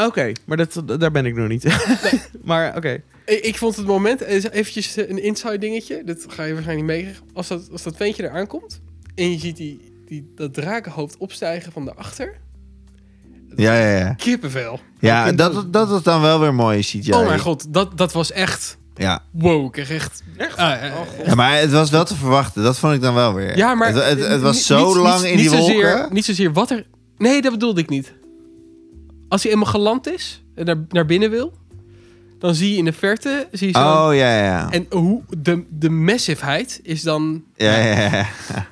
S1: Oké, maar dat, daar ben ik nog niet. <laughs> maar oké.
S2: Ik, ik vond het moment, is eventjes eh, een inside dingetje. Dat ga je waarschijnlijk niet meekrijgen. Als dat, als dat ventje eraan komt en je ziet die, die, dat drakenhoofd opstijgen van daarachter.
S3: Ja, ja, ja.
S2: Kippenvel.
S3: Ja,
S2: Ik-
S3: dat, dat was dan wel weer mooi, CGI.
S2: Oh mijn god, dat, dat was echt...
S3: Ja.
S2: Wow, ik kreeg echt...
S1: Echt?
S2: Ah, eh,
S1: Oh, god.
S3: ja, maar het was wel te verwachten. Dat vond ik dan wel weer.
S2: Ja, maar...
S3: Het, het, het was
S2: ni-
S3: zo
S2: niet-
S3: lang
S2: niet-
S3: in die
S2: niet
S3: wolken.
S2: Zozeer, niet zozeer wat er... Nee, dat bedoelde ik niet. Als hij eenmaal geland is en naar, naar binnen wil... Dan zie je in de verte... Zie je zo
S3: Oh, ja, ja.
S2: En hoe de, de massiveheid is dan...
S3: ja, ja, ja.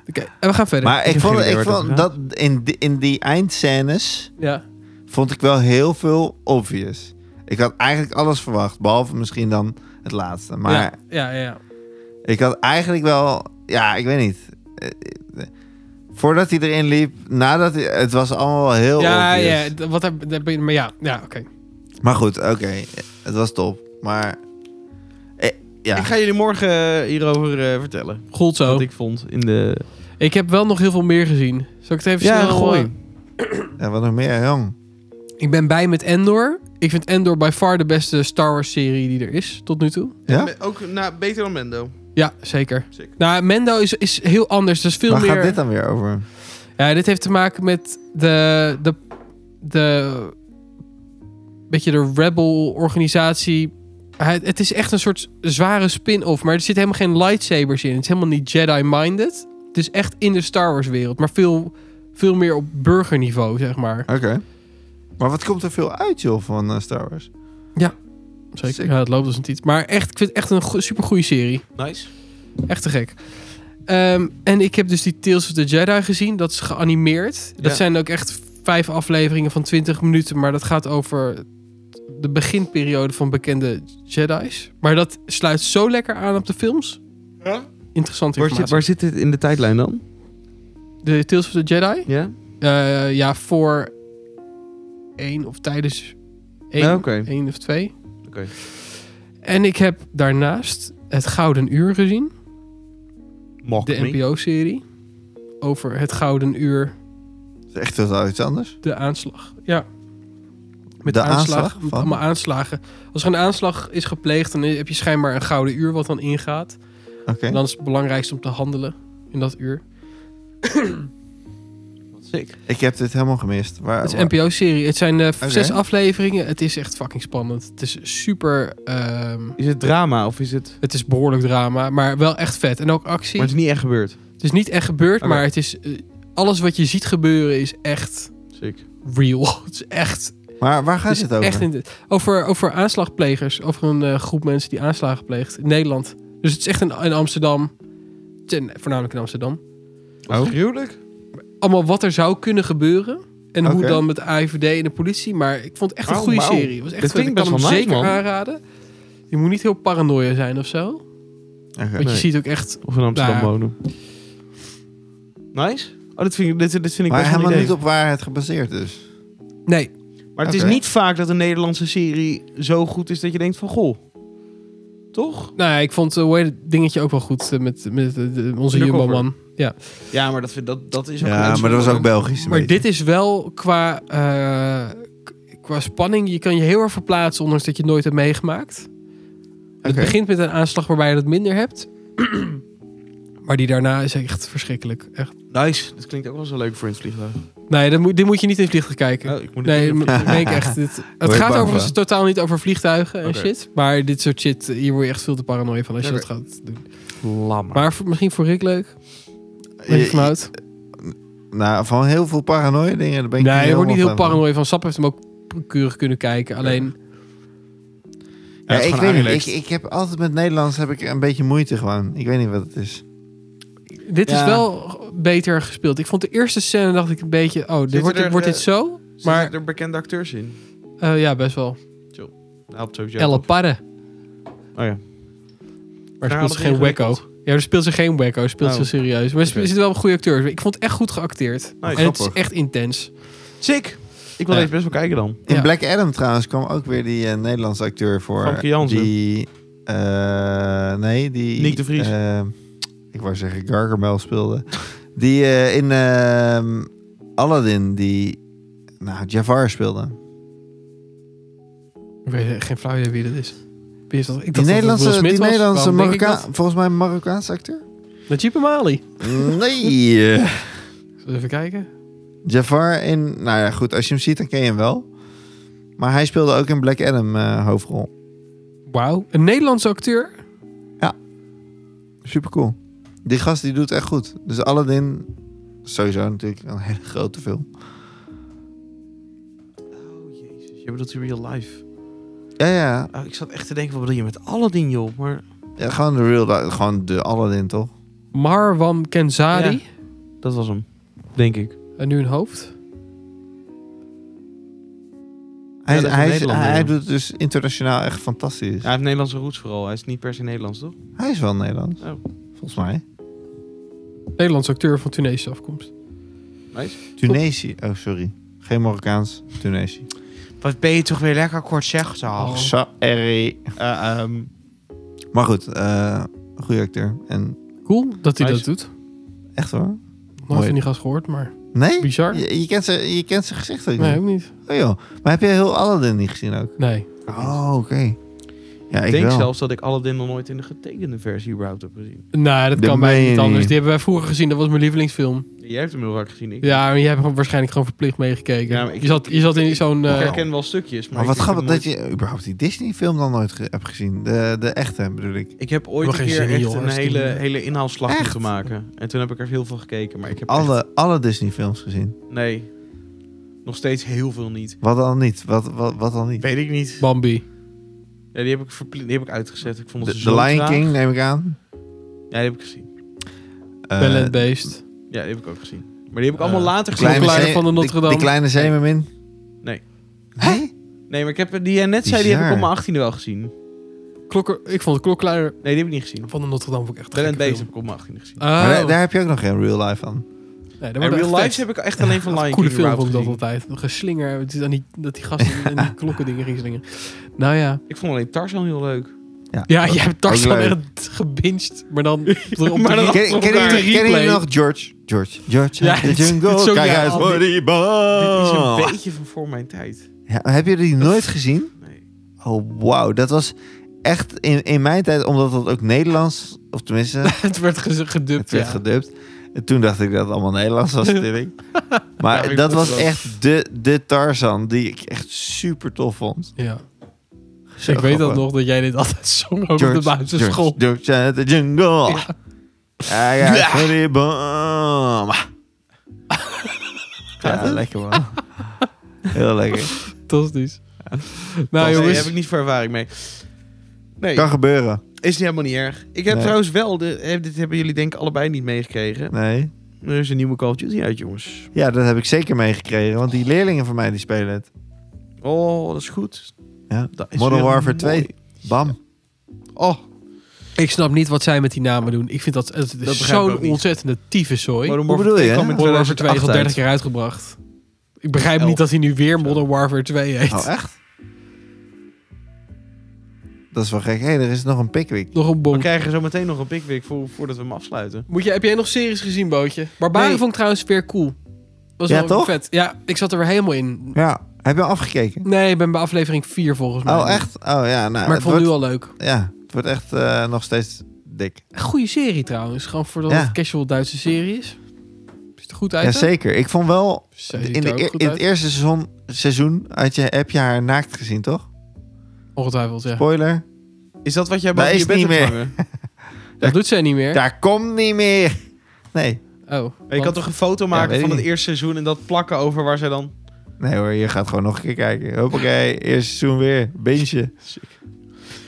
S2: Oké, en we gaan verder.
S3: Maar ik
S1: heb
S3: vond,
S1: geen idee
S3: ik
S1: waar het
S3: vond
S1: over
S3: dat in, die- in die eindscènes
S2: Ja.
S3: vond ik wel heel veel obvious. Ik had eigenlijk alles verwacht, behalve misschien dan het laatste. Maar
S2: Ja, ja, ja.
S3: ik had eigenlijk wel, ja, ik weet niet. Eh, eh, Voordat hij erin liep, nadat hij, het was allemaal wel heel
S2: Ja,
S3: obvious.
S2: ja, d- wat heb, daar ben je- maar ja, ja oké.
S3: Maar goed, oké, het was top. Maar eh, ja,
S1: Ik ga jullie morgen eh, hierover eh, vertellen.
S2: Goed zo.
S1: Wat
S2: Ik...
S1: ik vond in de...
S2: heb wel nog heel veel meer gezien. Zal ik het even snel gooien?
S1: eh,
S3: ja, wat nog meer, jong.
S2: Ik ben bij met Endor. Ik vind Endor by far de beste Star Wars serie die er is tot nu toe.
S3: Ja?
S1: Me- Ook na, beter dan Mendo.
S2: Ja, zeker.
S1: Sick.
S2: Nou, Mendo is, is heel anders. Dat is veel
S3: Waar
S2: meer...
S3: gaat dit dan weer over?
S2: Ja, dit heeft te maken met de. de. de. beetje de Rebel-organisatie. Hij- Het is echt een soort zware spin-off, maar er zitten helemaal geen lightsabers in. Het is helemaal niet Jedi-minded. Het is echt in de Star Wars-wereld, maar veel, veel meer op burgerniveau, zeg maar.
S3: Oké. Maar wat komt er veel uit, joh, van eh, Star Wars?
S2: Zeker.
S3: Sick.
S2: Ja, het loopt als een titel. Maar echt, ik vind het echt een go- supergoeie serie.
S1: Nice.
S2: Echt te gek. Ehm, en ik heb dus die Tales of the Jedi gezien. Dat is geanimeerd. Dat
S1: Ja.
S2: zijn ook echt vijf afleveringen van 20 minuten. Maar dat gaat over de beginperiode van bekende Jedi's. Maar dat sluit zo lekker aan op de films.
S1: Ja?
S2: Interessante
S1: Waar zit,
S2: informatie.
S1: waar zit dit in de tijdlijn dan?
S2: De Tales of the Jedi?
S1: Ja?
S2: Eh, ja, voor één of tijdens één,
S1: Ja, oké.
S2: één of twee.
S1: Oké.
S2: En ik heb daarnaast het Gouden Uur gezien.
S1: Mock
S2: De NPO-serie. Over het Gouden Uur
S3: Dat is echt wel iets anders.
S2: De aanslag, ja. Met
S3: De
S2: de aanslag,
S3: aanslag
S2: met
S3: van?
S2: allemaal aanslagen. Als er een aanslag is gepleegd, dan heb je schijnbaar een gouden uur wat dan ingaat.
S3: Oké.
S2: En dan is het belangrijkst om te handelen in dat uur.
S1: Sick.
S3: Ik heb dit helemaal gemist. Waar,
S2: Het is een NPO-serie. Het zijn eh,
S3: Oké.
S2: zes afleveringen. Het is echt fucking spannend. Het is super... ehm,
S1: Is het drama of is het...
S2: het is behoorlijk drama, maar wel echt vet. En ook actie.
S1: Maar het is niet echt gebeurd.
S2: Het is niet echt gebeurd,
S1: Oké.
S2: maar het is... eh, alles wat je ziet gebeuren is echt
S1: Sick.
S2: real. <laughs> het is echt
S3: maar waar gaat
S2: Dus
S3: dit over?
S2: Echt in de- over, over aanslagplegers. Over een eh, groep mensen die aanslagen pleegt in Nederland. Dus het is echt in, in Amsterdam. Het is in- voornamelijk in Amsterdam.
S1: Oh. Gruwelijk.
S2: Allemaal wat er zou kunnen gebeuren. En hoe
S3: Oké.
S2: dan met de AIVD en de politie. Maar ik vond het echt een
S1: Oh,
S2: goede
S1: wauw.
S2: serie. Het Was echt
S1: Dit
S2: vet.
S1: klinkt
S2: ik kan
S1: best
S2: hem
S1: wel nice,
S2: zeker
S1: man.
S2: aanraden. Je moet niet heel paranoia zijn of zo.
S3: Oké.
S2: Want
S1: Nee.
S2: je ziet ook echt
S3: Nou.
S1: Of in Amsterdam
S2: Nou.
S1: wonen. Nice. Oh, dit vind ik, dit, dit vind ik best wel
S3: maar
S1: een
S3: helemaal
S1: idee.
S3: niet op waarheid gebaseerd dus.
S2: Nee.
S1: Maar het
S3: Oké.
S1: is niet vaak dat een Nederlandse serie zo goed is dat je denkt van goh. Toch?
S2: Nou ja, ik vond eh, hoe heet het dingetje ook wel goed eh, met, met eh, de- onze
S1: Undercover.
S2: Jumbo-man. Ja.
S1: Ja, maar dat, vind- dat, dat is ook een
S3: Ja, maar dat
S1: uitzondering.
S3: was ook Belgisch. een
S2: Maar
S3: beetje.
S2: dit is wel qua, eh, k- qua spanning. Je kan je heel erg verplaatsen, ondanks dat je het nooit hebt meegemaakt. Het
S3: Oké.
S2: begint met een aanslag waarbij je dat minder hebt. <clears throat> maar die daarna is echt verschrikkelijk. Echt.
S1: Nice. Dat klinkt ook wel zo leuk voor in het vliegtuig.
S2: Nee, dat moet, dit moet je niet in vliegtuig kijken.
S1: Oh, ik moet dit
S2: Nee,
S1: doen.
S2: m-
S3: <laughs>
S2: meen ik echt. Dit,
S3: Word
S2: het
S3: je
S2: gaat
S3: bang
S2: overigens
S3: van?
S2: totaal niet over vliegtuigen en
S1: Oké.
S2: shit. Maar dit soort shit, hier word je echt veel te paranoia van als je
S1: Oké.
S2: dat gaat doen.
S1: <laughs> Lammer.
S2: Maar voor- misschien voor Rick leuk. Ben je
S3: Je-
S2: van houdt.
S3: Nou, van heel veel paranoia dingen. Daar ben ik
S2: Nee, je wordt niet heel
S3: helemaal van.
S2: paranoia van. Sap heeft hem ook keurig kunnen kijken. Alleen,
S1: Ja,
S3: Ja,
S1: het is
S3: ik
S1: gewoon
S3: weet niet. Ik,
S1: aangelegd.
S3: ik heb altijd met Nederlands heb ik een beetje moeite gewoon. Ik weet niet wat het is.
S2: dit
S1: Ja.
S2: is wel g- beter gespeeld. Ik vond de eerste scène, dacht ik een beetje... Oh, dit
S1: Zitten
S2: wordt,
S1: er,
S2: wordt dit
S1: eh,
S2: zo?
S1: Maar
S2: Maar
S1: Zitten er bekende acteurs in?
S2: eh, ja, best wel.
S1: Nou, op sowieso.
S2: Elle
S1: Oh
S2: Parre.
S1: ja.
S2: Maar
S1: Daar
S2: er speelt ze
S1: had
S2: geen
S1: het
S2: wacko. Ja, er speelt ze geen wacko. Er speelt
S1: Oh.
S2: ze serieus. Maar er
S1: Oké.
S2: zitten wel goede acteurs. Ik vond het echt goed geacteerd.
S1: Nice.
S2: en het is
S3: Grappig.
S2: echt intens.
S1: Sick. Ik wil
S3: Ja.
S1: even best wel kijken dan.
S3: In
S2: Ja.
S3: Black Adam trouwens kwam ook weer die eh, Nederlandse acteur voor.
S1: Famke Jansen.
S3: Die, eh, nee, die...
S1: Nick de Vries.
S3: eh, ik wou zeggen Gargamel speelde. <laughs> Die eh, in ehm, Aladdin, die... Nou, Jafar speelde.
S2: Ik weet geen flauw idee wie dat is. Wie is dat? Ik dacht dat
S3: Die
S2: het Will
S3: Nederlandse,
S2: Smith
S3: die
S2: was.
S3: Nederlandse
S2: Waarom denk ik
S3: Marokka volgens mij een
S2: <laughs>
S3: Marokkaanse acteur?
S2: dat? Najib Amali.
S3: Nee. eh,
S2: Zullen we Even kijken.
S3: Jafar in... Nou ja, goed. Als je hem ziet, dan ken je hem wel. Maar hij speelde ook in Black Adam eh, hoofdrol.
S2: Wauw. Een Nederlandse acteur.
S3: Supercool. Die gast die doet echt goed. Dus Aladdin... Sowieso natuurlijk een hele grote film.
S1: Oh jezus, je bedoelt real life.
S3: Ja, ja.
S1: Oh, ik zat echt te denken, wat bedoel je met Aladdin joh? Maar
S3: ja gewoon de real... li- Gewoon de Aladdin, toch?
S2: Marwan Kenzari.
S1: dat was hem. Denk ik.
S2: En nu een hoofd.
S3: Hij,
S1: dat is een
S3: hij, is-
S1: Nederlander,
S3: hij
S1: ja.
S3: doet dus internationaal echt fantastisch.
S1: Hij heeft Nederlandse roots vooral. Hij is niet per se Nederlands, toch?
S3: Hij is wel Nederlands.
S1: Oh.
S3: Volgens mij.
S2: Nederlandse acteur van Tunesische afkomst.
S1: Nice.
S3: Tunesië. Oh, sorry. Geen Marokkaans. Tunesië.
S1: Wat ben je toch weer lekker kort zegt,
S2: Oh.
S3: Sorry.
S1: Eh, ehm,
S3: Maar goed. eh goede acteur. En
S2: Cool dat hij
S1: Nice.
S2: dat doet.
S3: echt hoor.
S2: Nooit
S3: Mooi.
S2: van die gast gehoord, maar
S3: Nee?
S2: bizar.
S3: Je, je kent zijn, je kent zijn gezicht ook
S2: Nee,
S3: niet.
S2: ook niet.
S3: Oh joh. Maar heb je heel Aladdin niet gezien ook?
S2: Nee.
S3: Oh, oké. Ja, ik
S1: ik denk
S3: wel.
S1: zelfs dat ik Aladdin nog nooit in de getekende versie überhaupt heb gezien.
S2: Nou, dat
S3: Dat
S2: kan
S3: meen
S2: mij
S3: je
S2: niet anders.
S3: niet.
S2: Die hebben wij vroeger gezien. Dat was mijn lievelingsfilm.
S1: Jij hebt hem heel vaak gezien. Ik,
S2: Ja, maar jij hebt hem waarschijnlijk gewoon verplicht meegekeken.
S1: Ja, maar ik-
S2: je, zat, je zat in zo'n...
S1: ik
S2: eh,
S1: herken wel stukjes. Maar,
S3: Maar wat
S1: ik heb
S3: grappig
S1: hem
S3: dat je überhaupt die Disney-film dan nooit ge- hebt gezien. De, de echte bedoel ik.
S1: nooit- Ik heb ooit
S2: Nog
S1: een
S2: geen
S1: keer
S2: zin in,
S1: echt
S2: joh,
S1: een
S2: als die-
S1: hele, hele inhaalslag
S3: Echt?
S1: moeten maken. En toen heb ik er heel veel gekeken. Maar ik heb echt-
S3: Alle, alle Disney-films gezien.
S1: Nee. Nog steeds heel veel niet.
S3: Wat dan niet? Wat, wat, wat dan niet?
S1: Weet ik niet.
S2: Bambi.
S3: Eh,
S1: Ja, die, heb ik verpli- die heb ik uitgezet. Ik vond
S3: De,
S1: het
S3: de
S1: zo
S3: Lion
S1: traag.
S3: King neem ik aan.
S1: Ja, die heb ik gezien.
S3: Eh,
S2: Ballet Beest.
S1: Ja, die heb ik ook gezien. Maar die heb ik
S2: Eh,
S1: allemaal later gezien.
S2: Kleine
S3: kleine
S2: Klokkenluider
S3: Zee-
S2: van de Notre Dame.
S3: De, kleine zeemermin.
S1: Nee.
S3: Hé?
S1: Nee, maar ik heb die jij net zei, die heb ik
S3: Bizar.
S1: op mijn 18e wel gezien.
S2: Klokken, ik vond de klokkenluider
S1: Nee, die heb ik niet gezien.
S2: van de Notre Dame ook echt
S1: Ben
S2: een
S1: en
S2: gekke
S1: Beest
S2: film.
S1: heb ik op mijn 18e gezien.
S2: Oh.
S3: Maar daar, daar heb je ook nog geen real life van.
S2: Nee, dat
S1: En
S2: wordt
S1: real
S2: echt
S1: life
S2: vet.
S1: heb ik echt alleen van
S2: Ja,
S1: Lion King
S2: Coole film vond
S1: überhaupt
S2: ik dat
S1: gezien.
S2: altijd. Een Geslinger. Het is dan niet dat die gasten in die klokken dingen gingen slingen. Nou ja.
S1: Ik vond alleen Tarzan heel leuk.
S2: Ja, jij hebt Tarzan
S3: Oh. ook leuk.
S2: echt gebinged. Maar
S3: <laughs>
S2: dan... op
S1: maar
S2: de-
S1: dan-
S3: Ken, ken,
S1: elkaar.
S3: je, ken je
S2: Replay.
S3: nog George? George. George.
S2: Ja,
S3: uit
S2: dit-
S3: de
S2: dit is
S3: jungle.
S2: ook-
S3: Kijk
S2: ja,
S3: uit
S2: al
S3: voor
S2: die-
S3: die
S1: Dit is
S3: bal.
S1: een beetje van voor mijn tijd.
S3: Ja, heb je die nooit gezien?
S1: Nee.
S3: Oh, wauw. Dat was echt in, in mijn tijd, omdat dat ook Nederlands, of tenminste,
S2: <laughs> het werd gez- gedubt,
S3: <laughs> het werd
S2: ja.
S3: gedubt. En toen dacht ik dat het allemaal Nederlands was natuurlijk.
S1: Ja,
S3: Maar
S1: ik vond
S3: dat was
S1: het wel.
S3: echt de, de Tarzan, die ik echt super tof vond.
S2: Ja.
S3: Zo
S2: ik weet dat
S3: grappig.
S2: nog, dat jij dit altijd <laughs> zong ook op de
S3: George,
S2: basisschool.
S3: George uit de jungle. Ja, ja,
S2: Ja.
S3: voor die bom. Ja, lekker man. Heel lekker.
S2: Fantastisch.
S1: Nou,
S2: Nou
S1: Daar
S2: jongens,
S1: heb ik niet veel ervaring mee. Nee,
S3: Kan gebeuren.
S1: is helemaal niet erg. Ik heb
S3: Nee.
S1: trouwens wel, de, eh, dit hebben jullie denk ik allebei niet meegekregen.
S3: Nee.
S1: Er is een nieuwe Call of Duty uit, jongens.
S3: Ja, dat heb ik zeker meegekregen, want die leerlingen van mij die spelen het.
S1: Oh, dat is goed.
S3: Ja.
S1: Dat is
S3: Modern
S1: weer
S3: Warfare
S1: mooi.
S3: 2. Bam.
S1: Oh.
S2: Ik snap niet wat zij met die namen doen. Ik vind dat, het is
S1: begrijp ik ook
S2: zo'n
S1: niet.
S2: ontzettende tyfuszooi.
S1: Modern
S3: Hoe
S1: Warfare
S3: bedoel
S1: 2
S3: je, hè?
S1: kwam in
S2: Modern Warfare 2
S1: 2008
S2: is al 30
S1: uit.
S2: jaar uitgebracht. Ik begrijp
S1: Elf.
S2: niet dat hij nu weer Modern Warfare 2 heet.
S3: Oh, echt? Dat is wel gek. Hé, hey, er is nog een Pickwick.
S2: Nog een
S1: We
S2: bonk.
S1: krijgen zo meteen nog een Pickwick voor, voordat we hem afsluiten.
S2: Moet je, heb jij nog series gezien, Bootje? Barbaren
S3: Nee.
S2: vond ik trouwens weer cool. Was
S3: Ja,
S2: wel
S3: toch?
S2: vet. Ja, ik zat er weer helemaal in.
S3: Ja. Heb je al afgekeken?
S2: Nee, ik ben bij aflevering 4 volgens mij.
S3: Oh, echt? Oh, ja. Nou,
S2: Maar ik
S3: het
S2: vond het
S3: wordt,
S2: nu al leuk.
S3: Ja, het wordt echt eh, nog steeds dik.
S2: Goede serie trouwens. Gewoon voordat
S3: Ja.
S2: het casual Duitse serie is. Is er goed uit? hè?
S3: Jazeker. Ik vond wel...
S2: Ze ziet
S3: In, de
S2: er ook
S3: eer-
S2: goed
S3: in
S2: uit.
S3: het eerste seizoen, seizoen had je, heb je haar naakt gezien, toch?
S2: Ongetwijfeld, ja.
S3: Spoiler.
S1: Is dat wat jij
S3: Maar
S1: boven
S3: is
S1: je bed
S3: niet
S1: hebt
S3: meer.
S1: hangen?
S2: Dat doet zij niet meer.
S3: Daar komt niet meer. Nee.
S2: Oh.
S1: Maar Je kan
S2: <laughs>
S1: toch een foto maken
S3: weet
S1: van
S3: ik
S1: het
S3: niet.
S1: eerste seizoen en dat plakken over waar zij dan...
S3: Nee hoor, je gaat gewoon nog een keer kijken. Hoppakee, eerste seizoen weer. Bintje.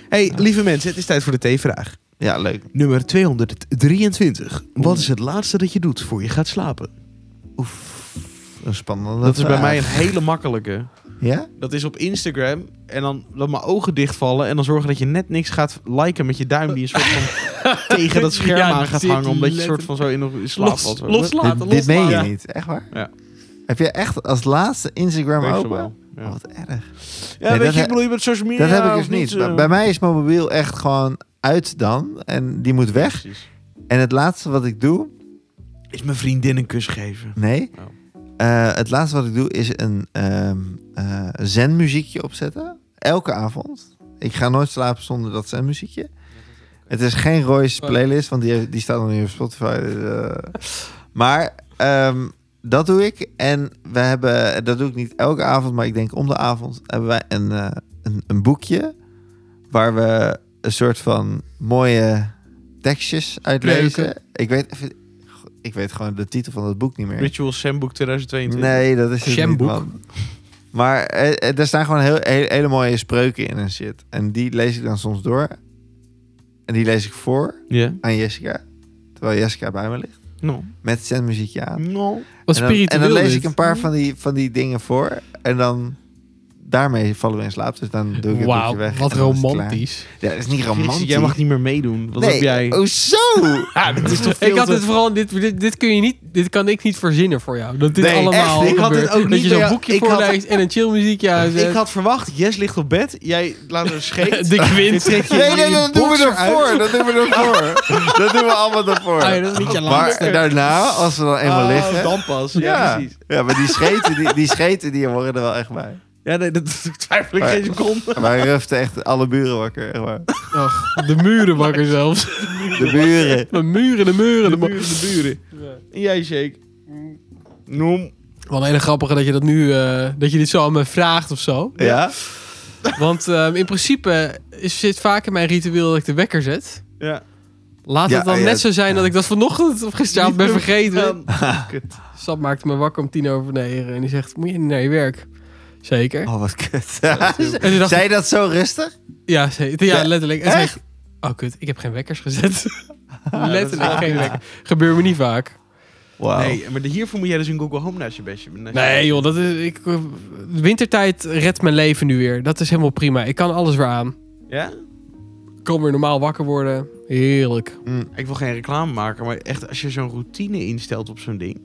S1: hey, lieve mensen, het is tijd voor de T-vraag.
S3: Ja, leuk.
S1: Nummer 223. Wat is het laatste dat je doet voor je gaat slapen?
S3: Een spannende
S1: Dat is bij
S3: vraag.
S1: mij een hele makkelijke.
S3: Ja?
S1: Dat is op Instagram. En dan dat mijn ogen dichtvallen. En dan zorgen dat je net niks gaat liken met je duim. Die een soort <laughs> van tegen dat scherm
S2: Ja,
S1: aan gaat
S2: dit
S1: hangen. Omdat je
S2: let-
S1: soort van zo in, in slaap
S2: Los,
S1: valt.
S2: loslaten,
S3: dit, dit meen je
S2: loslaten.
S3: niet, echt waar?
S1: Ja.
S3: Heb je echt als laatste Instagram
S1: Weet je
S3: open?
S1: wel.
S3: Oh,
S1: Ja,
S3: wat erg.
S1: Ja,
S3: Nee,
S1: weet
S3: dat
S1: je,
S3: he-
S1: ik bedoel, je bent social media
S3: dat heb ik
S1: of
S3: dus niet.
S1: eh,
S3: Bij- Bij mij is mijn mobiel echt gewoon uit dan. En die moet weg.
S1: precies.
S3: En het laatste wat ik doe...
S1: Is mijn vriendin een kus geven?
S3: Nee.
S1: Oh.
S3: Eh, het laatste wat ik doe is een ehm eh, zenmuziekje opzetten. Elke avond. Ik ga nooit slapen zonder dat zenmuziekje. Het is geen Roy's
S2: Oh.
S3: playlist, want die, die staat nog niet op Spotify. dus, eh. Maar ehm, dat doe ik. En we hebben, dat doe ik niet elke avond, maar ik denk om de avond hebben wij een, eh, een, een boekje. Waar we een soort van mooie tekstjes uitlezen.
S2: Leuke.
S3: Ik weet, ik weet gewoon de titel van het boek niet meer.
S1: Ritual Sambook 2022.
S3: Nee, dat is het niet,
S2: Shamboek.
S3: man. Maar eh, eh, er staan gewoon heel, heel- hele mooie spreuken in en shit. En die lees ik dan soms door. En die lees ik voor
S1: Ja. Nou.
S3: aan Jessica. Terwijl Jessica bij me ligt.
S1: No.
S3: Met zendmuziekje aan.
S1: No.
S2: Wat
S3: en, dan, en
S2: spiritueel
S3: dan lees
S2: dit.
S3: ik een paar van die, van die dingen voor. En dan... Daarmee vallen we in slaap. Dus dan doe ik het boekje
S2: Wauw,
S3: weg.
S2: wat
S3: en dan is het klaar.
S2: romantisch.
S3: Ja, dat is niet romantisch.
S1: Jij mag niet meer meedoen. Wat
S3: nee, Oh.
S1: heb jij?
S3: hoezo?
S1: <laughs> Ja, Ah, dit is toch
S2: Ik
S1: veel
S2: had
S1: te-
S2: dit vooral, dit, dit, dit kun je niet, dit kan ik niet verzinnen voor jou. Dat dit
S3: Nee,
S2: allemaal
S3: echt, ik
S1: had dit
S2: gebeurt.
S1: ook
S2: Dat
S1: niet
S2: je zo'n
S1: bij-
S2: boekje
S1: ik had-
S2: voorleest en een chill muziekje
S1: Ik
S2: aanzet.
S1: had verwacht, Jess ligt op bed. Jij laat een
S2: <laughs>
S1: <laughs> scheet.
S3: <laughs>
S2: De
S1: Je
S2: kwint.
S1: trekt je
S3: Nee, nee, dat doen we
S1: boxer uit.
S3: ervoor. Dat doen
S1: <laughs>
S3: we ervoor. dat doen we allemaal ervoor.
S2: Ah, ja, dat is niet je
S3: Maar eh,
S2: laatste.
S3: daarna, als we dan eenmaal
S1: Oh,
S3: liggen...
S1: Dan pas. Ja, precies.
S3: ja, maar die scheten, die, die scheten die horen er wel echt bij.
S1: Ja, nee, dat <laughs> dat twijfel ik
S3: Maar-
S1: geen
S3: <laughs>
S1: seconde.
S3: Wij ruften echt alle buren wakker, echt waar.
S2: Ach, de <laughs> muren wakker zelfs.
S3: De buren.
S2: De muren, de
S1: De
S2: muren. De
S1: buren, de buren. En jij, Shake? Noem.
S2: Wel een hele grappige dat je dat nu, eh, dat je dit zo aan me vraagt of zo. <laughs>
S3: Ja?
S2: Want ehm, in principe is, zit vaak in mijn ritueel dat ik de wekker zet.
S1: Ja.
S2: Laat
S3: Ja,
S2: het dan
S3: ja,
S2: net zo zijn dat ik dat vanochtend of gisteravond ben
S1: Niet
S2: vergeten.
S1: doen. Ah, kut.
S2: Sap maakte me wakker om tien over negen en die zegt, moet je niet naar je werk? Zeker.
S3: Oh, wat kut. <laughs>
S2: En toen dacht ik,
S3: Zij dat zo rustig?
S2: ja, zeker. ja,
S3: Ja,
S2: letterlijk. En toen dacht ik, oh kut, ik heb geen wekkers <laughs> gezet. letterlijk geen wekker. Gebeurt me niet vaak.
S3: Wauw.
S1: Nee, maar de- hiervoor moet jij dus een Google Home naast je bedje. naast je
S2: Nee
S1: bedje.
S2: joh, dat is, ik, eh, wintertijd redt mijn leven nu weer. Dat is helemaal prima. Ik kan alles weer aan.
S1: Ja?
S2: Ik kan weer normaal wakker worden. Heerlijk.
S3: Mm.
S1: Ik wil geen reclame maken, maar echt als je zo'n routine instelt op zo'n ding,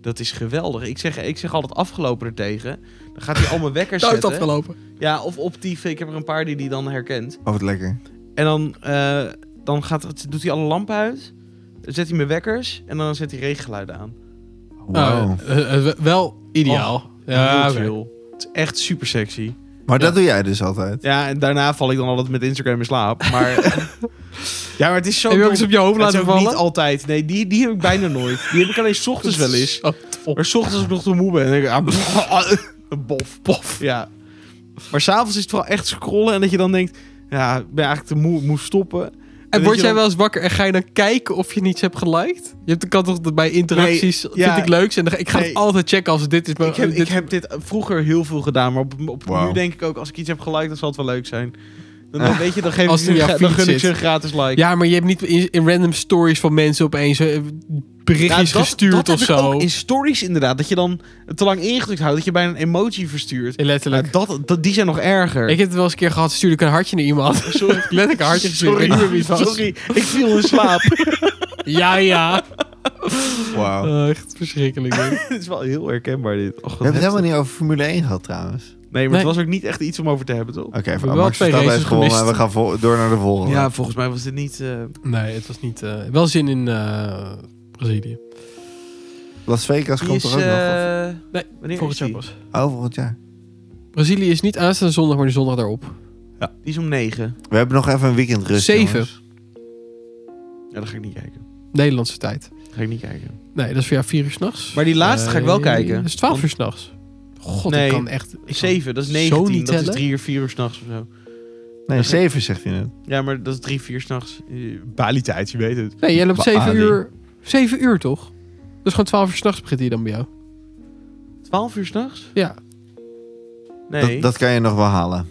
S1: dat is geweldig. Ik zeg, ik zeg altijd afgelopen er tegen. Dan gaat hij al mijn
S2: <laughs>
S1: wekkers
S2: Tijd
S1: zetten.
S2: afgelopen.
S1: Ja, of optieven. Ik heb er een paar die die dan herkent.
S3: Oh, wat lekker.
S1: En dan, eh, dan gaat, het- doet hij alle lampen uit. Dan zet hij mijn wekkers en dan zet hij regengeluiden aan.
S3: Wauw.
S1: Oh.
S2: Nou, eh, eh, wel ideaal.
S1: Heel
S2: ja, oké.
S1: chill. Het is echt super sexy.
S3: maar dat doe jij dus altijd.
S1: Ja, en daarna val ik dan altijd met Instagram in slaap.
S2: <laughs>
S1: Maar, ja, maar het is zo...
S2: Heb je ook
S1: dom.
S2: eens op je
S1: Het
S2: hoofd
S1: is
S2: laten
S1: ook
S2: vallen?
S1: niet altijd. Nee, die, die heb ik bijna nooit. Die heb ik alleen 's ochtends wel eens.
S2: Oh, top.
S1: Maar 's ochtends als ik nog te moe ben, dan denk ik... ah, pff,
S2: <laughs>
S1: ah, een bof, bof. Ja. Maar s'avonds is het wel echt scrollen en dat je dan denkt... Ja, ik ben eigenlijk te moe, ik moet stoppen.
S2: En
S1: dat
S2: word
S1: je
S2: jij
S1: dan-
S2: wel eens wakker en ga je dan kijken of je niets hebt geliked? Je hebt de kant toch dat bij interacties,
S1: ja.
S2: vind ik leuks. En dan, ik ga
S1: Nee.
S2: het altijd checken als dit is. Maar,
S1: Ik heb,
S2: Oh, dit,
S1: ik heb dit vroeger heel veel gedaan, maar op, op,
S3: Wauw.
S1: nu denk ik ook... Als ik iets heb geliked, dan zal het wel leuk zijn. Dan, dan
S3: Ah.
S1: weet je, dan, geef
S2: Als
S1: ik,
S2: het in
S1: ze-
S2: jouw
S1: dan
S2: feed
S1: gun ik ze
S2: zit.
S1: een gratis like.
S2: ja, maar je hebt niet in, in random stories van mensen opeens eh, berichtjes
S1: Ja, Nou, dat-
S2: gestuurd
S1: dat heb
S2: of
S1: ik
S2: zo.
S1: ook in stories inderdaad. Dat je dan het te lang ingedrukt houdt. Dat je bijna een emoji verstuurt. Ja,
S2: Letterlijk.
S1: dat, dat, die zijn nog erger.
S2: Ik heb het wel eens een keer gehad, stuurde ik een hartje naar iemand.
S1: Oh, Sorry.
S2: <laughs> Letterlijk een hartje gestuurd. Ik weet niet meer wie
S1: Sorry,
S2: het was. <laughs>
S1: sorry, ik viel in slaap.
S2: Ja, ja.
S3: Wauw.
S2: Oh, echt verschrikkelijk. joh.
S1: <laughs> Het is wel heel herkenbaar dit. Och, wat
S3: We hebben het
S1: heftig.
S3: helemaal niet over Formule 1 gehad trouwens.
S1: Nee, maar
S2: Nee.
S1: het was ook niet echt iets om over te hebben, toch?
S3: Oké,
S2: hebben wel
S3: Max
S2: twee
S3: Verstappen heeft
S2: races
S3: gewonnen.
S2: gemist.
S3: We gaan vol- door naar de volgende.
S1: Ja, volgens mij was dit niet... eh,
S2: Nee, het was niet... eh, wel zin in eh, Brazilië.
S3: Las Vegas
S1: die
S3: komt
S1: is,
S3: er ook nog.
S1: eh,
S2: Nee,
S1: wanneer
S2: Volgend
S1: is
S2: jaar
S1: die?
S2: pas.
S3: Of... Oh, volgend jaar.
S2: Brazilië is niet aanstaande zondag, maar de zondag daarop.
S1: Die is om negen.
S3: We hebben nog even een weekend rust,
S2: Zeven.
S3: jongens.
S1: Ja, dat ga ik niet kijken.
S2: Nederlandse tijd.
S1: Dat ga ik niet kijken.
S2: Nee, dat is voor jou vier uur s'nachts.
S1: Maar die laatste ga ik wel kijken.
S2: Dat is twaalf
S1: Want-
S2: uur s'nachts. God,
S1: Eh, Nee,
S2: ik kan echt... ik kan-
S1: Zeven, dat is
S2: Zo niet
S1: negentien. Dat is
S2: tellen?
S1: drie uur, vier uur s'nachts of zo.
S3: Nee, zeven zegt hij net.
S1: Ja, maar dat is drie, vier s'nachts. Eh, Bali-tijd, je weet het.
S2: Nee, jij loopt
S3: Ba-
S2: zeven
S3: Ali.
S2: uur... Zeven uur, toch? Dus gewoon twaalf uur s'nachts begint hij dan bij jou.
S1: Twaalf uur s'nachts?
S2: Ja.
S1: Nee.
S3: Dat, dat kan je nog wel halen.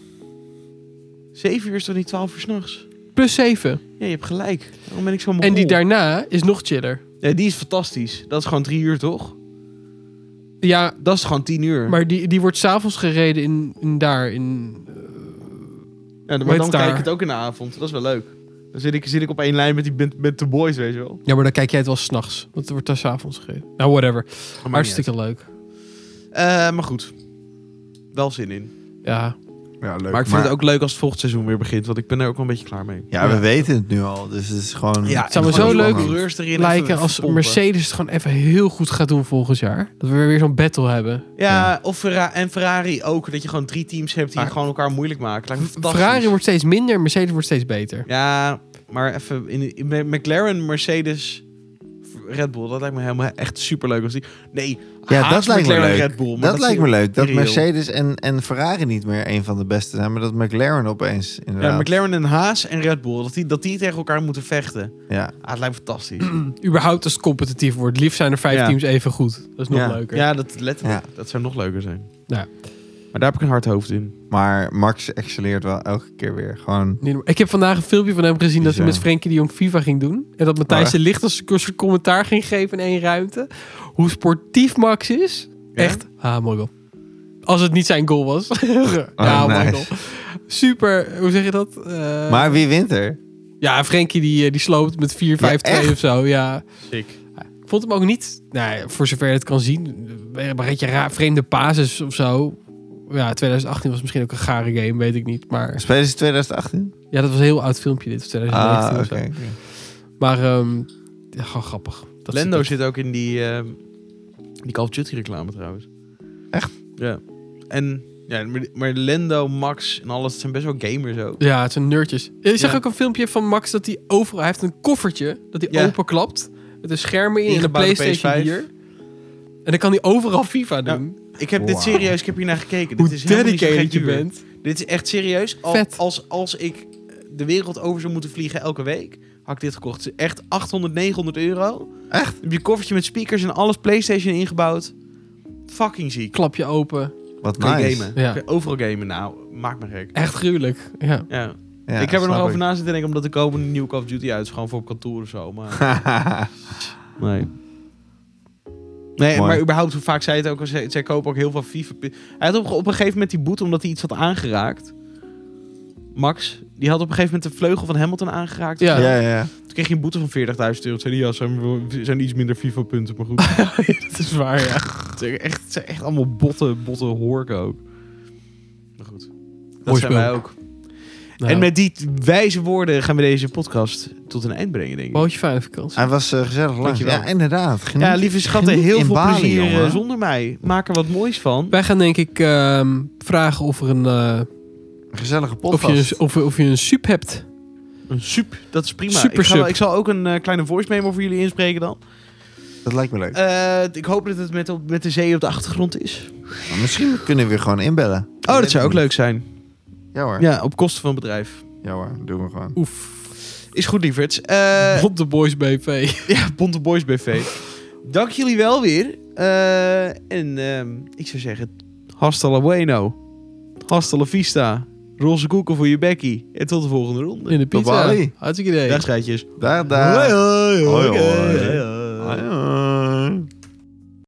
S1: Zeven uur is toch niet twaalf uur s'nachts?
S2: Plus zeven.
S1: Ja, je hebt gelijk. Waarom ben ik zo mooi?
S2: En die daarna is nog chiller.
S1: Ja, die is fantastisch. Dat is gewoon drie uur, toch?
S2: Ja,
S1: Dat is gewoon tien uur.
S2: maar die, die wordt s'avonds gereden in, in daar. In,
S1: Ja,
S2: Weet
S1: maar dan
S2: daar.
S1: kijk ik het ook in de avond. Dat is wel leuk. Dan zit ik, zit ik op één lijn met, die, met, met de boys, weet je wel.
S2: Ja, maar dan kijk jij het wel s'nachts. Want het wordt daar s'avonds gereden. Nou, whatever.
S1: Maar
S2: Hartstikke leuk.
S1: Eh, maar goed. Wel zin in.
S2: Ja.
S3: Ja, leuk.
S1: Maar ik vind het ook leuk als het volgend seizoen weer begint. Want ik ben er ook wel een beetje klaar mee.
S3: Ja, we
S2: Ja.
S3: weten het nu al. Dus het is gewoon...
S1: Ja,
S2: zou me
S1: gewoon
S2: zo
S1: die
S2: leuk
S3: spannend.
S1: coureurs erin
S2: Lijken
S1: even
S2: als
S1: pompen.
S2: Mercedes het gewoon even heel goed gaat doen volgend jaar. Dat we weer zo'n battle hebben.
S1: Ja, of Ferra en Ferrari ook. Dat je gewoon drie teams hebt die
S2: Maar-
S1: gewoon elkaar moeilijk maken. Lijkt me fantastisch.
S2: Ferrari wordt steeds minder, Mercedes wordt steeds beter.
S1: Ja, maar even in, in Ma- McLaren, Mercedes, Red Bull. Dat lijkt me helemaal echt superleuk als die. Nee,
S3: Ja,
S1: haat
S3: dat lijkt me
S1: McLaren,
S3: leuk.
S1: Red Bull, maar
S3: Dat, lijkt me leuk. Dat
S1: irreëel.
S3: Mercedes en, en Ferrari niet meer een van de beste zijn. Maar dat McLaren opeens inderdaad.
S1: Ja, McLaren en Haas en Red Bull. Dat die, dat die tegen elkaar moeten vechten.
S3: Ja.
S1: Ah, het lijkt me fantastisch.
S2: Überhaupt als het competitief wordt. Liefst zijn er vijf
S1: Ja.
S2: teams even goed. Dat is nog
S3: Ja.
S2: leuker.
S1: Ja, dat letterlijk. Dat zou nog leuker zijn.
S2: Ja.
S1: Maar daar heb ik een hard hoofd in.
S3: Maar Max excelleert wel elke keer weer. Gewoon...
S2: Nee, maar Ik heb vandaag een filmpje van hem gezien dat hij
S3: Bizar.
S2: met Frenkie de Jong FIFA ging doen. En dat Matthijs
S3: Oh,
S2: de Licht als een soort commentaar ging geven in één ruimte. Hoe sportief Max is.
S1: Ja?
S2: Echt, ah, mooi goal. Als het niet zijn goal was. <laughs>
S1: Nou,
S2: ja, mooi
S3: oh, nice.
S2: goal. Super, hoe zeg je dat? Eh,
S3: <laughs> Maar wie wint er?
S2: Ja, Frenkie die, eh, die sloopt met 4-5-2
S3: Ja, echt?
S2: of zo. Ja.
S1: Sick.
S2: Ik vond hem ook niet, nou, ja, voor zover je het kan zien, eh, een beetje raar, vreemde basis of zo. Ja, 2018 was misschien ook een gare game, weet ik niet. Maar
S3: Spelen ze 2018?
S2: ja, dat was een heel oud filmpje dit, of 2019
S3: Ah,
S2: of
S3: oké.
S2: zo. Maar ehm, ja, gewoon grappig. Dat
S1: Lendo
S2: dat-
S1: zit ook in die, ehm, die Call of Duty reclame trouwens.
S3: Echt?
S1: Ja. En ja, maar, maar Lendo, Max en alles het zijn best wel gamers ook.
S2: Ja, het zijn nerdjes. Ik zag
S1: Ja.
S2: ook een filmpje van Max dat hij overal... Hij heeft een koffertje dat hij
S1: Ja.
S2: openklapt. Met een scherm in en een
S1: Ingebouwde
S2: Playstation
S1: PS5.
S2: hier. En dan kan hij overal FIFA
S1: Ja,
S2: doen.
S1: Ik heb dit
S3: Wow.
S1: serieus, ik heb hier naar gekeken.
S2: Hoe
S1: dit is helemaal niet zo gek
S2: dedicated je
S1: duur.
S2: bent.
S1: Dit is echt serieus. Al-
S2: Vet.
S1: Als, als ik de wereld over zou moeten vliegen elke week, had ik dit gekocht. Het is echt 800, 900 euro.
S3: Echt?
S1: Heb je koffertje met speakers en alles PlayStation ingebouwd. Fucking ziek.
S2: Klap je open.
S3: Wat
S1: Kan je
S3: nice.
S1: gamen.
S2: Ja.
S1: Kan je Overal gamen. Nou, maak me gek.
S2: Echt gruwelijk. Ja. <laughs>
S1: Ja.
S3: Ja,
S1: ik heb er nog
S3: snap
S1: over
S3: ik.
S1: na zitten denken, omdat de komende nieuwe Call of Duty uit is. Gewoon voor op kantoor of zo. Maar
S3: <laughs>
S1: nee. Nee,
S3: Mooi.
S1: maar überhaupt, hoe vaak zij het ook, al zei- zij kopen ook heel veel FIFA. Hij had op, op een gegeven moment die boete, omdat hij iets had aangeraakt. Max, die had op een gegeven moment de vleugel van Hamilton aangeraakt.
S2: Ja.
S3: ja, ja, ja.
S1: Toen kreeg hij een boete van 40.000 euro. Toen zei hij, ja, zijn, we- zijn iets minder FIFA-punten,
S2: <laughs>
S1: maar goed.
S2: dat is waar, ja.
S1: het, zijn echt, het zijn echt allemaal botte, botte horken ook. Maar goed, dat
S2: Mooi
S1: zijn
S2: spel.
S1: wij ook.
S2: Nou,
S1: En met die t- wijze woorden gaan we deze podcast tot een eind brengen, denk ik.
S2: Bootje fijne vakantie.
S1: Ah.
S3: Hij was eh, gezellig lang.
S1: Dankjewel.
S3: Ja, inderdaad. Geniet.
S1: Ja, lieve schatten,
S3: geniet
S1: heel
S3: in
S1: veel
S3: Bali,
S1: plezier eh,
S3: jongen.
S1: zonder mij. Maak er wat moois van.
S2: Wij gaan denk ik ehm, vragen of, er een, eh,
S3: Gezellige
S2: of,
S3: podcast.
S1: dus-
S2: je, of, of je een sup hebt.
S1: Een sup, dat is prima.
S2: Super
S1: ik, ga, wel-
S2: sup.
S1: ik zal ook een eh, kleine voice memo voor jullie inspreken dan.
S3: Dat lijkt me leuk.
S1: Eh, ik hoop dat het met, op- met de zee op de achtergrond is.
S3: Maar misschien kunnen we weer gewoon inbellen.
S1: Oh, dat zou ook leuk zijn.
S3: Ja hoor. Ja,
S1: Ja, op kosten van het bedrijf.
S3: hoor. Doen we gewoon.
S2: Oef.
S1: Is goed, lieverds. Eh,
S2: Op de Boys BV.
S1: <laughs> ja, Bonte Boys BV. Dank jullie wel weer. Eh, en ehm, ik zou zeggen, hasta la bueno. Hasta la vista. Roze koeken voor je bekkie. En tot de volgende ronde.
S2: In de
S3: Tot
S2: pizza.
S3: Bali.
S2: Hartstikke idee.
S1: Dag, schatjes.
S3: Daar, daar.
S1: hoi,
S3: Hoi, hoi.
S1: hoi, hoi, hoi.
S3: Ah, ja.